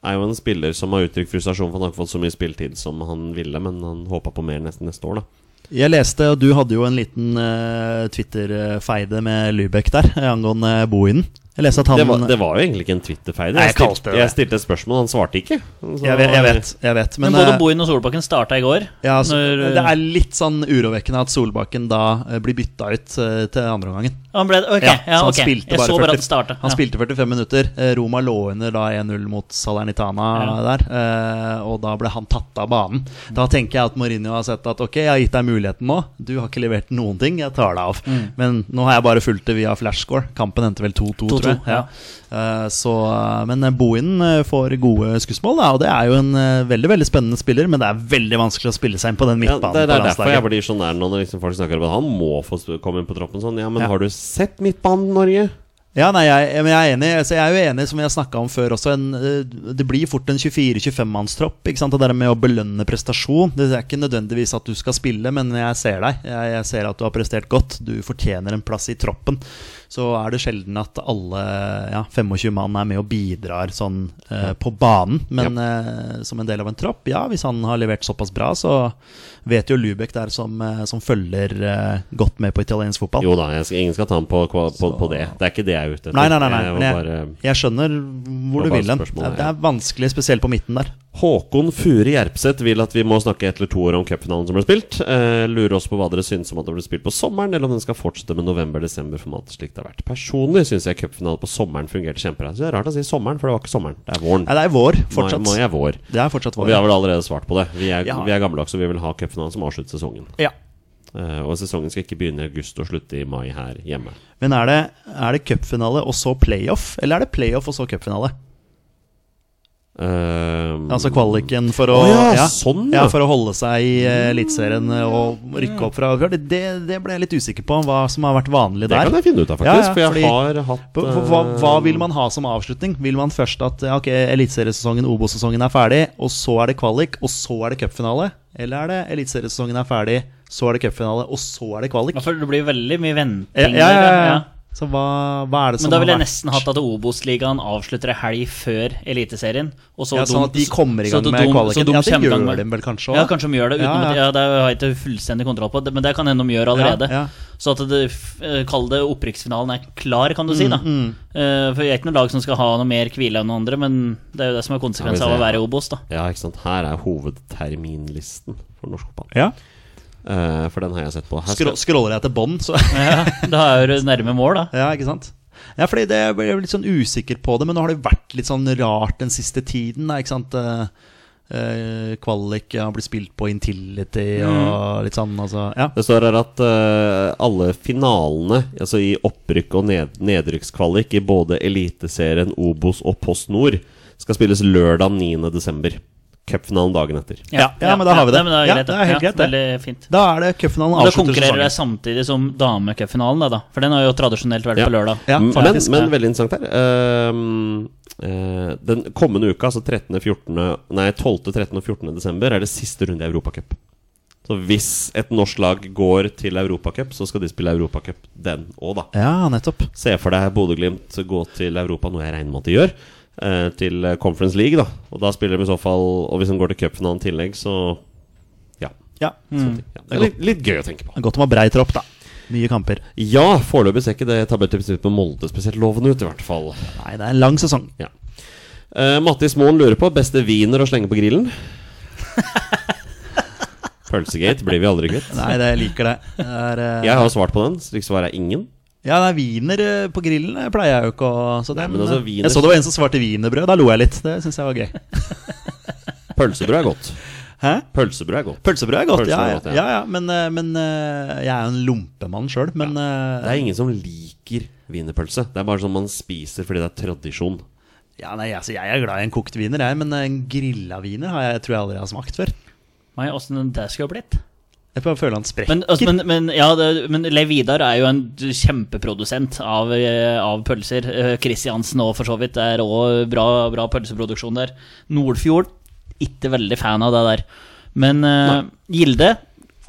S2: er jo en spiller som har uttrykt frustrasjon for han har ikke fått så mye spilletid som han ville, men han håpa på mer nesten neste år, da.
S3: Jeg leste, og du hadde jo en liten eh, Twitter-feide med Lybekk der, eh, angående Bohinen. Jeg leste at han
S2: Det var, det var jo egentlig ikke en Twitter-feil.
S3: Nei,
S2: Jeg,
S3: jeg kalte det
S2: stilte- jeg stilte et spørsmål, han svarte ikke. Så-
S3: jeg, vet, jeg vet, jeg vet.
S1: Men,
S3: Men,
S1: både
S3: eh,
S1: Bohin og Solbakken starta i går.
S3: Ja, altså,
S1: når, eh,
S3: Det er litt sånn urovekkende at Solbakken da eh, blir bytta ut eh, til andreomgangen.
S1: Han ble, ok, ja,
S3: Ja, så han
S1: ok.
S3: spilte
S1: jeg
S3: bare
S1: så bare
S3: 40
S1: at det starta.
S3: Han spilte 45 minutter. Eh, Roma lå under da 1-0 mot Salernitana
S1: Ja. Mm.
S3: der. eh, Og da ble han tatt av banen. Da tenker jeg at Mourinho har sett at ok, jeg har gitt deg muligheten nå. Du har ikke levert noen ting, jeg tar deg av.
S1: Mm.
S3: Men nå har jeg bare fulgt det via flashscore. Kampen endte vel 2-2, tror
S1: 2-2,
S3: jeg. Ja. Eh, Så, eh, men eh, Bohinen eh, får gode skussmål, da, og det er jo en eh, veldig veldig spennende spiller, men det er veldig vanskelig å spille seg inn på den
S2: Ja,
S3: midtbanen.
S2: det, det
S3: på
S2: er derfor
S3: landslaget.
S2: jeg blir sånn der nå når liksom folk snakker om at han må få sp- komme inn på troppen. Sånn, ja, men
S3: Ja.
S2: har du sett midtbanen, Norge?
S3: Ja, nei, jeg, jeg- men jeg er enig. Altså, jeg er jo enig, som vi har snakka om før også. En, eh, det blir fort en 24-25-mannstropp. ikke sant? Det der med å belønne prestasjon. Det er ikke nødvendigvis at du skal spille, men jeg ser deg. Jeg, jeg ser at du har prestert godt. Du fortjener en plass i troppen. Så er det sjelden at alle ja, 25 mann er med og bidrar sånn eh, på banen. Men eh, som en del av en tropp, ja, hvis han har levert såpass bra, så vet jo Lubek der som, eh, som følger eh, godt med på italiensk fotball.
S2: Jo da, jeg skal, ingen skal ta ham på, på, på, på det. Det er ikke det jeg er ute etter.
S3: Nei, nei, nei, nei.
S2: Jeg var
S3: Men jeg,
S2: bare...
S3: jeg skjønner hvor
S2: Det
S3: du
S2: var
S3: vil
S2: bare
S3: hen.
S2: spørsmålet,
S3: Det
S2: ja.
S3: er vanskelig, spesielt på midten der.
S2: Håkon Furi Gjerpseth vil at vi må snakke ett eller to år om cupfinalen som ble spilt. Eh, lurer oss på hva dere syns om at det ble spilt på sommeren, eller om den skal fortsette med november-desember-formatet slik det har vært. Personlig syns jeg cupfinalen på sommeren fungerte kjempebra. Så Det er rart å si sommeren, for det var ikke sommeren. Det er våren.
S3: Nei, det er vår fortsatt.
S2: Mai, mai er vår.
S3: Det er fortsatt
S2: Og
S3: vår.
S2: vi
S3: Ja.
S2: har vel allerede svart på det. Vi er,
S3: Ja.
S2: vi er gammeldagse, og vi vil ha cupfinalen som avslutter sesongen. Eh, og sesongen skal ikke begynne i august og slutte i mai her hjemme.
S3: Men er det, er det cupfinale og så playoff, eller er det playoff og så cupfinale?
S2: Eh,
S3: Altså kvaliken for å,
S2: Å ja, sånn, ja.
S3: ja, for å holde seg i eh, Eliteserien og rykke opp fra det, det, det ble jeg litt usikker på, hva som har vært vanlig
S2: det
S3: der.
S2: kan jeg finne ut av,
S3: Ja,
S2: faktisk.
S3: ja,
S2: for jeg
S3: fordi-
S2: har hatt eh,
S3: På- på- Hva, hva vil man ha som avslutning? Vil man først at ja, ok, eliteseriesesongen, Obos-sesongen er ferdig, og så er det kvalik, og så er det cupfinale? Eller er det eliteseriesesongen er ferdig, så er det cupfinale, og så er det kvalik?
S1: Jeg føler det blir veldig mye
S3: Ja,
S1: venting.
S3: ja, ja,
S1: der,
S3: ja. Så hva, hva er det som
S1: Men da ville
S3: har
S1: jeg
S3: vært-
S1: nesten hatt at Obos-ligaen avslutter ei helg før Eliteserien. Og så
S3: ja, Sånn at de kommer i gang med kvaliken? Ja, det gjør de vel kanskje
S1: Ja, kanskje de gjør det. Uten
S3: Ja,
S1: At,
S3: ja.
S1: ja, det har jeg ikke fullstendig kontroll på, det- men det kan hende de gjør allerede.
S3: Ja, ja.
S1: Så at det, f- eh, kall det opprykksfinalen er klar, kan du si. da
S3: Mm,
S1: Eh, For jeg er ikke noe lag som skal ha noe mer hvile enn noen andre, men det er jo det som er konsekvensen
S2: Ja, vi
S1: av å
S2: ser.
S1: være i Obos. da
S2: Ja, ikke sant. Her er hovedterminlisten for norsk fotball.
S3: Ja.
S2: Eh, for den har jeg sett på. Her
S3: Skro
S2: skal,
S3: scroller jeg til bånn, så
S1: Da er du nærme mål, da.
S3: Ja, ikke sant? Ja, fordi det, jeg ble litt sånn usikker på det, men nå har det vært litt sånn rart den siste tiden. da, ikke sant? Eh, eh, Kvalik har blitt spilt på Intility
S2: Mm.
S3: og litt sånn, altså. Ja.
S2: det står her at eh, alle finalene, altså i opprykk og ned, nedrykkskvalik i både Eliteserien, Obos og Post Nord, skal spilles lørdag 9.12. Cupfinalen dagen etter.
S3: Ja, ja, men da har vi det.
S1: Nei, men da er
S3: Ja,
S1: greit,
S3: det er helt greit, det.
S1: Veldig fint.
S3: Da er det cupfinalen
S1: Da
S3: avslutter
S1: konkurrerer jeg
S3: sesongen.
S1: samtidig som damecupfinalen, da, da. For den har jo tradisjonelt vært
S2: Ja.
S1: på lørdag.
S3: Ja,
S2: Mm, men,
S1: faktisk,
S2: men
S1: ja.
S2: veldig interessant her. Ehm, eh, den kommende uka, altså 13., 14., nei, 12., 13. og 14. desember, er det siste runde i Europacup. Så hvis et norsk lag går til Europacup, så skal de spille Europacup den òg, da.
S3: Ja, nettopp.
S2: Se for deg Bodø-Glimt gå til Europa, noe jeg regner med at de gjør. eh, Til Conference League, da. Og da spiller de i så fall Og hvis de går til cupfinalen i tillegg, så Ja.
S3: Ja.
S1: Mm.
S2: sånne ting. ja. Det er litt, litt gøy å tenke på.
S3: Det er Godt om å ha brei tropp, da. Mye kamper.
S2: Ja, foreløpig ser ikke det tabelltipset ut med Molde spesielt lovende ut, i hvert fall.
S3: Nei, det er en lang sesong.
S2: Ja. Eh, Mattis Moen lurer på beste wiener å slenge på grillen. Pølsegate blir vi aldri kvitt.
S3: Nei, det, jeg liker det. det er, eh,
S2: Jeg har svart på den. Slik svar er ingen.
S3: Ja, det er wiener eh, på grillen eh, pleier jeg jo ikke å så det,
S2: Nei, men
S3: men,
S2: altså,
S3: eh,
S2: wiener-
S3: Jeg så det var en som svarte wienerbrød. Da lo jeg litt. Det syns jeg var gøy.
S2: Pølsebrød er godt.
S3: Hæ?
S2: Pølsebrød er godt.
S3: Pølsebrød er godt,
S2: Pølsebrød er
S3: ja,
S2: godt, ja.
S3: ja. ja, ja men, eh, men eh, jeg er jo en lompemann sjøl, men eh,
S2: Det er ingen som liker wienerpølse. Det er bare sånn man spiser fordi det er tradisjon.
S3: ja, nei, altså, Jeg er glad i en kokt wiener, jeg, men eh, en grilla wiener har jeg, tror jeg aldri jeg har smakt før.
S1: Nei, åssen det skulle ha blitt.
S3: Jeg bare føler han sprekker.
S1: Men, altså, men, men, ja, det, men Leiv Vidar er jo en kjempeprodusent av, eh, av pølser. Eh, Kristiansen òg, for så vidt. Det er òg bra, bra pølseproduksjon der. Nordfjord, ikke veldig fan av det der. Men eh, Gilde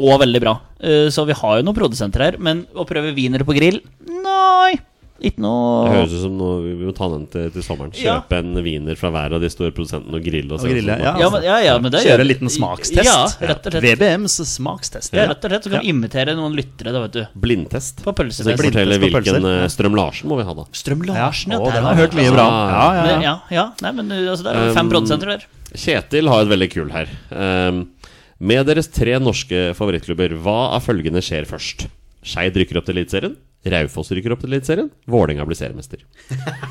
S1: òg veldig bra. Eh, så vi har jo noen produsenter her. Men å prøve wiener på grill? Nei, ikke
S2: Det
S1: noe
S2: høres ut som noe vi må ta den til, til sommeren.
S1: Ja.
S2: Kjøpe en wiener fra hver av de store produsentene og grille. Og,
S3: Og
S2: se
S3: grille,
S2: hvordan-
S3: ja.
S1: ja, men, ja, ja, men det
S3: Kjøre en liten smakstest.
S1: Ja, rett og slett.
S3: VBMs smakstest.
S1: Ja, rett og slett så kan vi imitere noen lyttere, da, vet du.
S2: Blindtest.
S1: På
S2: Så jeg
S1: pølsetest.
S3: Blindtest
S2: forteller
S3: på
S2: hvilken
S3: pølser.
S2: eh, Strøm Larsen må vi ha, da.
S1: Strøm
S3: Ja,
S1: Larsen,
S3: å, den
S1: der var
S3: har jeg hørt mye
S1: altså.
S3: bra. Ja,
S2: Ah.
S1: Ja,
S3: ja,
S1: men,
S3: ja.
S1: ja, ja. Nei, men uh, altså, det er jo fem
S2: Um,
S1: produsenter der.
S2: Kjetil har et veldig kul her. Ehm, med deres tre norske favorittklubber, hva av følgende skjer først? Skeid rykker opp til Eliteserien. Raufoss rykker opp til Eliteserien. Vålerenga blir seriemester.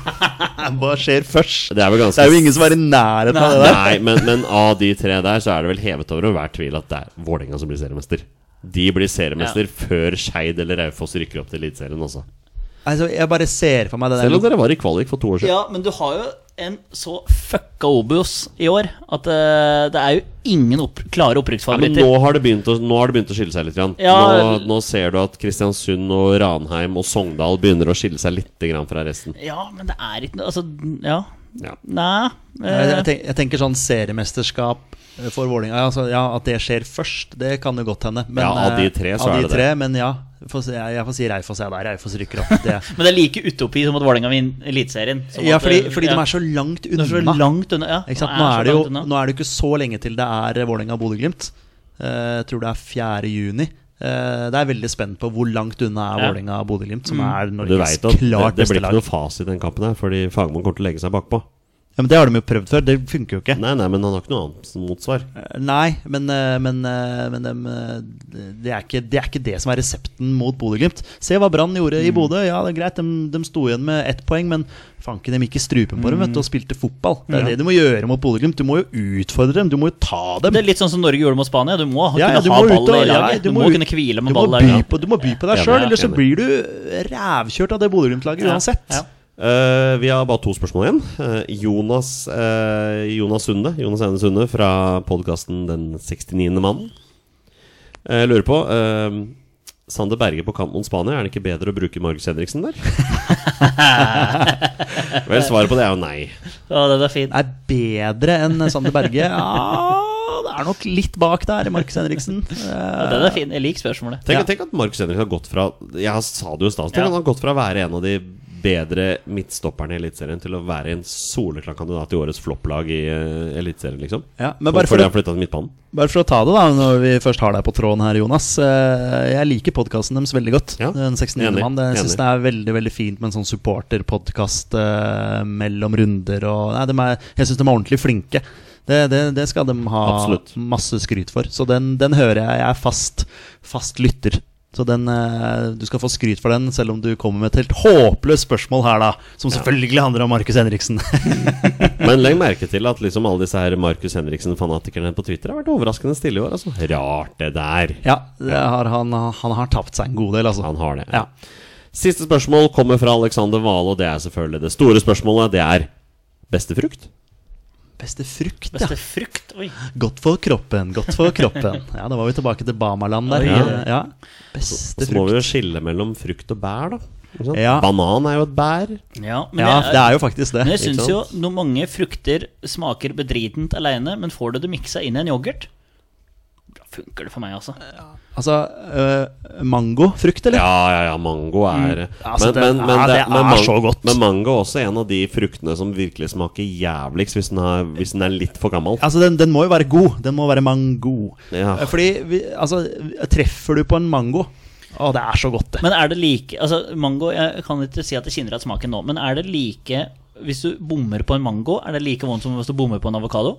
S3: Hva skjer først?
S2: Det er vel ganske
S3: Det er jo ingen som er i nærheten av det der.
S2: Nei, men, men av de tre der, så er det vel hevet over enhver tvil at det er Vålerenga som blir seriemester. De blir seriemester før Skeid eller Raufoss rykker opp til Eliteserien også.
S3: Altså, jeg bare ser for meg det
S2: Selv om
S3: der.
S2: dere var i kvalik for to år siden.
S1: Ja, men du har jo en så fucka Obos i år at eh, det er jo ingen opp
S2: Ja,
S1: klare
S2: men
S1: opprykksfavoritter.
S2: nå har, det begynt å, nå har det begynt å skille seg litt. Grann.
S1: Ja.
S2: Nå, nå ser du at Kristiansund og Ranheim og Sogndal begynner å skille seg litt grann fra resten.
S1: Ja, men det er ikke noe Altså, ja.
S2: Ja.
S1: Nei.
S3: Nei,
S1: eh,
S3: Jeg, tenk, jeg tenker sånn seriemesterskap eh, for Vålinga altså, ja, At det skjer først, det kan jo godt hende. Men,
S2: Ja, av de
S3: eh,
S2: tre så
S3: av
S2: er
S3: de
S2: det det.
S3: tre, Men ja, får se, jeg, jeg får si Raufoss, jeg der. Raufoss rykker opp. Det.
S1: men det er like utopi som at Vålerenga vinner Eliteserien. som
S3: ja,
S1: at,
S3: fordi,
S1: eh,
S3: fordi
S1: ja,
S3: de er så langt
S1: de
S3: unna.
S1: er så langt unna. Ja,
S3: ikke sant?
S1: de
S3: Nå, er det
S1: så
S3: jo,
S1: langt unna.
S3: nå er det jo ikke så lenge til det er Vålinga og Bodø-Glimt. Eh, Jeg tror det er 4. juni. Eh, det er veldig spent på hvor langt unna er
S1: Ja.
S3: Vålinga og Bodø-Glimt, som
S1: Mm.
S3: er
S2: Du
S3: Norges
S2: vet at det, det
S3: klart
S2: blir
S3: beste
S2: ikke
S3: lag.
S2: noe fasit i den kampen her, fordi Fagermoen kommer til å legge seg bakpå.
S3: Ja, men det har de jo prøvd før. Det funker jo ikke.
S2: Nei, nei, men han har ikke noe annet som motsvar.
S3: Eh, Nei, men, eh, men, eh, men dem, eh, det, er ikke, det er ikke det som er resepten mot Bodø-Glimt. Se hva Brann gjorde
S1: Mm.
S3: i Bodø. Ja, det er greit, de, sto igjen med ett poeng, men fanken, de gikk i strupen på dem
S1: Mm.
S3: vet du, og spilte fotball. Det er det du må gjøre mot Bodø-Glimt. Du må jo utfordre dem, du må jo ta dem.
S1: Det er litt sånn som Norge gjorde mot Spania. Du må
S3: Ja, ja,
S1: kunne
S3: du
S1: ha
S3: må ut
S1: ballen
S3: og-
S1: i
S3: ja,
S1: laget.
S3: du
S1: du,
S3: må
S1: må
S3: ut-
S1: kunne hvile
S3: du,
S1: med
S3: må
S1: ball der.
S3: by
S1: Ja.
S3: på, du må by på deg
S2: Ja,
S3: sjøl,
S2: ja,
S3: ellers så
S2: enig.
S3: blir du rævkjørt av det Bodø-Glimt-laget
S1: Ja,
S3: uansett.
S1: ja.
S2: Eh, vi har bare to spørsmål igjen. Eh, Jonas, eh, Jonas Sunde Jonas Eine Sunde fra podkasten Den 69. mannen. Eh, lurer på eh, Sander Berge på kant mot Spania, er det ikke bedre å bruke Margus Henriksen der? Vel, svaret på det er jo nei.
S1: Ja, den er fin.
S3: Er bedre enn Sander Berge. Ja, det er nok litt bak der, Markus Henriksen.
S1: Ja, den er fin. Jeg liker spørsmålet.
S2: Tenk,
S3: Ja.
S2: tenk at Markus Henriksen har gått fra Jeg sa det jo i stad, tenk
S1: Ja.
S2: at han har gått fra å være en av de bedre midtstopperne i Eliteserien til å være en soleklar kandidat i årets flopplag i eh, Eliteserien, liksom.
S3: Ja, men bare for
S2: Fordi
S3: å-
S2: han flytta til midtbanen.
S3: Bare for å ta det, da, når vi først har deg på tråden her, Jonas. eh, Jeg liker podkasten deres veldig godt.
S2: Ja,
S3: Den 69.
S2: enig,
S3: mann. det-
S2: enig.
S3: Jeg syns det er veldig veldig fint med en sånn supporterpodkast eh, mellom runder og Nei, de er, jeg syns de er ordentlig flinke. Det, det, det skal de ha
S2: Absolutt.
S3: masse skryt for. Så den, den hører jeg. Jeg er fast, fast lytter. Så den, eh, Du skal få skryt for den, selv om du kommer med et helt håpløst spørsmål her, da. Som selvfølgelig handler om Markus Henriksen.
S2: Men legg merke til at liksom alle disse her Markus Henriksen-fanatikerne på Twitter har vært overraskende stille i år. Altså, rart det der.
S3: ja, det har, han, han har tapt seg en god del, altså.
S2: Han har det.
S3: Ja.
S2: Siste spørsmål kommer fra Alexander Hvale, og det er selvfølgelig det store spørsmålet. Det er beste frukt?
S3: Beste frukt, ja.
S1: Beste frukt Oi.
S3: Godt for kroppen, godt for kroppen. Ja, da var vi tilbake til Bamaland der.
S2: Ja.
S3: Ja. Ja.
S2: Og
S3: Beste
S2: så må vi
S3: frukt.
S2: jo skille mellom frukt og bær, da. Ikke sant?
S3: Ja.
S2: Banan er jo et bær.
S1: Ja, men
S3: Ja,
S1: jeg-
S3: det er jo faktisk
S1: Men jeg
S3: det.
S1: syns
S2: sant?
S1: jo noen mange frukter smaker bedritent aleine, men får du det miksa inn i en yoghurt, da funker det for meg, altså.
S3: Altså, øh, mangofrukt, eller?
S2: Ja, ja, ja, mango er
S3: altså, det- ja, det er så godt.
S2: Men mango er også en av de fruktene som virkelig smaker jævligst hvis den er, hvis den er litt for gammel.
S3: Altså, den, den må jo være god. Den må være mango. Øh,
S2: Ja.
S3: Fordi, vi, altså, treffer du på en mango Å, det er så godt, det.
S1: Men er det like Altså, mango Jeg kan ikke si at jeg kjenner igjen smaken nå, men er det like Hvis du bommer på en mango, er det like vondt som hvis du bommer på en avokado?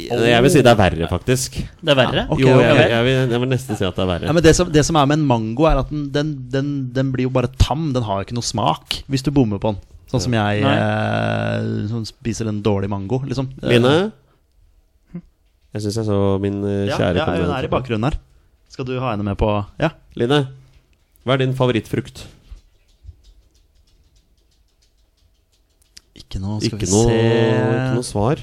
S2: Jeg vil si det er verre, faktisk.
S1: Det er verre.
S3: ok,
S2: jo,
S3: ok.
S2: jeg, jeg, vil, jeg vil nesten si at det er verre.
S3: Ja, men det, som, det som er med en mango, er at den, den, den, den blir jo bare tam. Den har jo ikke noe smak hvis du bommer på den. Sånn som jeg eh, som spiser en dårlig mango, liksom.
S2: Line? Jeg syns jeg så min eh,
S3: Ja,
S2: kjære
S3: ja, hun er i bakgrunnen her. Skal du ha henne med på Ja.
S2: Line, hva er din favorittfrukt?
S3: Ikke noe, skal
S2: Ikke
S3: vi
S2: noe,
S3: se
S2: ikke noe svar.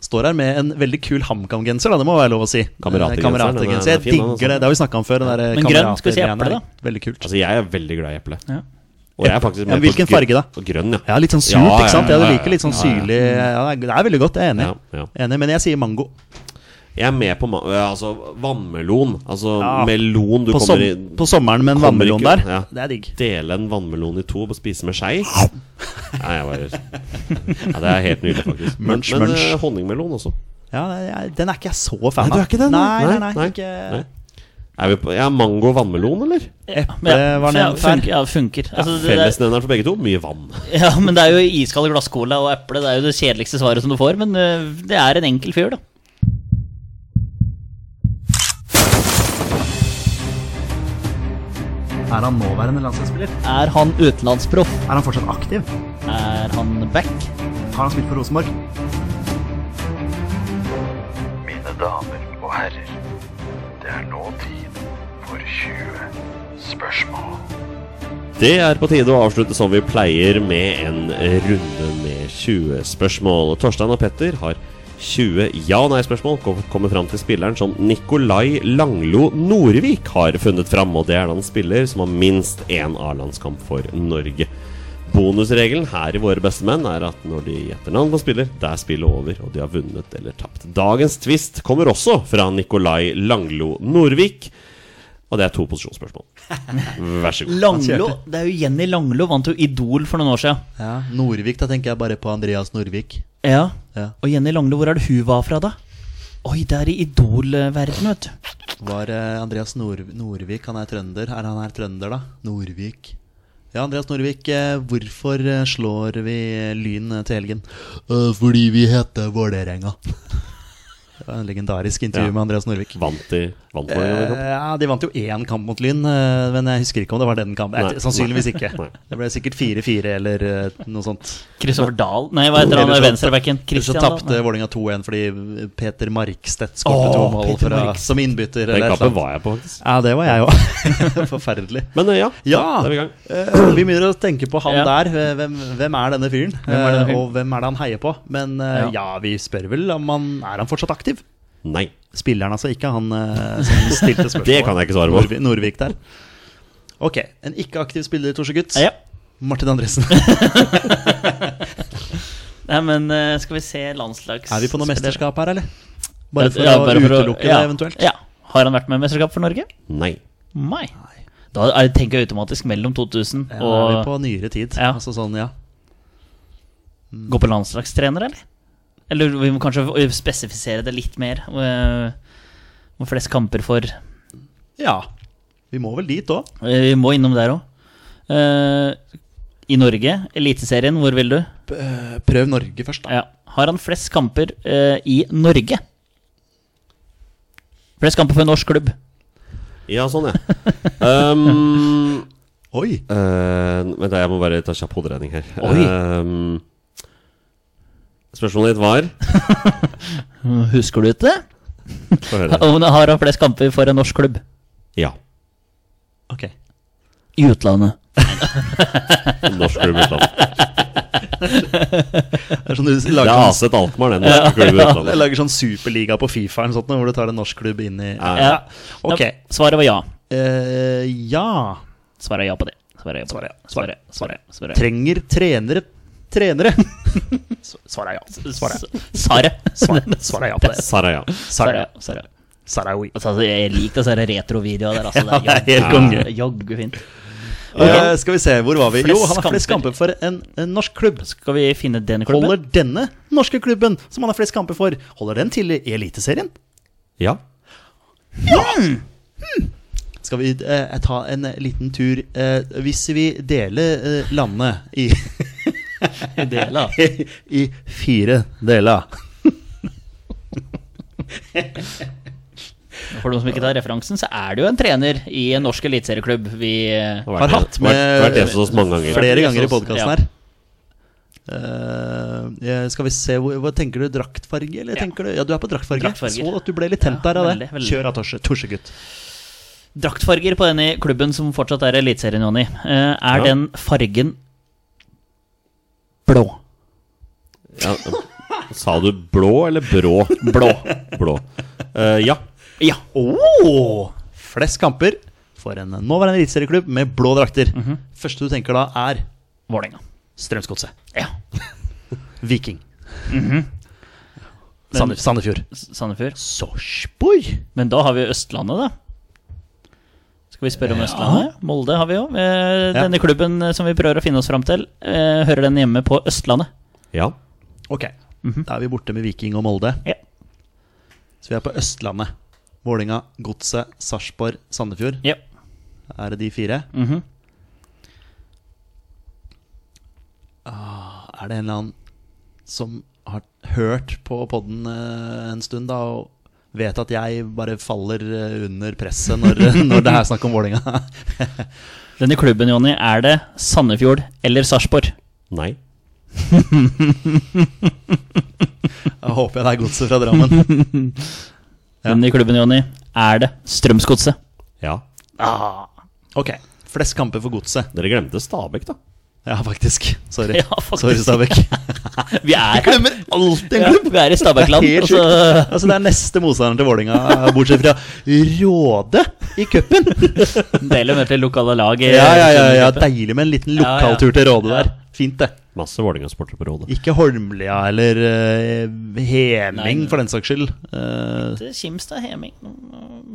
S3: Står her med en veldig kul HamKam-genser, da, det må være lov å si.
S2: Kamerategenser, den er- den er
S3: Eh, Kamerategenser. Jeg
S2: fin, den, altså.
S3: digger det. Det har vi snakka om før. Den der
S1: Men grønn, skal vi si
S3: kameratergreiene
S1: eple,
S3: der. Veldig kult.
S2: Altså, jeg er veldig glad i eple.
S1: Ja.
S2: Og jeg er faktisk
S3: Ja,
S2: med på
S3: hvilken
S2: grønn-
S3: farge da?
S2: og Grønn, ja.
S3: Ja, litt sånn surt,
S2: Ja, ja,
S3: ikke sant?
S2: ja,
S3: Ja, du
S2: ja,
S3: liker litt sånn
S2: ja, ja.
S3: syrlig ja, det er- Det er veldig godt, jeg er enig.
S2: Ja, ja.
S3: Enig, Men jeg sier mango.
S2: Jeg er med på ma ja, altså, vannmelon. Altså
S3: Ja.
S2: melon du
S3: På, som,
S2: kommer i
S3: på sommeren med en
S2: kommer
S3: vannmelon
S2: ikke-
S3: der.
S2: ja.
S3: Det er digg.
S2: Dele en vannmelon i to og spise med skei. Nei, jeg bare ja, Det er helt nydelig, faktisk. Men,
S3: Munch,
S2: men
S3: munch.
S2: eh, honningmelon også.
S3: Ja, det er- Den er ikke jeg så fan
S2: Nei,
S3: av.
S2: du er ikke det,
S3: Nei,
S2: nei.
S3: nei,
S2: Nei,
S3: nei,
S2: nei,
S3: ikke
S2: nei. Er vi på ja, mango og vannmelon, eller?
S1: Men
S3: Eple var
S1: ja,
S3: nevnt her.
S1: funker. Ja, funker. Altså, det, det, er-
S2: Fellesnevneren for begge to mye vann.
S1: ja, men det er jo iskald glasscola og eple. Det er jo det kjedeligste svaret som du får, men øh, det er en enkel fyr, da.
S3: Er han nåværende landslagsspiller?
S1: Er han utenlandsproff?
S3: Er han fortsatt aktiv?
S1: Er han back?
S3: Har han spilt for Rosenborg?
S5: Mine damer og herrer, det er nå tid for 20 spørsmål.
S2: Det er på tide å avslutte som vi pleier, med en runde med 20 spørsmål. Torstein og Petter har 20 ja- og nei-spørsmål. kom- Kommer fram til spilleren som Nikolai Langlo Norvik har funnet fram. Og det er da en spiller som har minst én A-landskamp for Norge. Bonusregelen her i Våre beste menn er at når de gjetter navn på spiller, det er spillet over, og de har vunnet eller tapt. Dagens twist kommer også fra Nikolai Langlo Norvik, og det er to posisjonsspørsmål. Vær så god.
S1: Langlo, det er jo Jenny Langlo vant jo Idol for noen år siden.
S3: Ja, Norvik, da tenker jeg bare på Andreas Norvik.
S1: Ja.
S3: Ja.
S1: Og Jenny Langlo, hvor er det hun var fra, da? Oi, det er i Idol-verdenen, vet du.
S3: Var eh, Andreas Nor Norvik Han er trønder. Er han her trønder, da? Norvik. Ja, Andreas Norvik, eh, hvorfor eh, slår vi Lyn eh, til helgen? «Eh, Fordi vi heter Vålerenga. Det var en legendarisk intervju
S2: Ja.
S3: med Andreas Norvik.
S2: Vant de vant Vålerenga den
S3: Eh,
S2: kampen?
S3: ja, De vant jo én kamp mot Lyn, eh, men jeg husker ikke om det var den kampen.
S2: Nei.
S3: Eh, Sannsynligvis ikke.
S2: Nei.
S3: Det ble sikkert 4-4 eller eh, noe sånt.
S1: Kristoffer Dahl Nei, hva heter han
S3: Eller så-
S1: venstrebacken?
S3: Eller så
S1: Christian
S3: tapte
S1: Dahl?
S3: Vålinga 2-1 fordi Peter Markstedt skåret
S1: Åh,
S3: to mål
S1: Peter
S3: fra,
S1: Markstedt.
S3: som innbytter.
S2: Den
S3: eller et
S2: kampen
S3: eller annet.
S2: var jeg på, faktisk.
S3: Ja, det var jeg òg. Forferdelig.
S2: Men eh, ja,
S3: Ja!
S2: da er vi i gang.
S3: Eh, vi begynner å tenke på han
S1: Ja.
S3: der. Hvem, hvem er denne fyren?
S1: er denne
S3: Eh,
S1: fyren?
S3: Og hvem er det han heier på? Men eh,
S1: Ja.
S3: ja, vi spør vel om han er han fortsatt aktiv.
S2: Nei,
S3: Spilleren, altså, ikke han eh, som stilte spørsmål.
S2: det kan jeg ikke svare på.
S3: Nordvi- Nordvik der. Ok, en ikke-aktiv spiller, Torsegutt.
S1: Ja.
S3: Martin Andresen.
S1: Nei, men eh, skal vi se landslags...
S3: Er vi på noe mesterskap her, eller?
S1: Ja,
S3: Bare for
S1: ja,
S3: å
S1: bare for å-
S3: utelukke
S1: ja,
S3: det, eventuelt.
S1: Ja. Har han vært med i mesterskap for Norge?
S2: Nei.
S1: Nei. Da er, tenker jeg automatisk mellom 2000
S3: Ja, er vi
S1: og
S3: på nyere tid.
S1: Ja.
S3: Altså sånn, ja.
S1: gå på landslagstrener, eller? Eller vi må kanskje spesifisere det litt mer. eh, Hvor flest kamper for
S3: ja. Vi må vel dit òg.
S1: Eh, Vi må innom der òg. I Norge, Eliteserien, hvor vil du?
S3: eh, Prøv Norge først, da.
S1: Ja. Har han flest kamper eh, i Norge? Flest kamper for en norsk klubb.
S2: Ja, sånn, ja. Um,
S3: Oi!
S2: Eh, Vent, da, jeg må bare ta kjapp hoderegning her.
S1: Oi.
S2: Ehm, spørsmålet ditt var
S1: Husker du ikke det?
S2: Få høre.
S1: Om han har han flest kamper for en norsk klubb
S2: Ja.
S3: Ok.
S1: i utlandet?
S2: Norsk klubb i utlandet.
S3: Det er sånn du
S2: Det er
S3: lager, sånn,
S2: Aset Alkmaar, den. norske klubben i
S3: jeg
S2: utlandet.
S3: lager sånn superliga på Fifa eller noe sånt, nå, hvor du tar en norsk klubb inn i
S2: Ja.
S1: Ja.
S3: Ok.
S1: Ja, Svaret var ja.
S3: Eh, ja
S1: Svaret er ja på det. Svaret er ja på det. Svaret, svaret, svaret, svaret.
S3: Trenger trenere trenere? Svaret er ja. Svaret er
S1: Sare.
S3: Svaret- svaret er ja på det.
S2: Saraya.
S1: Sare.
S3: Sarawi.
S1: Sare.
S3: Sarawi.
S1: Altså, jeg liker disse retrovideoene der. Altså,
S3: Ja, det
S1: det
S3: er
S1: er
S3: helt
S1: jaggu-
S3: konge.
S1: jaggu fint.
S3: Eh, skal vi se, hvor var vi? Jo, han har flest
S1: Flest
S3: kamper
S1: kamper.
S3: for en, en norsk klubb.
S1: Skal vi finne den klubben?
S3: Holder denne norske klubben, som han har flest kamper for, holder den til i Eliteserien?
S2: Ja.
S3: Skal vi eh, ta en eh, liten tur eh, Hvis vi deler eh, landet i,
S1: Dela.
S3: i fire deler
S1: For de som ikke tar referansen, så er det jo en trener i en norsk eliteserieklubb vi eh,
S2: Har, vært-
S3: Har hatt med-
S2: vært, vært eneste hos oss mange ganger.
S3: Flere
S1: det
S3: ganger i
S1: sånn-
S3: podkasten
S1: ja.
S3: her. Eh, eh, skal vi se hvor, hva Tenker du draktfarge, eller
S1: Ja.
S3: tenker du Ja, du er på draktfarge.
S1: Draktfarge.
S3: Så at du ble litt tent
S1: Ja,
S3: der av det.
S1: veldig, veldig.
S3: Kjør av Torse, Torsegutt.
S1: Draktfarger på den i klubben som fortsatt er eliteserien, Jonny. Eh, Er
S2: Ja.
S1: den fargen blå?
S2: Ja. Sa du blå eller brå? Blå. Blå. Eh, ja.
S1: Ja.
S3: Oh! Flest kamper for en nåværende eliteserieklubb med blå drakter.
S1: Mhm.
S3: Første du tenker da, er
S1: Vålerenga.
S3: Strømsgodset.
S1: Ja.
S3: Viking. Sande- Sandefjord.
S1: S- Sandefjord.
S3: Sarpsborg?
S1: Men da har vi jo Østlandet, da. Skal vi spørre om Østlandet? Molde har vi jo. Eh,
S3: Ja.
S1: Denne klubben eh, som vi prøver å finne oss fram til, eh, hører den hjemme på Østlandet.
S2: Ja.
S3: Ok, da er vi borte med Viking og Molde.
S1: Ja.
S3: Så vi er på Østlandet. Vålinga, Godset, Sarpsborg, Sandefjord.
S1: Ja.
S3: Er det de fire?
S1: Mhm.
S3: Ah, er det en eller annen som har hørt på podden eh, en stund, da, og vet at jeg bare faller eh, under presset når, når det er snakk om Vålinga?
S1: Denne klubben, Jonny, er det Sandefjord eller Sarpsborg?
S2: Nei.
S3: Da håper jeg det er Godset fra Drammen. Ja.
S1: Denne klubben, Jonny, er det Strømsgodset?
S2: Ja.
S3: Ok, flest kamper for Godset.
S2: Dere glemte Stabæk, da.
S3: Ja, faktisk. Sorry,
S1: Ja, faktisk.
S3: Sorry Stabæk.
S1: Vi er her.
S3: Glemmer alltid en
S1: Ja,
S3: klubb!
S1: vi er i Stabækland.
S3: Det er helt
S1: og så-
S3: sjukt. Altså, det er neste motstanderen til Vålinga bortsett fra Råde i cupen.
S1: Deler med til lokale lag. i-
S3: Ja, ja, ja, ja,
S1: i-
S3: deilig med en liten
S1: Ja, ja.
S3: lokaltur til Råde der.
S1: Ja.
S3: Fint, det.
S2: Masse Vålerenga-sportere på rådet.
S3: Ikke Holmlia eller eh,
S1: Nei,
S3: Heming,
S1: nei.
S3: for den saks skyld. Eh,
S1: Kimstad, Heming.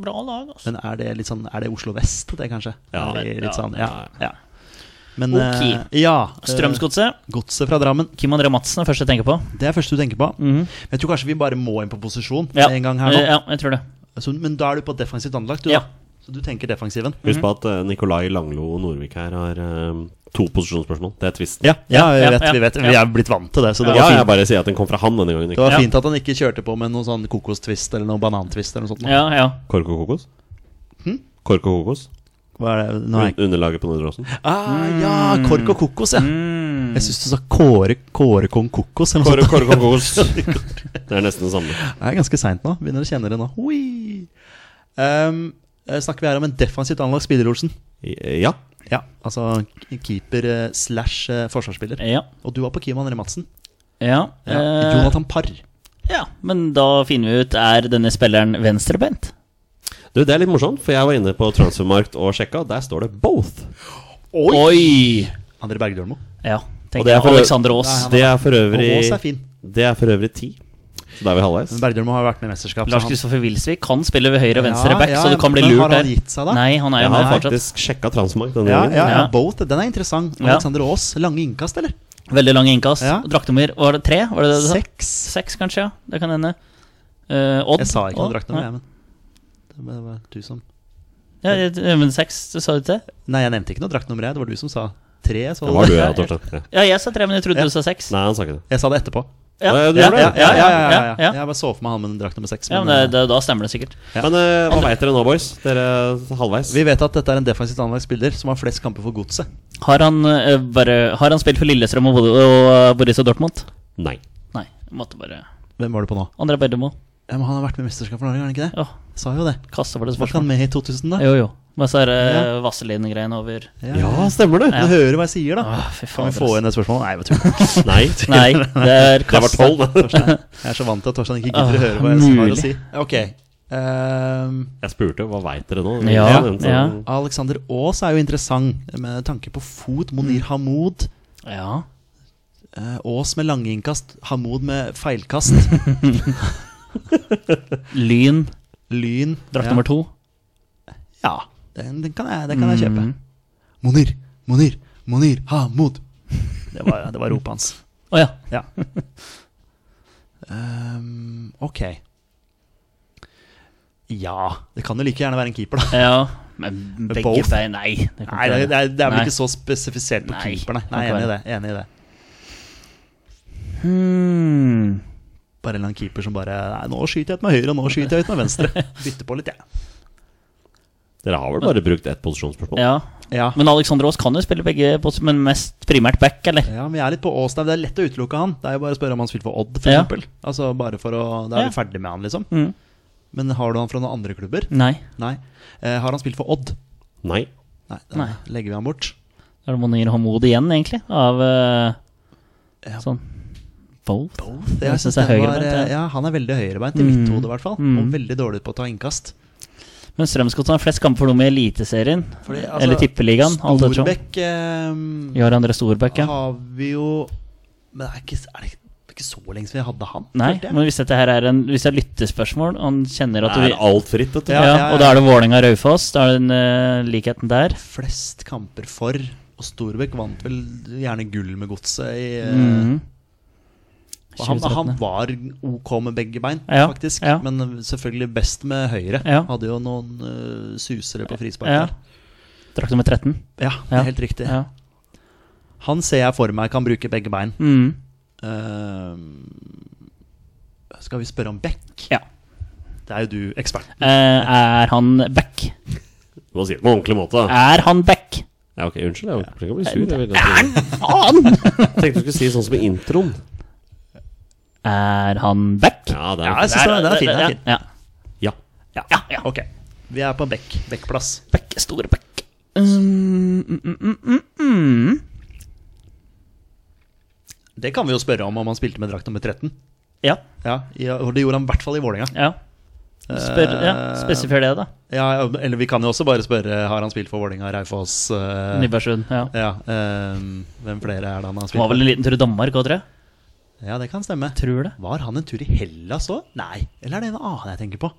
S1: Bra lag, altså.
S3: men er det litt sånn Er det Oslo vest, det, kanskje?
S2: Ja,
S3: er det
S2: det-
S3: litt
S2: ja,
S3: sånn, ja,
S2: ja,
S3: ja. Men,
S1: Ok.
S3: eh, ja, eh,
S1: Strømsgodset.
S3: Godset fra Drammen.
S1: Kim André Madsen er først jeg tenker på.
S3: Det er det første du tenker på.
S1: Mhm.
S3: Men Jeg tror kanskje vi bare må inn på posisjon
S1: Ja.
S3: en gang her nå.
S1: Eh, ja, jeg tror det.
S3: Så, Altså, men da er du på defensivt anlagt, du,
S1: Ja.
S3: da. Så du tenker defensiven.
S2: Husk på at eh, Nikolai Langlo og Norvik her har eh, to posisjonsspørsmål. Det er tvisten.
S3: Ja, ja, vi
S1: ja,
S3: vet,
S1: ja,
S3: vi vet.
S1: ja.
S3: Vi er blitt vant til det, så det
S2: Ja,
S3: var
S2: jeg
S3: fint.
S2: bare sier at den kom fra han denne gangen.
S3: Det
S2: Ikke.
S3: var
S1: Ja.
S3: fint at han ikke kjørte på med noe sånn kokostvist eller noe banantvist eller noe sånt. nå.
S1: Ja, ja.
S2: Kork og kokos? Kork og kokos?
S3: Hva er det? Nå er jeg...
S2: Un underlaget på Nordre Åsen?
S3: ah,
S1: Mm.
S3: ja, kork og kokos, ja. Jeg syns du sa kåre, kåre kong kokos eller noe
S2: Kork,
S3: sånt.
S2: kork og kokos. Det er nesten det samme.
S3: Det er ganske seint nå. Begynner å kjenne det nå. Hui. Ehm, eh, snakker vi her om en defensivt anlagt spiller, Olsen?
S2: I- eh, Ja.
S3: Ja, altså k- keeper eh, slash eh, forsvarsspiller.
S1: Ja.
S3: Og du var på Kim André Madsen.
S1: ja.
S3: Ja.
S1: Eh,
S3: Jonathan Parr.
S1: ja. Men da finner vi ut er denne spilleren venstrebeint.
S2: Du, det er litt morsomt, for jeg var inne på Transfermarkt og sjekka, og der står det 'both'.
S1: Oi!
S3: André Bergdølmo.
S1: Ja.
S2: Og
S1: Tenk
S2: det er for-
S1: Alexander Aas.
S2: Det er for
S3: Og
S2: øvrig
S3: Aas er fin.
S2: Det er for øvrig ti. Så da er vi halvveis.
S3: Men Bergdølmo har jo vært med i mesterskap. så
S1: Lars
S3: han-
S1: Kristoffer Wilsvik kan spille ved høyre og venstre
S3: Ja,
S1: back,
S3: ja,
S1: så du kan bli
S3: men
S1: lurt
S3: har han
S1: der.
S3: gitt seg da?
S1: Nei, han er
S2: Jeg
S1: jo med
S2: har
S1: fortsatt.
S2: faktisk sjekka Transmarkt denne
S3: ja,
S2: gangen.
S3: ja, ja,
S1: Ja.
S3: both. Den er interessant.
S1: Ja.
S3: Alexander Aas. Lange innkast, eller?
S1: Veldig lang innkast.
S3: Ja.
S1: Draktnummer var det tre? Var det det du sa?
S3: Seks.
S1: Seks, kanskje? ja Det kan hende. Eh, Odd?
S3: Jeg sa ikke noe
S1: Odd?
S3: draktnummer, jeg, men det var- det var du som
S1: Ja, jeg- men seks, du sa du ikke det?
S3: Nei, jeg nevnte ikke noe draktnummer, jeg. Det var du som sa tre. Så
S2: Det var du, ja, Torstein. Ja.
S1: Ja, jeg sa tre, men jeg trodde du sa seks.
S2: Nei, han sa ikke det.
S3: Jeg sa det etterpå.
S1: Ja,
S2: Nei, du
S1: ja,
S2: gjorde
S3: Ja,
S2: det.
S3: ja, ja, ja, ja,
S1: ja, ja.
S3: Jeg bare så for meg han med den drakt nummer seks.
S1: Ja, men
S3: men, eh,
S1: det, det, da stemmer det sikkert.
S2: Men eh, hva veit dere nå, boys? Dere er halvveis.
S3: eh, Vi vet at dette er en defensivt anlagt spiller som har flest kamper for godset.
S1: Har han, eh, bare, har han spilt for Lillestrøm og, Bod- og eh, Borussia Dortmund?
S2: Nei.
S1: Nei, jeg måtte bare
S3: Hvem var det på nå?
S1: André Berdemo.
S3: Ja, men Han har vært med i mesterskap for Norge, har han ikke det?
S1: Ja,
S3: Sa jo det.
S1: kassa var det
S3: Var ikke han
S1: spørsmål.
S3: med i 2000, da?
S1: Jo, jo. Men så er det
S3: Ja.
S1: Vazelin-greiene over
S2: Ja, stemmer det.
S3: Du hører hva Ah, jeg sier, da.
S1: Åh, Fy
S3: Kan
S1: Ah, faen.
S3: vi få inn det spørsmålet? Nei, jeg bare tuller.
S2: Nei.
S1: Nei, det er
S2: Det var
S1: kassa.
S2: tolv, da.
S3: Jeg er så vant til at Torstein ikke gidder å
S1: Åh,
S3: høre hva jeg har
S1: mulig.
S3: å si. Ok. ehm,
S2: Jeg spurte hva veit dere nå.
S1: Ja,
S2: Jeg nevnte-
S1: ja.
S3: Alexander Aas er jo interessant med tanke på fot. Monir Hamoud.
S1: Ja.
S3: eh, Aas med langinnkast. Hamoud med feilkast.
S1: Lyn,
S3: Lyn.
S1: drakt
S3: Ja.
S1: nummer to.
S3: Ja, den, den kan jeg, den kan jeg kjøpe. Monir, Monir, Monir, Hamud. Det var, det var ropet hans.
S1: Å ja.
S3: Ja. Ehm, ok. Ja Det kan jo like gjerne være en keeper, da.
S1: ja. Men begge
S3: both?
S1: bein Nei. det kan
S3: Nei,
S1: ikke
S3: det, det,
S1: være.
S3: er, det er vel
S1: Nei.
S3: ikke så spesifisert på
S1: Nei,
S3: keeper, nei.
S1: kan
S3: nei
S1: ikke
S3: enig, i det, enig i det.
S1: Hmm.
S3: Bare en eller annen keeper som bare Nei, nå skyter jeg ut med høyre, og nå skyter jeg ut med venstre. Bytter på litt, jeg.
S2: Dere har vel bare brukt ett posisjonsspørsmål?
S1: Ja.
S3: Ja.
S1: Men Alexander Aas kan jo spille begge, pos- men mest primært back, eller?
S3: Ja, men jeg er litt på Ås der. Det er lett å utelukke han. Det er jo bare å spørre om han spilte for Odd, for
S1: Ja.
S3: eksempel Altså bare for å Da er
S1: Ja.
S3: vi ferdig med han, liksom.
S1: Mm.
S3: Men har du han fra noen andre klubber?
S1: Nei.
S3: Nei. Eh, har han spilt for Odd?
S2: Nei.
S3: Nei, da
S1: Nei.
S3: legger vi han bort.
S1: Da er det Monir Hamoud igjen, egentlig, av eh,
S3: Ja.
S1: sånn Both.
S3: Both.
S1: Jeg
S3: Jeg synes
S1: synes det er
S3: den var,
S1: høyrebeint, ja.
S3: eh, ja, han er veldig høyrebeint, i
S1: Mm.
S3: mitt hode i hvert fall.
S1: Mm.
S3: Og veldig dårlig på å ta innkast.
S1: Men Strømsgodset har flest kamper for noe med Eliteserien.
S3: Fordi, altså,
S1: eller Tippeligaen. alt ettersom.
S3: Storbekk eh,
S1: Jarand André Storbekk, Sånn ja.
S3: har vi jo Men det er ikke, er det ikke- det er ikke så lenge siden vi hadde han.
S1: Nei,
S3: følte jeg.
S1: men hvis dette her er en Hvis det er lyttespørsmål, og han kjenner at
S2: Det
S1: vi
S2: er alt fritt, vet du.
S1: ja,
S3: Ja, ja, ja.
S1: Og da er det Vålerenga-Raufoss. Da er det den eh, likheten der.
S3: Flest kamper for, og Storbekk vant vel gjerne gull med godset i eh,
S1: Mhm.
S3: Og han,
S1: 2013,
S3: han
S1: ja.
S3: var OK med begge bein,
S1: Ja,
S3: faktisk.
S1: ja.
S3: Men selvfølgelig best med høyre.
S1: Ja.
S3: Hadde jo noen eh, susere på frispark
S1: Ja.
S3: der.
S1: Drakt nummer 13.
S3: Ja,
S1: Ja.
S3: helt riktig.
S1: Ja.
S3: Han ser jeg for meg kan bruke begge bein.
S1: Mhm.
S3: Eh, skal vi spørre om Beck?
S1: ja.
S3: Det er jo du ekspert.
S1: Eh, er han back?
S2: Du må si det på en ordentlig måte. da.
S1: Er han back?
S2: Ja, ok, Unnskyld, jeg kan bli sur. Jeg vil
S1: Er
S2: ganske-
S1: han faen?
S2: tenkte du skulle si sånn som i introen.
S1: Er han back?
S2: Ja, det
S3: Ja,
S2: er
S3: jeg synes den er- den er fin. Den er fin.
S1: Ja.
S2: Ja.
S1: ja, ja.
S3: Ok, vi er på Beck. Beck-plass.
S1: Back, store back. Mm, mm, mm, mm, mm.
S3: Det kan vi jo spørre om om han spilte med drakt nummer 13.
S1: Ja,
S3: Ja, i- og Det gjorde han i hvert fall i Vålerenga.
S1: ja. Spør, ja. Spesifier det, da.
S3: Ja, eller vi kan jo også bare spørre Har han spilt for Vålerenga, Raufoss eh,
S1: Nybergsund. Ja.
S3: Ja, ehm, hvem flere er det han har
S1: Det
S3: spilt
S1: var vel en liten tur i Danmark òg, tror jeg.
S3: for? Ja, det kan stemme.
S1: Tror det.
S3: Var han en tur i Hellas òg? Nei. Eller er det en annen jeg tenker på?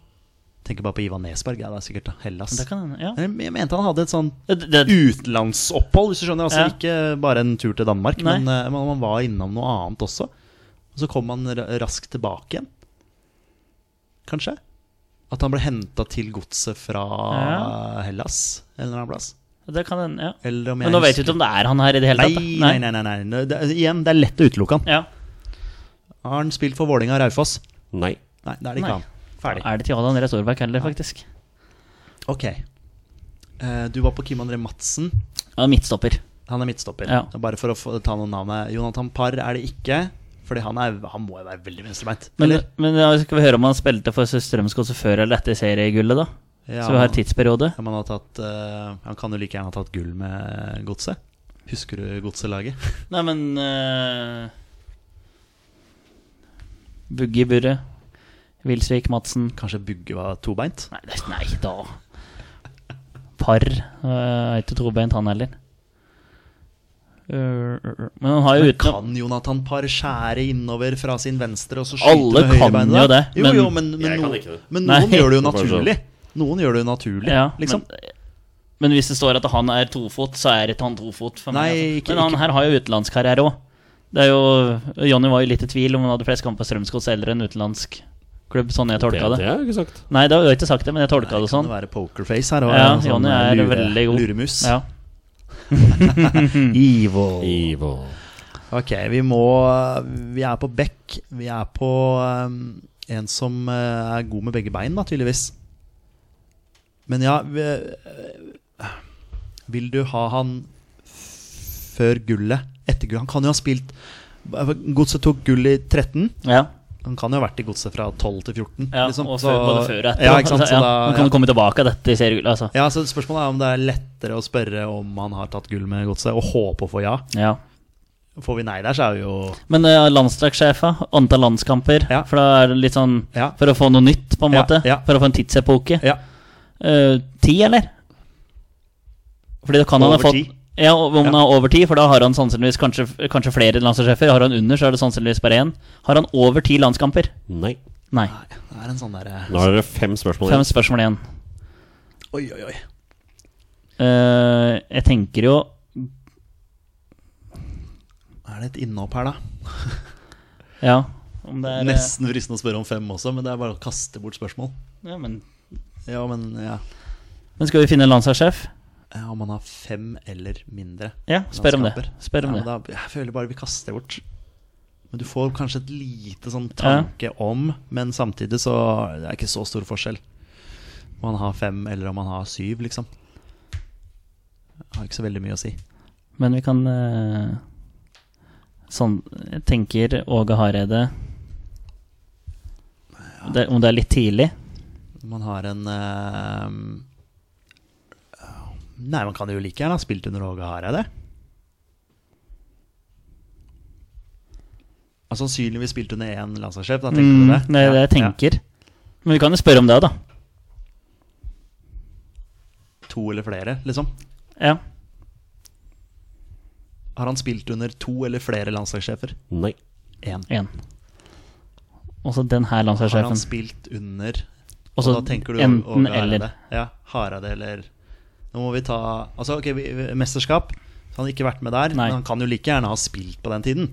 S3: Tenker bare på Ivan Nesberg. Ja, det er sikkert da, Hellas.
S1: Det kan hende, ja.
S3: Men Jeg mente han hadde et sånn
S1: Det, det,
S3: utenlandsopphold, hvis du skjønner. Altså
S1: Ja.
S3: Ikke bare en tur til Danmark,
S1: Nei.
S3: men eh, man man var innom noe annet også. Og så kom han ra- raskt tilbake igjen, kanskje? At han ble henta til godset fra
S1: Ja.
S3: Hellas en eller annen plass.
S1: det kan hende, ja.
S3: Eller om jeg
S1: Men nå vet
S3: husker-
S1: du ikke om det er han her i det hele
S3: Nei,
S1: tatt. da.
S3: nei, nei. nei, nei, Det, er- igjen, det er lett å utelukke han.
S1: Ja.
S3: Har han spilt for Vålinga og Raufoss?
S2: Nei.
S3: Nei, det er det
S1: Nei.
S3: ikke han. Ferdig.
S1: Er det til Adrian André Storberg heller, faktisk?
S3: Ok. Eh, du var på Kim André Madsen.
S1: Ja, midtstopper.
S3: Han er midtstopper.
S1: Ja.
S3: Bare for å få, ta noen navn her. Jonathan Parr er det ikke. Fordi han, er, han må jo være veldig venstrebeint.
S1: Men,
S3: Eller?
S1: men ja, skal vi høre om han spilte for Strømsgodset før eller etter seriegullet, da?
S3: Ja,
S1: eh, Så vi har tidsperiode.
S3: ja, men han, har tatt, eh, han kan jo like gjerne ha tatt gull med godset. Husker du godselaget?
S1: Nei, men uh, Bugge i buret. Wilsvik, Madsen
S3: Kanskje Bugge var tobeint?
S1: Nei, det, nei da. Par. eh, Er ikke tobeint, han heller. Eh, Men han har jo
S3: Men
S1: utenom
S3: kan Jonathan Parr skjære innover fra sin venstre og så skyte
S1: Alle
S3: med
S1: kan
S3: høyrebeinet?
S1: jo
S3: da?
S1: det,
S3: jo,
S1: men-
S3: jo, men, men,
S2: Jeg kan
S3: noen-
S2: ikke det.
S3: men
S1: Nei.
S3: noen gjør det jo
S2: Det er bare sånn.
S3: naturlig. Noen gjør det jo naturlig,
S1: ja,
S3: liksom.
S1: Men, men hvis det står at han er tofot, så er ikke han tofot. For
S3: Nei,
S1: meg, altså.
S3: ikke-
S1: men han
S3: ikke-
S1: her har jo utenlandskarriere òg. Jonny var jo litt i tvil om han hadde flest kamper på Strømsgods eller en utenlandsk klubb. Sånn jeg tolka
S2: Det
S1: det.
S2: har jeg ikke sagt.
S1: Nei, det har jeg ikke sagt det, men jeg tolka
S3: Kan
S1: det sånn.
S3: det være pokerface her? Og
S1: Ja,
S3: sånn
S1: Jonny er
S3: lure,
S1: veldig god.
S3: Luremus.
S1: Ja.
S3: Evil.
S2: Evil.
S3: Ok, vi må Vi er på bekk. Vi er på um, en som uh, er god med begge bein, da, tydeligvis. Men ja vi, øh, Vil du ha han f- før gullet? Etter gullet? Han kan jo ha spilt Godset tok gull i 13.
S1: ja.
S3: Han kan jo ha vært i godset fra 12 til 14.
S1: ja
S3: liksom.
S1: Og
S3: Så-
S1: før, både før og etter.
S3: Ja, ikke sant? Så
S1: Altså, ja,
S3: da,
S1: han kan jo komme tilbake av dette i seriegullet, altså.
S3: ja, så Spørsmålet er om det er lettere å spørre om han har tatt gull med godset, og håpe å få ja.
S1: Ja.
S3: Får vi nei der, så er vi jo
S1: Men uh, landslagssjefa, antall landskamper
S3: Ja.
S1: For da er det litt sånn
S3: Ja.
S1: For å få noe nytt, på en
S3: Ja,
S1: måte.
S3: ja.
S1: For å få en tidsepoke.
S3: Ja.
S1: Eh, ti, eller? Fordi da kan han ha
S3: Over
S1: fått
S3: ti?
S1: Ja, om han
S3: Ja.
S1: har over ti, for da har han sannsynligvis kanskje, kanskje flere landslagssjefer. Har han under, så er det sannsynligvis bare én. Har han over ti landskamper?
S2: Nei.
S1: Nei.
S3: Det er en sånn derre
S2: Nå har dere fem spørsmål
S1: Fem
S2: igjen.
S1: spørsmål igjen.
S3: Oi, oi, oi.
S1: Eh, jeg tenker jo
S3: Er det et innhopp her, da?
S1: Ja, om det er eh,
S3: Nesten fristende å spørre om fem også, men det er bare å kaste bort spørsmål.
S1: Ja, men,
S3: Ja, men ja.
S1: men skal vi finne en landslagssjef?
S3: Ja, Om han har fem eller mindre.
S1: Ja, spør om det.
S3: landskamper.
S1: Spør om
S3: ja,
S1: det.
S3: men Da, jeg føler bare vi kaster det bort. Men du får kanskje et lite sånn tanke om, men samtidig så er det er ikke så stor forskjell. Om han har fem eller om han har syv, liksom. Det har ikke så veldig mye å si.
S1: Men vi kan eh, Sånn Jeg tenker Åge Hareide det, Om det er litt tidlig?
S3: Man har en eh, Nei, man kan jo like gjerne ha spilt under Åge Hareide. Altså, sannsynligvis spilt under én landslagssjef, da tenker du det?
S1: Mm, det er det jeg tenker. Men vi kan jo spørre om det, da.
S3: Ja. To eller flere, liksom.
S1: Ja.
S3: Har han spilt under to eller flere landslagssjefer?
S2: Nei.
S3: Én.
S1: Én. Og så den her
S3: Har han
S1: landslagssjefen.
S3: spilt under
S1: Og
S3: Og
S1: så
S3: da tenker du
S1: enten
S3: Åge
S1: eller.
S3: Hareide. Ja, Hareide eller Nå må vi ta Altså, ok, vi, vi- mesterskap. Så han har ikke vært med der,
S1: Nei.
S3: men han kan jo like gjerne ha spilt på den tiden.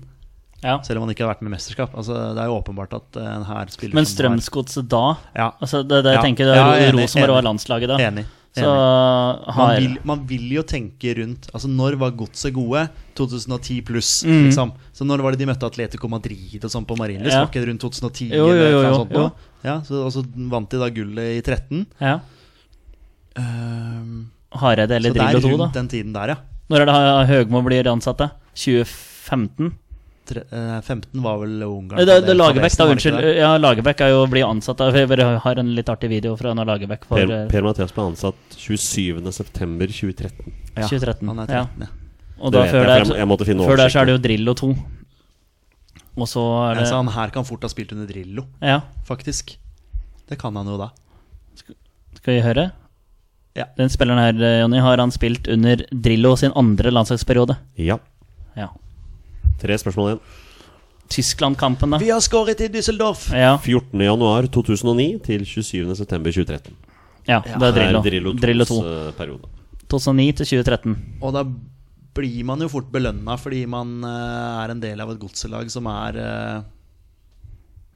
S1: Ja.
S3: Selv om han ikke har vært med i mesterskap. Altså, det er jo åpenbart at eh, en her spiller
S1: Men
S3: som har-
S1: Strømsgodset da
S3: Ja,
S1: Altså Det, det jeg
S3: Ja.
S1: tenker det
S3: Ja,
S1: er
S3: enig,
S1: Rosenborg
S3: enig.
S1: var landslaget da.
S3: enig.
S1: Så eh,
S3: enig. Man,
S1: har
S3: vil, man vil jo tenke rundt Altså, når var godset gode? 2010 pluss,
S1: Mm.
S3: liksom. Så når var det de møtte Atletico Madrid og sånn på Marienlyst?
S1: Ja.
S3: Var ikke det rundt 2010?
S1: Jo, jo,
S3: eller et eller annet
S1: jo,
S3: sånt
S1: jo.
S3: nå? Ja, så, og så vant de da gullet i 13.
S1: ja.
S3: Ehm,
S1: Hareide eller
S3: så det er
S1: Drillo 2, da.
S3: rundt den tiden der, ja.
S1: Når er det Ha- Høgmo blir ansatt, da? 2015?
S3: Tre, eh, 15 var vel Ungarn.
S1: Det, det, Lagerbäck, da.
S3: var det ikke
S1: Unnskyld.
S3: det?
S1: Ja, Lagerbäck er jo å bli ansatt da. Vi bare har en litt artig video fra når Lagerbäck får
S2: Per,
S1: eh,
S2: per Mathias ble ansatt 27.9.2013.
S3: Ja,
S1: 2013,
S3: Han er
S1: ja.
S3: 13, ja.
S1: Og
S2: Det
S1: da
S2: vet jeg,
S1: før
S2: for jeg, må-
S1: der,
S2: jeg måtte finne
S1: før der så er det
S2: oversikten.
S1: jo Drillo 2. Og så er det
S3: Så han her kan fort ha spilt under Drillo,
S1: Ja,
S3: faktisk. Det kan han jo da.
S1: skal vi høre?
S3: Ja.
S1: Den spilleren her, eh, Jonny, har han spilt under Drillo sin andre landslagsperiode.
S2: Ja.
S1: Ja.
S2: Tre spørsmål igjen.
S1: Tyskland-kampene.
S3: Vi har skåret i Düsseldorf!
S1: Ja,
S2: 14.1.2009 til 27.9.2013.
S1: ja, det er Drillo.
S2: Drillo 2s
S1: Drillo 2.
S2: periode.
S1: 2009 til 2013.
S3: Og da blir man jo fort belønna fordi man eh, er en del av et godselag som er eh,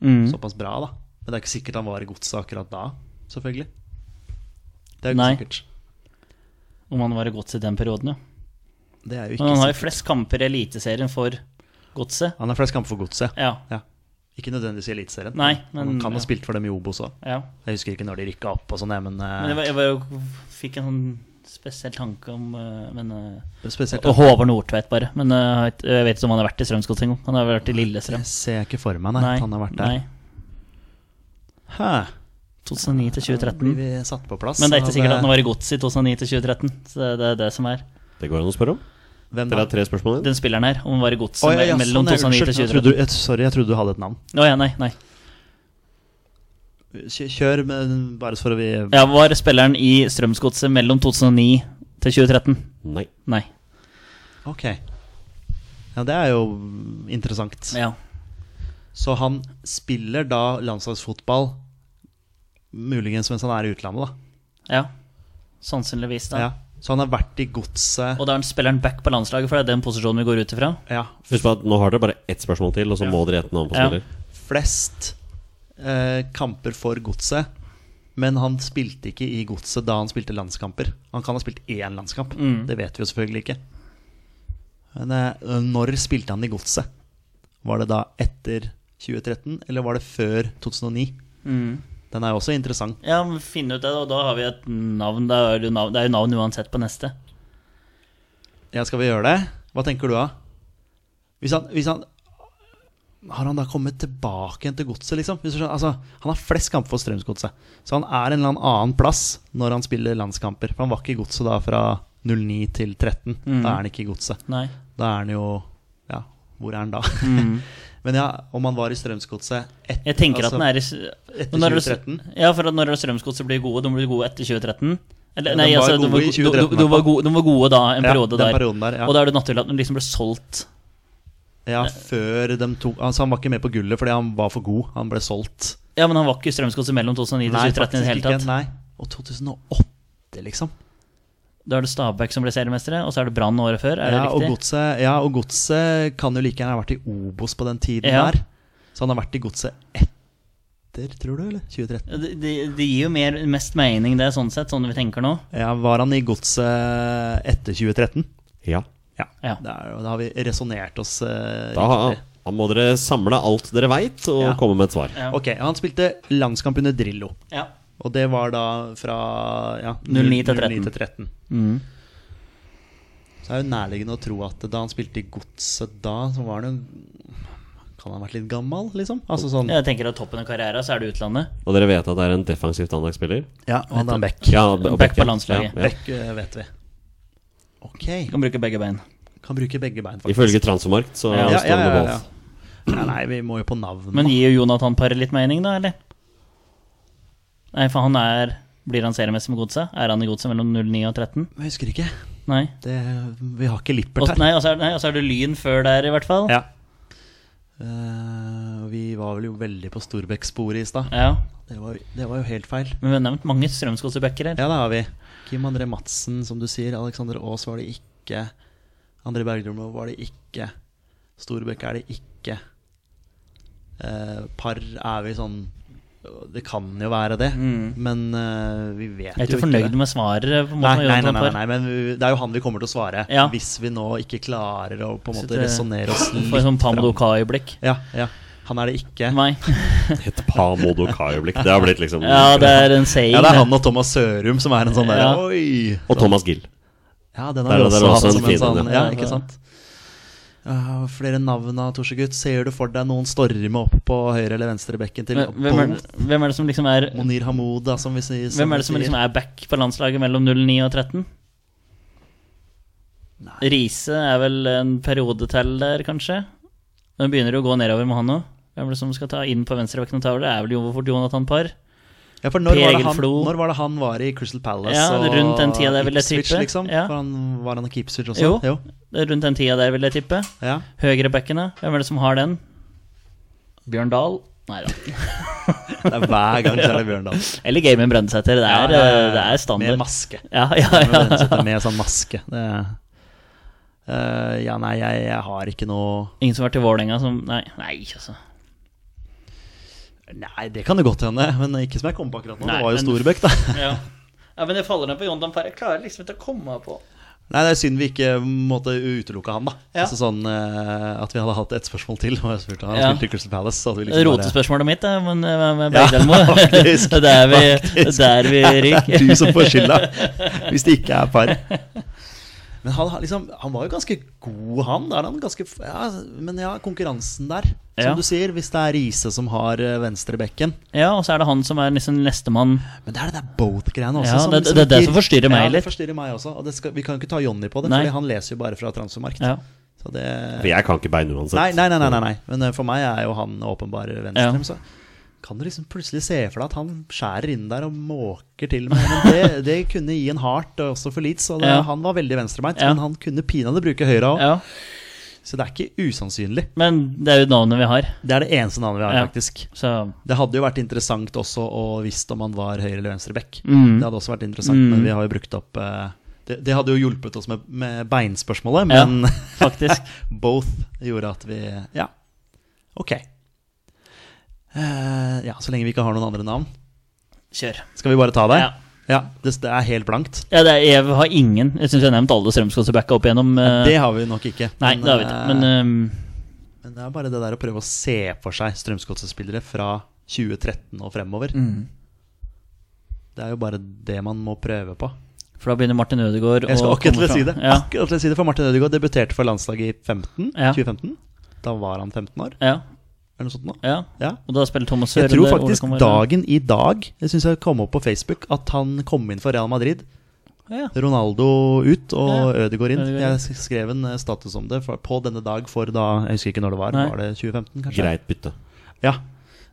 S1: Mm.
S3: såpass bra, da. Men det er ikke sikkert han var i godset akkurat da, selvfølgelig. Det er jo ikke
S1: Nei.
S3: sikkert.
S1: Om han var i godset i den perioden, ja.
S3: Det er jo ikke
S1: Men han har jo
S3: sikkert.
S1: flest kamper i Eliteserien for godset.
S3: Han har flest kamper for godset.
S1: Ja,
S3: Ja. Ikke nødvendigvis i Eliteserien.
S1: Nei,
S3: men,
S1: men-
S3: han kan
S1: ja.
S3: ha spilt for dem i Obos òg.
S1: ja.
S3: Jeg husker ikke når de rykka opp og sånn, jeg, men, eh,
S1: Men jeg, var- jeg var, jo- fikk en sånn spesiell tanke om eh, men, eh,
S3: spesielt
S1: Og Håvard Nordtveit, bare. Men eh, jeg vet- jeg vet ikke om han har vært i Strømsgodt engang. Han har vært i Lillestrøm.
S3: Jeg ser ikke for meg, nei, at han har vært der.
S1: Nei.
S3: Hæ.
S1: 2009 til
S3: Blir
S1: 2013.
S3: vi satt på plass?
S1: Mm. Men det er ikke
S3: av,
S1: sikkert at
S3: eh,
S1: han var i godset i 2009 til 2013. Så det, det er det som er.
S2: Det går an å spørre om.
S3: Hvem
S2: Dere
S3: da?
S2: har tre spørsmål igjen.
S1: Den spilleren her, om han var i godset
S3: Å, ja, ja,
S1: mellom
S3: sånn, ja,
S1: 2009 til
S3: unnskyld, jeg
S1: 2013.
S3: trodde- jeg- Sorry, jeg trodde du hadde et navn.
S1: Å ja, nei, nei.
S3: Kjø- Kjør, men bare for å vi
S1: Ja, var spilleren i Strømsgodset mellom 2009 til 2013?
S2: Nei.
S1: Nei.
S3: Ok. Ja, det er jo interessant.
S1: Ja.
S3: Så han spiller da landslagsfotball, muligens mens han er i utlandet, da.
S1: ja. Sannsynligvis, da.
S3: Ja. Så han har vært i godset
S1: Og da er han spilleren back på landslaget, for det er den posisjonen vi går ut ifra.
S3: ja,
S2: Husk på at nå har dere bare ett spørsmål til, og så må dere gjette navn på
S1: Ja.
S2: spiller.
S3: flest eh, kamper for godset. Men han spilte ikke i godset da han spilte landskamper. Han kan ha spilt én landskamp, det vet vi jo selvfølgelig ikke. Men eh, når spilte han i godset? Var det da etter 2013, eller var det før 2009? Den er jo også interessant.
S1: Ja, men finn ut det, da, og da har vi et navn. Det er jo navn, det er jo navn uansett på neste.
S3: Ja, skal vi gjøre det? Hva tenker du da? Hvis han, hvis han Har han da kommet tilbake igjen til godset, liksom? Hvis du skjønner, altså, han har flest kamper for Strømsgodset. Så han er en eller annen annen plass når han spiller landskamper. For han var ikke i godset da fra 09 til 13.
S1: Mm.
S3: Da er han ikke i godset.
S1: Nei.
S3: Da er han jo Ja, hvor er han da? Men ja, om han var i Strømsgodset etter
S1: Mm. Jeg tenker at den er i
S3: Altså, etter
S1: Men når det-
S3: 2013?
S1: Ja, for at når Strømsgodset blir gode, de blir gode etter 2013. Eller,
S3: Ja,
S1: nei,
S3: de var
S1: altså, de
S3: gode
S1: var,
S3: i
S1: go-
S3: 2013
S1: de, de, var gode, de var gode da, en
S3: Ja,
S1: periode
S3: den
S1: der.
S3: perioden der, ja.
S1: Og da er det naturlig at de liksom ble solgt.
S3: Ja, før de tok Altså, han var ikke med på gullet fordi han var for god. Han ble solgt.
S1: Ja, men han var ikke i Strømsgodset mellom 2009 og 2013 i det hele
S3: ikke.
S1: tatt.
S3: Nei. Og 2008, liksom.
S1: Da er det Stabæk som ble seriemestere, og så er det Brann året før. Er det
S3: ja, og
S1: riktig?
S3: godset, ja, og godset kan jo like gjerne ha vært i Obos på den tiden
S1: Ja.
S3: der. Så han har vært i godset etter, tror du, eller? 2013.
S1: Det, det, det gir jo mer, mest mening, det, sånn sett, sånn vi tenker nå.
S3: Ja, var han i godset etter 2013?
S2: Ja.
S3: Ja.
S1: Ja.
S3: Det er jo- da har vi resonnert oss eh,
S2: Da,
S3: riktig.
S2: da må dere samle alt dere veit, og
S3: Ja.
S2: komme med et svar.
S1: Ja.
S3: Ok, han spilte landskamp under Drillo.
S1: Ja.
S3: Og det var da fra ja,
S1: 09 til 13.
S3: 09 til 13.
S1: Mm.
S3: Så er det jo nærliggende å tro at da han spilte i godset da, så var han jo Kan han ha vært litt gammel, liksom? Altså sånn
S1: Jeg tenker at toppen av karrieren, så er det utlandet.
S2: Og dere vet at det er en defensivt anlagt spiller?
S3: Ja, og han er back.
S2: Ja, og
S1: Back
S2: ja.
S1: på landslaget.
S2: Ja, ja.
S3: Back, eh, vet vi. Ok.
S1: Vi kan bruke begge bein.
S3: Kan bruke begge bein, faktisk.
S2: Ifølge Transformarkt så
S1: Ja,
S2: står det med
S3: ja.
S2: Wolf.
S3: Nei, nei, vi må jo på navn.
S1: Men gir jo Jonathan Parre litt mening, da, eller? Nei, for han er Blir han seriemester med godset? Er han i godset mellom 09 og 13?
S3: Jeg husker ikke.
S1: Nei.
S3: Det, vi har ikke Lippert
S1: Og,
S3: her.
S1: nei, og så er, nei, og så er det Lyn før der, i hvert fall.
S3: Ja. Eh, vi var vel jo veldig på Storbekk-sporet i stad.
S1: Ja.
S3: Det, var jo- det var jo helt feil.
S1: Men vi har nevnt mange strømsgodsebacker her.
S3: Ja, det har vi. Kim André Madsen, som du sier. Alexander Aas var det ikke. André Bergdormo var det ikke. Storbekk er det ikke. Eh, par er vi sånn Det kan jo være det,
S1: Mm.
S3: men eh, vi vet
S1: Jeg
S3: jo
S1: er
S3: ikke
S1: ikke
S3: det.
S1: fornøyd med svaret. på en måte
S3: Nei,
S1: med
S3: nei, nei,
S1: Jonathan
S3: nei,
S1: Parr.
S3: nei, men vi- det er jo han vi kommer til å svare
S1: Ja.
S3: hvis vi nå ikke klarer å på en måte
S1: Så det-
S3: resonnere oss litt
S1: Får et sånt
S3: fram.
S1: Pamdokai-blikk.
S3: Ja, ja. Han er det ikke.
S1: sånn- Nei.
S2: Et par Modo Kai-øyeblikk. Det har blitt liksom
S1: Ja, det er en saying.
S3: Ja, det er
S1: det.
S3: han og Thomas Sørum som er en sånn der
S1: Ja.
S3: Oi!
S2: Og Thomas Gill.
S3: Ja, den
S2: Der
S3: har
S2: er
S3: vi
S2: det
S3: også
S2: også
S3: hatt
S2: en
S3: som en
S2: fin
S3: sånn
S2: en,
S3: Ja,
S1: ja.
S3: ikke sant? Ja, flere navn av Torsegutt. Ser du for deg noen storme opp på høyre eller venstre bekken til
S1: Men Hvem er,
S3: Bolt?
S1: hvem er det som liksom er
S3: Monir Hamoud, da, som vi sier.
S1: Hvem er det som liksom er back på landslaget mellom 09 og 13? Riise er vel en periode til der, kanskje? Nå begynner det å gå nedover med han òg. Hvem er det som skal ta inn på venstrebekken og ta over? Det er vel jo fort Jonathan Parr.
S3: Ja, for når
S1: Per
S3: var, det
S1: Egil
S3: han,
S1: Flo.
S3: når var det han var i Crystal Palace
S1: Ja,
S3: og
S1: rundt den tida der vil jeg
S3: Ipswich,
S1: tippe.
S3: liksom?
S1: Ja.
S3: For han, var han ikke Ipswich også?
S1: Jo. Det er rundt den tida der, vil jeg tippe.
S3: Ja.
S1: Høyrebackene, hvem er det som har den? Bjørn Dahl Nei da.
S3: Det er hver gang Kjell Bjørndal.
S1: Eller Gaming Brønnesæter. Det, er, eh, det er
S3: Med
S1: standard.
S3: maske.
S1: Ja, ja,
S3: Med,
S1: ja.
S3: brennsetter med sånn maske. Det, Eh, ja, nei, jeg, jeg har ikke noe
S1: Ingen som har vært i Vålerenga som Nei, nei altså.
S3: Nei, det kan det godt hende, men ikke som jeg kom på akkurat nå.
S1: Nei,
S3: det var jo
S1: men-
S3: Storebekk, da.
S1: Ja. men det faller ned på John Damper. Jeg klarer liksom ikke å komme meg på
S3: Nei, det er synd vi ikke måtte utelukke han, da.
S1: Ja.
S3: Altså sånn eh, At vi hadde hatt et spørsmål til. Og jeg spurte han,
S1: Ja.
S3: han spilte i Crystal Palace. så hadde vi liksom bare-
S1: Rotespørsmålet mitt, da, men eh, med
S3: Ja,
S1: Bergdølmo.
S3: faktisk,
S1: det er vi,
S3: faktisk.
S1: der vi
S3: Det er
S1: ryker.
S3: du som får skylda, hvis det ikke er par. Men han, har liksom, han var jo ganske god, han. Da er han ganske, ja, men ja, konkurransen der, som
S1: Ja.
S3: du sier. Hvis det er Riise som har eh, venstrebekken.
S1: Ja, og så er det han som er liksom nestemann.
S3: Men det er det der Boat-greiene også. liksom
S1: Ja, det- det er det som forstyrrer meg
S3: ja,
S1: litt.
S3: Det forstyrrer meg også, og det skal, vi kan jo ikke ta Jonny på det,
S1: Nei.
S3: Fordi han leser jo bare fra transfermarkt.
S1: Ja.
S3: Så det
S2: For jeg kan ikke bein uansett.
S3: nei, nei, nei, nei, nei, nei. Men eh, for meg er jo han åpenbar
S1: Ja.
S3: venstre. Men Så kan du liksom plutselig se for deg at han skjærer inn der og måker til med Men det, det kunne gi en hardt eh, også for Leeds. Og det,
S1: Ja.
S3: han var veldig venstrebeint,
S1: Ja.
S3: men han kunne pinadø bruke høyre òg.
S1: ja.
S3: Så det er ikke usannsynlig.
S1: Men det er jo navnet vi har,
S3: Det er det eneste navnet vi har,
S1: Ja.
S3: faktisk.
S1: så
S3: Det hadde jo vært interessant også å visst om han var høyre- eller venstreback.
S1: Mm.
S3: Det hadde også vært interessant, men vi har jo brukt opp eh, det, det hadde jo hjulpet oss med, med beinspørsmålet,
S1: Ja.
S3: men
S1: faktisk.
S3: both gjorde at vi Ja, ok. Eh, ja, så lenge vi ikke har noen andre navn.
S1: Kjør.
S3: Skal vi bare ta det?
S1: Ja.
S3: Ja, det, det er helt blankt.
S1: Ja, det er, jeg har ingen. Jeg syns jeg har nevnt alle Strømsgodset-backa opp igjennom. eh,
S3: Det har vi nok ikke.
S1: nei, det har vi ikke.
S3: eh,
S1: Men ehm,
S3: men det er bare det der å prøve å se for seg Strømsgodset-spillere fra 2013 og fremover.
S1: Mm.
S3: Det er jo bare det man må prøve på.
S1: For da begynner Martin Ødegaard
S3: Jeg skal
S1: å
S3: akkurat
S1: komme
S3: til å si det.
S1: fram. Ja.
S3: Akkurat til å si det, For Martin Ødegaard debuterte for landslaget i 15,
S1: Ja.
S3: 2015. Da var han 15 år,
S1: Ja,
S3: eller noe sånt nå.
S1: ja.
S3: Ja.
S1: Og da spiller Thomas Søren
S3: Jeg tror
S1: der, Ole
S3: faktisk
S1: kommer-
S3: dagen i dag Det syns jeg kom opp på Facebook at han kom inn for Real Madrid.
S1: Ja.
S3: Ronaldo ut og Ødegaard inn.
S1: Ødegaard inn.
S3: Jeg skrev en eh, status om det for, på denne dag for da Jeg husker ikke når det var.
S1: Nei.
S3: Var det 2015, kanskje?
S2: Greit bytte.
S3: Ja.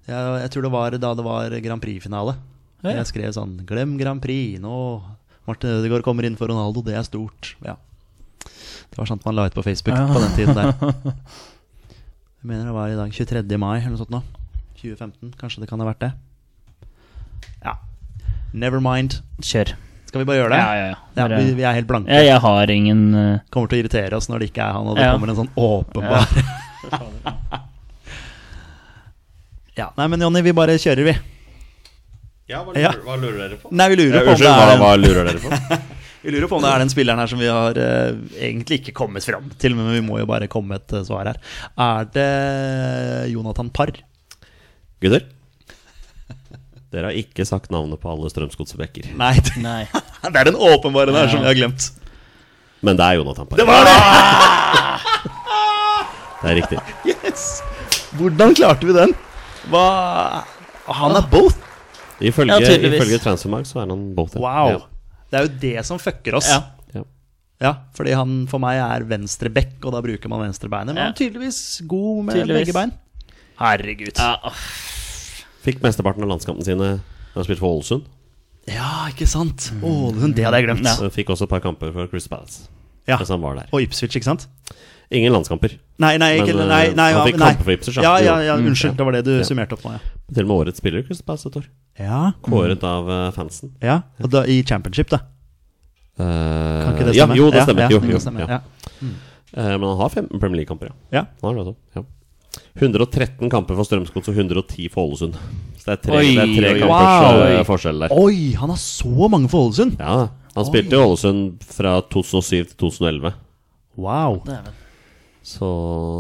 S3: Jeg, jeg tror det var da det var Grand Prix-finale.
S1: Ja, ja.
S3: Jeg skrev sånn Glem Grand Prix, nå Martin Ødegaard kommer inn for Ronaldo, det er stort. Ja. Det var sant man la ut på Facebook
S1: Ja.
S3: på den tiden der. Jeg mener det var i dag 23. mai eller noe sånt nå. 2015, kanskje det kan ha vært det. Ja. Never mind.
S1: Kjør.
S3: Skal vi bare gjøre det?
S1: Ja, ja, ja. Bare-
S3: vi, vi er helt blanke.
S1: Ja, jeg har ingen eh,
S3: Kommer til å irritere oss når det ikke er han, og det
S1: Ja.
S3: kommer en sånn åpenbar ja. Nei, men Jonny, vi bare kjører, vi.
S2: Ja, hva
S3: lurer- Ja.
S2: dere på?
S3: Nei, vi lurer, på om det
S2: Unnskyld,
S3: er
S2: hva,
S3: en,
S2: hva lurer dere på?
S3: vi lurer på om det er den spilleren her som vi har eh, egentlig ikke kommet fram til, men vi må jo bare komme med et eh, svar her. Er det Jonathan Parr?
S2: Gutter? Dere har ikke sagt navnet på alle Strømsgodsebekker.
S3: Nei, det
S1: Nei.
S3: det er den åpenbare der som vi har glemt.
S2: Men det er Jonathan Parr.
S3: Det var det!
S2: Det er riktig.
S3: Yes! Hvordan klarte vi den? Hva Han
S1: Ah.
S3: er both!
S2: Ifølge,
S1: Ja, tydeligvis.
S2: ifølge Transfermark så er han both.
S3: Wow.
S2: Ja.
S3: Det er jo det som fucker oss.
S1: Ja.
S2: Ja.
S3: Ja, fordi han for meg er venstre bekk, og da bruker man venstrebeinet. Men
S1: Ja.
S3: han er tydeligvis god med
S1: Tydeligvis.
S3: begge bein. Herregud.
S1: Ja,
S3: Ja,
S1: åh,
S2: Fikk mesteparten av landskampene sine da han spilte for Ålesund.
S3: ikke sant? Ålesund, det hadde jeg glemt.
S2: Så Fikk også et par kamper for Crystal Palace.
S3: Ja.
S2: Mens han var der.
S3: Og Ipswich, ikke sant?
S2: Ingen landskamper.
S3: Nei, nei,
S2: Men,
S3: ikke,
S2: eh,
S3: nei, nei,
S2: han
S3: ja,
S2: fikk
S3: nei.
S2: kamper for Ipswich, da.
S3: Ja, ja,
S2: Jo.
S3: ja, unnskyld, det var det du
S2: Ja.
S3: summerte opp nå, ja.
S2: Til og med årets spiller i Crystal Palace et år.
S3: Ja,
S2: Kåret
S3: Mm.
S2: av eh, fansen.
S3: ja. Og da, i championship, da.
S2: Eh,
S3: Kan ikke det
S2: ja,
S3: stemme?
S2: jo, det stemmer.
S3: Ja,
S2: jo,
S3: ja,
S2: jo,
S3: det stemmer.
S2: ja.
S3: Ja.
S2: Eh, men han har 15 Premier League-kamper, ja.
S3: Ja.
S2: Han har det, altså, ja. 113 kamper for Strømsgods og 110 for Ålesund. Så det er tre,
S1: Oi,
S2: det er tre
S1: oi,
S2: kampers
S3: wow.
S2: eh, forskjell der.
S3: Oi, han har så mange for Ålesund!
S2: Ja, Han spilte i Ålesund fra 2007 til 2011.
S3: Wow.
S1: dæven.
S2: Så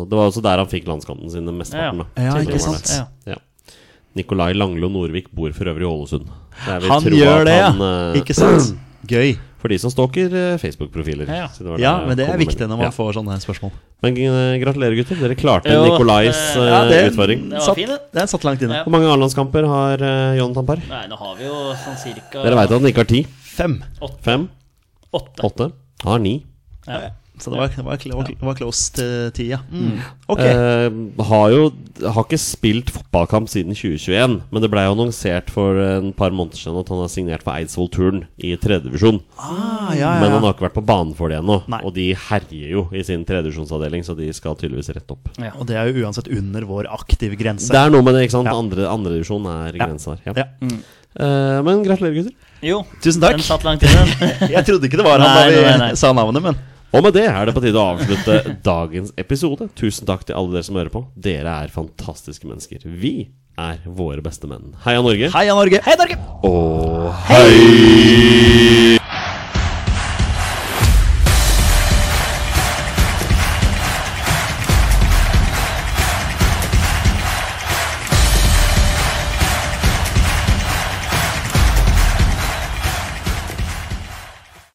S2: Det var altså der han fikk landskampen sine mesteparten. da.
S3: Ja,
S2: Tidligere
S3: ikke
S2: var det.
S3: sant?
S1: Ja.
S2: Ja. Nikolai Langlo Norvik bor for øvrig i Ålesund. Det er vel
S3: Han
S2: troa
S3: gjør
S2: at
S3: det,
S2: han,
S3: ja!
S2: eh,
S3: Ikke sant? Gøy.
S2: For de som stalker eh, Facebook-profiler.
S1: Ja, ja.
S2: Så var
S3: Ja,
S2: jeg
S3: men det
S2: kom
S3: er
S2: med.
S3: viktig når
S2: Ja.
S3: man får sånne spørsmål.
S2: Men eh, gratulerer, gutter. Dere klarte
S1: Jo,
S2: Nikolais
S1: eh,
S2: eh,
S3: Ja, det,
S2: utfordring.
S1: Det var
S3: satt,
S1: fin, det.
S3: den satt langt inne.
S1: Ja.
S2: Hvor mange A-landskamper har uh, Jonathan Parr?
S1: Nei, nå har vi jo sånn cirka
S2: Dere veit at han ikke har ti.
S3: Fem.
S2: Fem?
S1: åtte.
S2: Åtte? Han har ni.
S1: Ja.
S3: Så det var, det var, det var, det var close til tida. Mm. Ok.
S2: Eh, har jo har ikke spilt fotballkamp siden 2021, men det ble jo annonsert for en par måneder siden at han har signert for Eidsvoll Turn i tredjedivisjon.
S3: ah, ja, ja,
S2: Men han
S3: ja.
S2: har ikke vært på banen for det ennå,
S3: Nei.
S2: og de herjer jo i sin tredjedivisjonsavdeling, så de skal tydeligvis rett opp.
S3: Og det er jo uansett under vår aktive grense.
S2: Det er noe med det, ikke sant?
S3: Ja.
S2: Andre Andredivisjon er
S3: Ja.
S2: grensa her. Ja.
S3: Ja.
S2: Eh, men gratulerer, gutter.
S1: Jo,
S3: Tusen takk.
S1: den satt langt inne.
S3: Jeg trodde ikke det var han
S1: Nei,
S3: da vi
S1: nei, nei.
S3: sa navnet, men
S2: Og med det er det på tide å avslutte dagens episode. Tusen takk til alle dere som hører på. Dere er fantastiske mennesker. Vi er våre beste menn. Heia Norge.
S3: Heia Norge! Hei, Norge!
S2: Og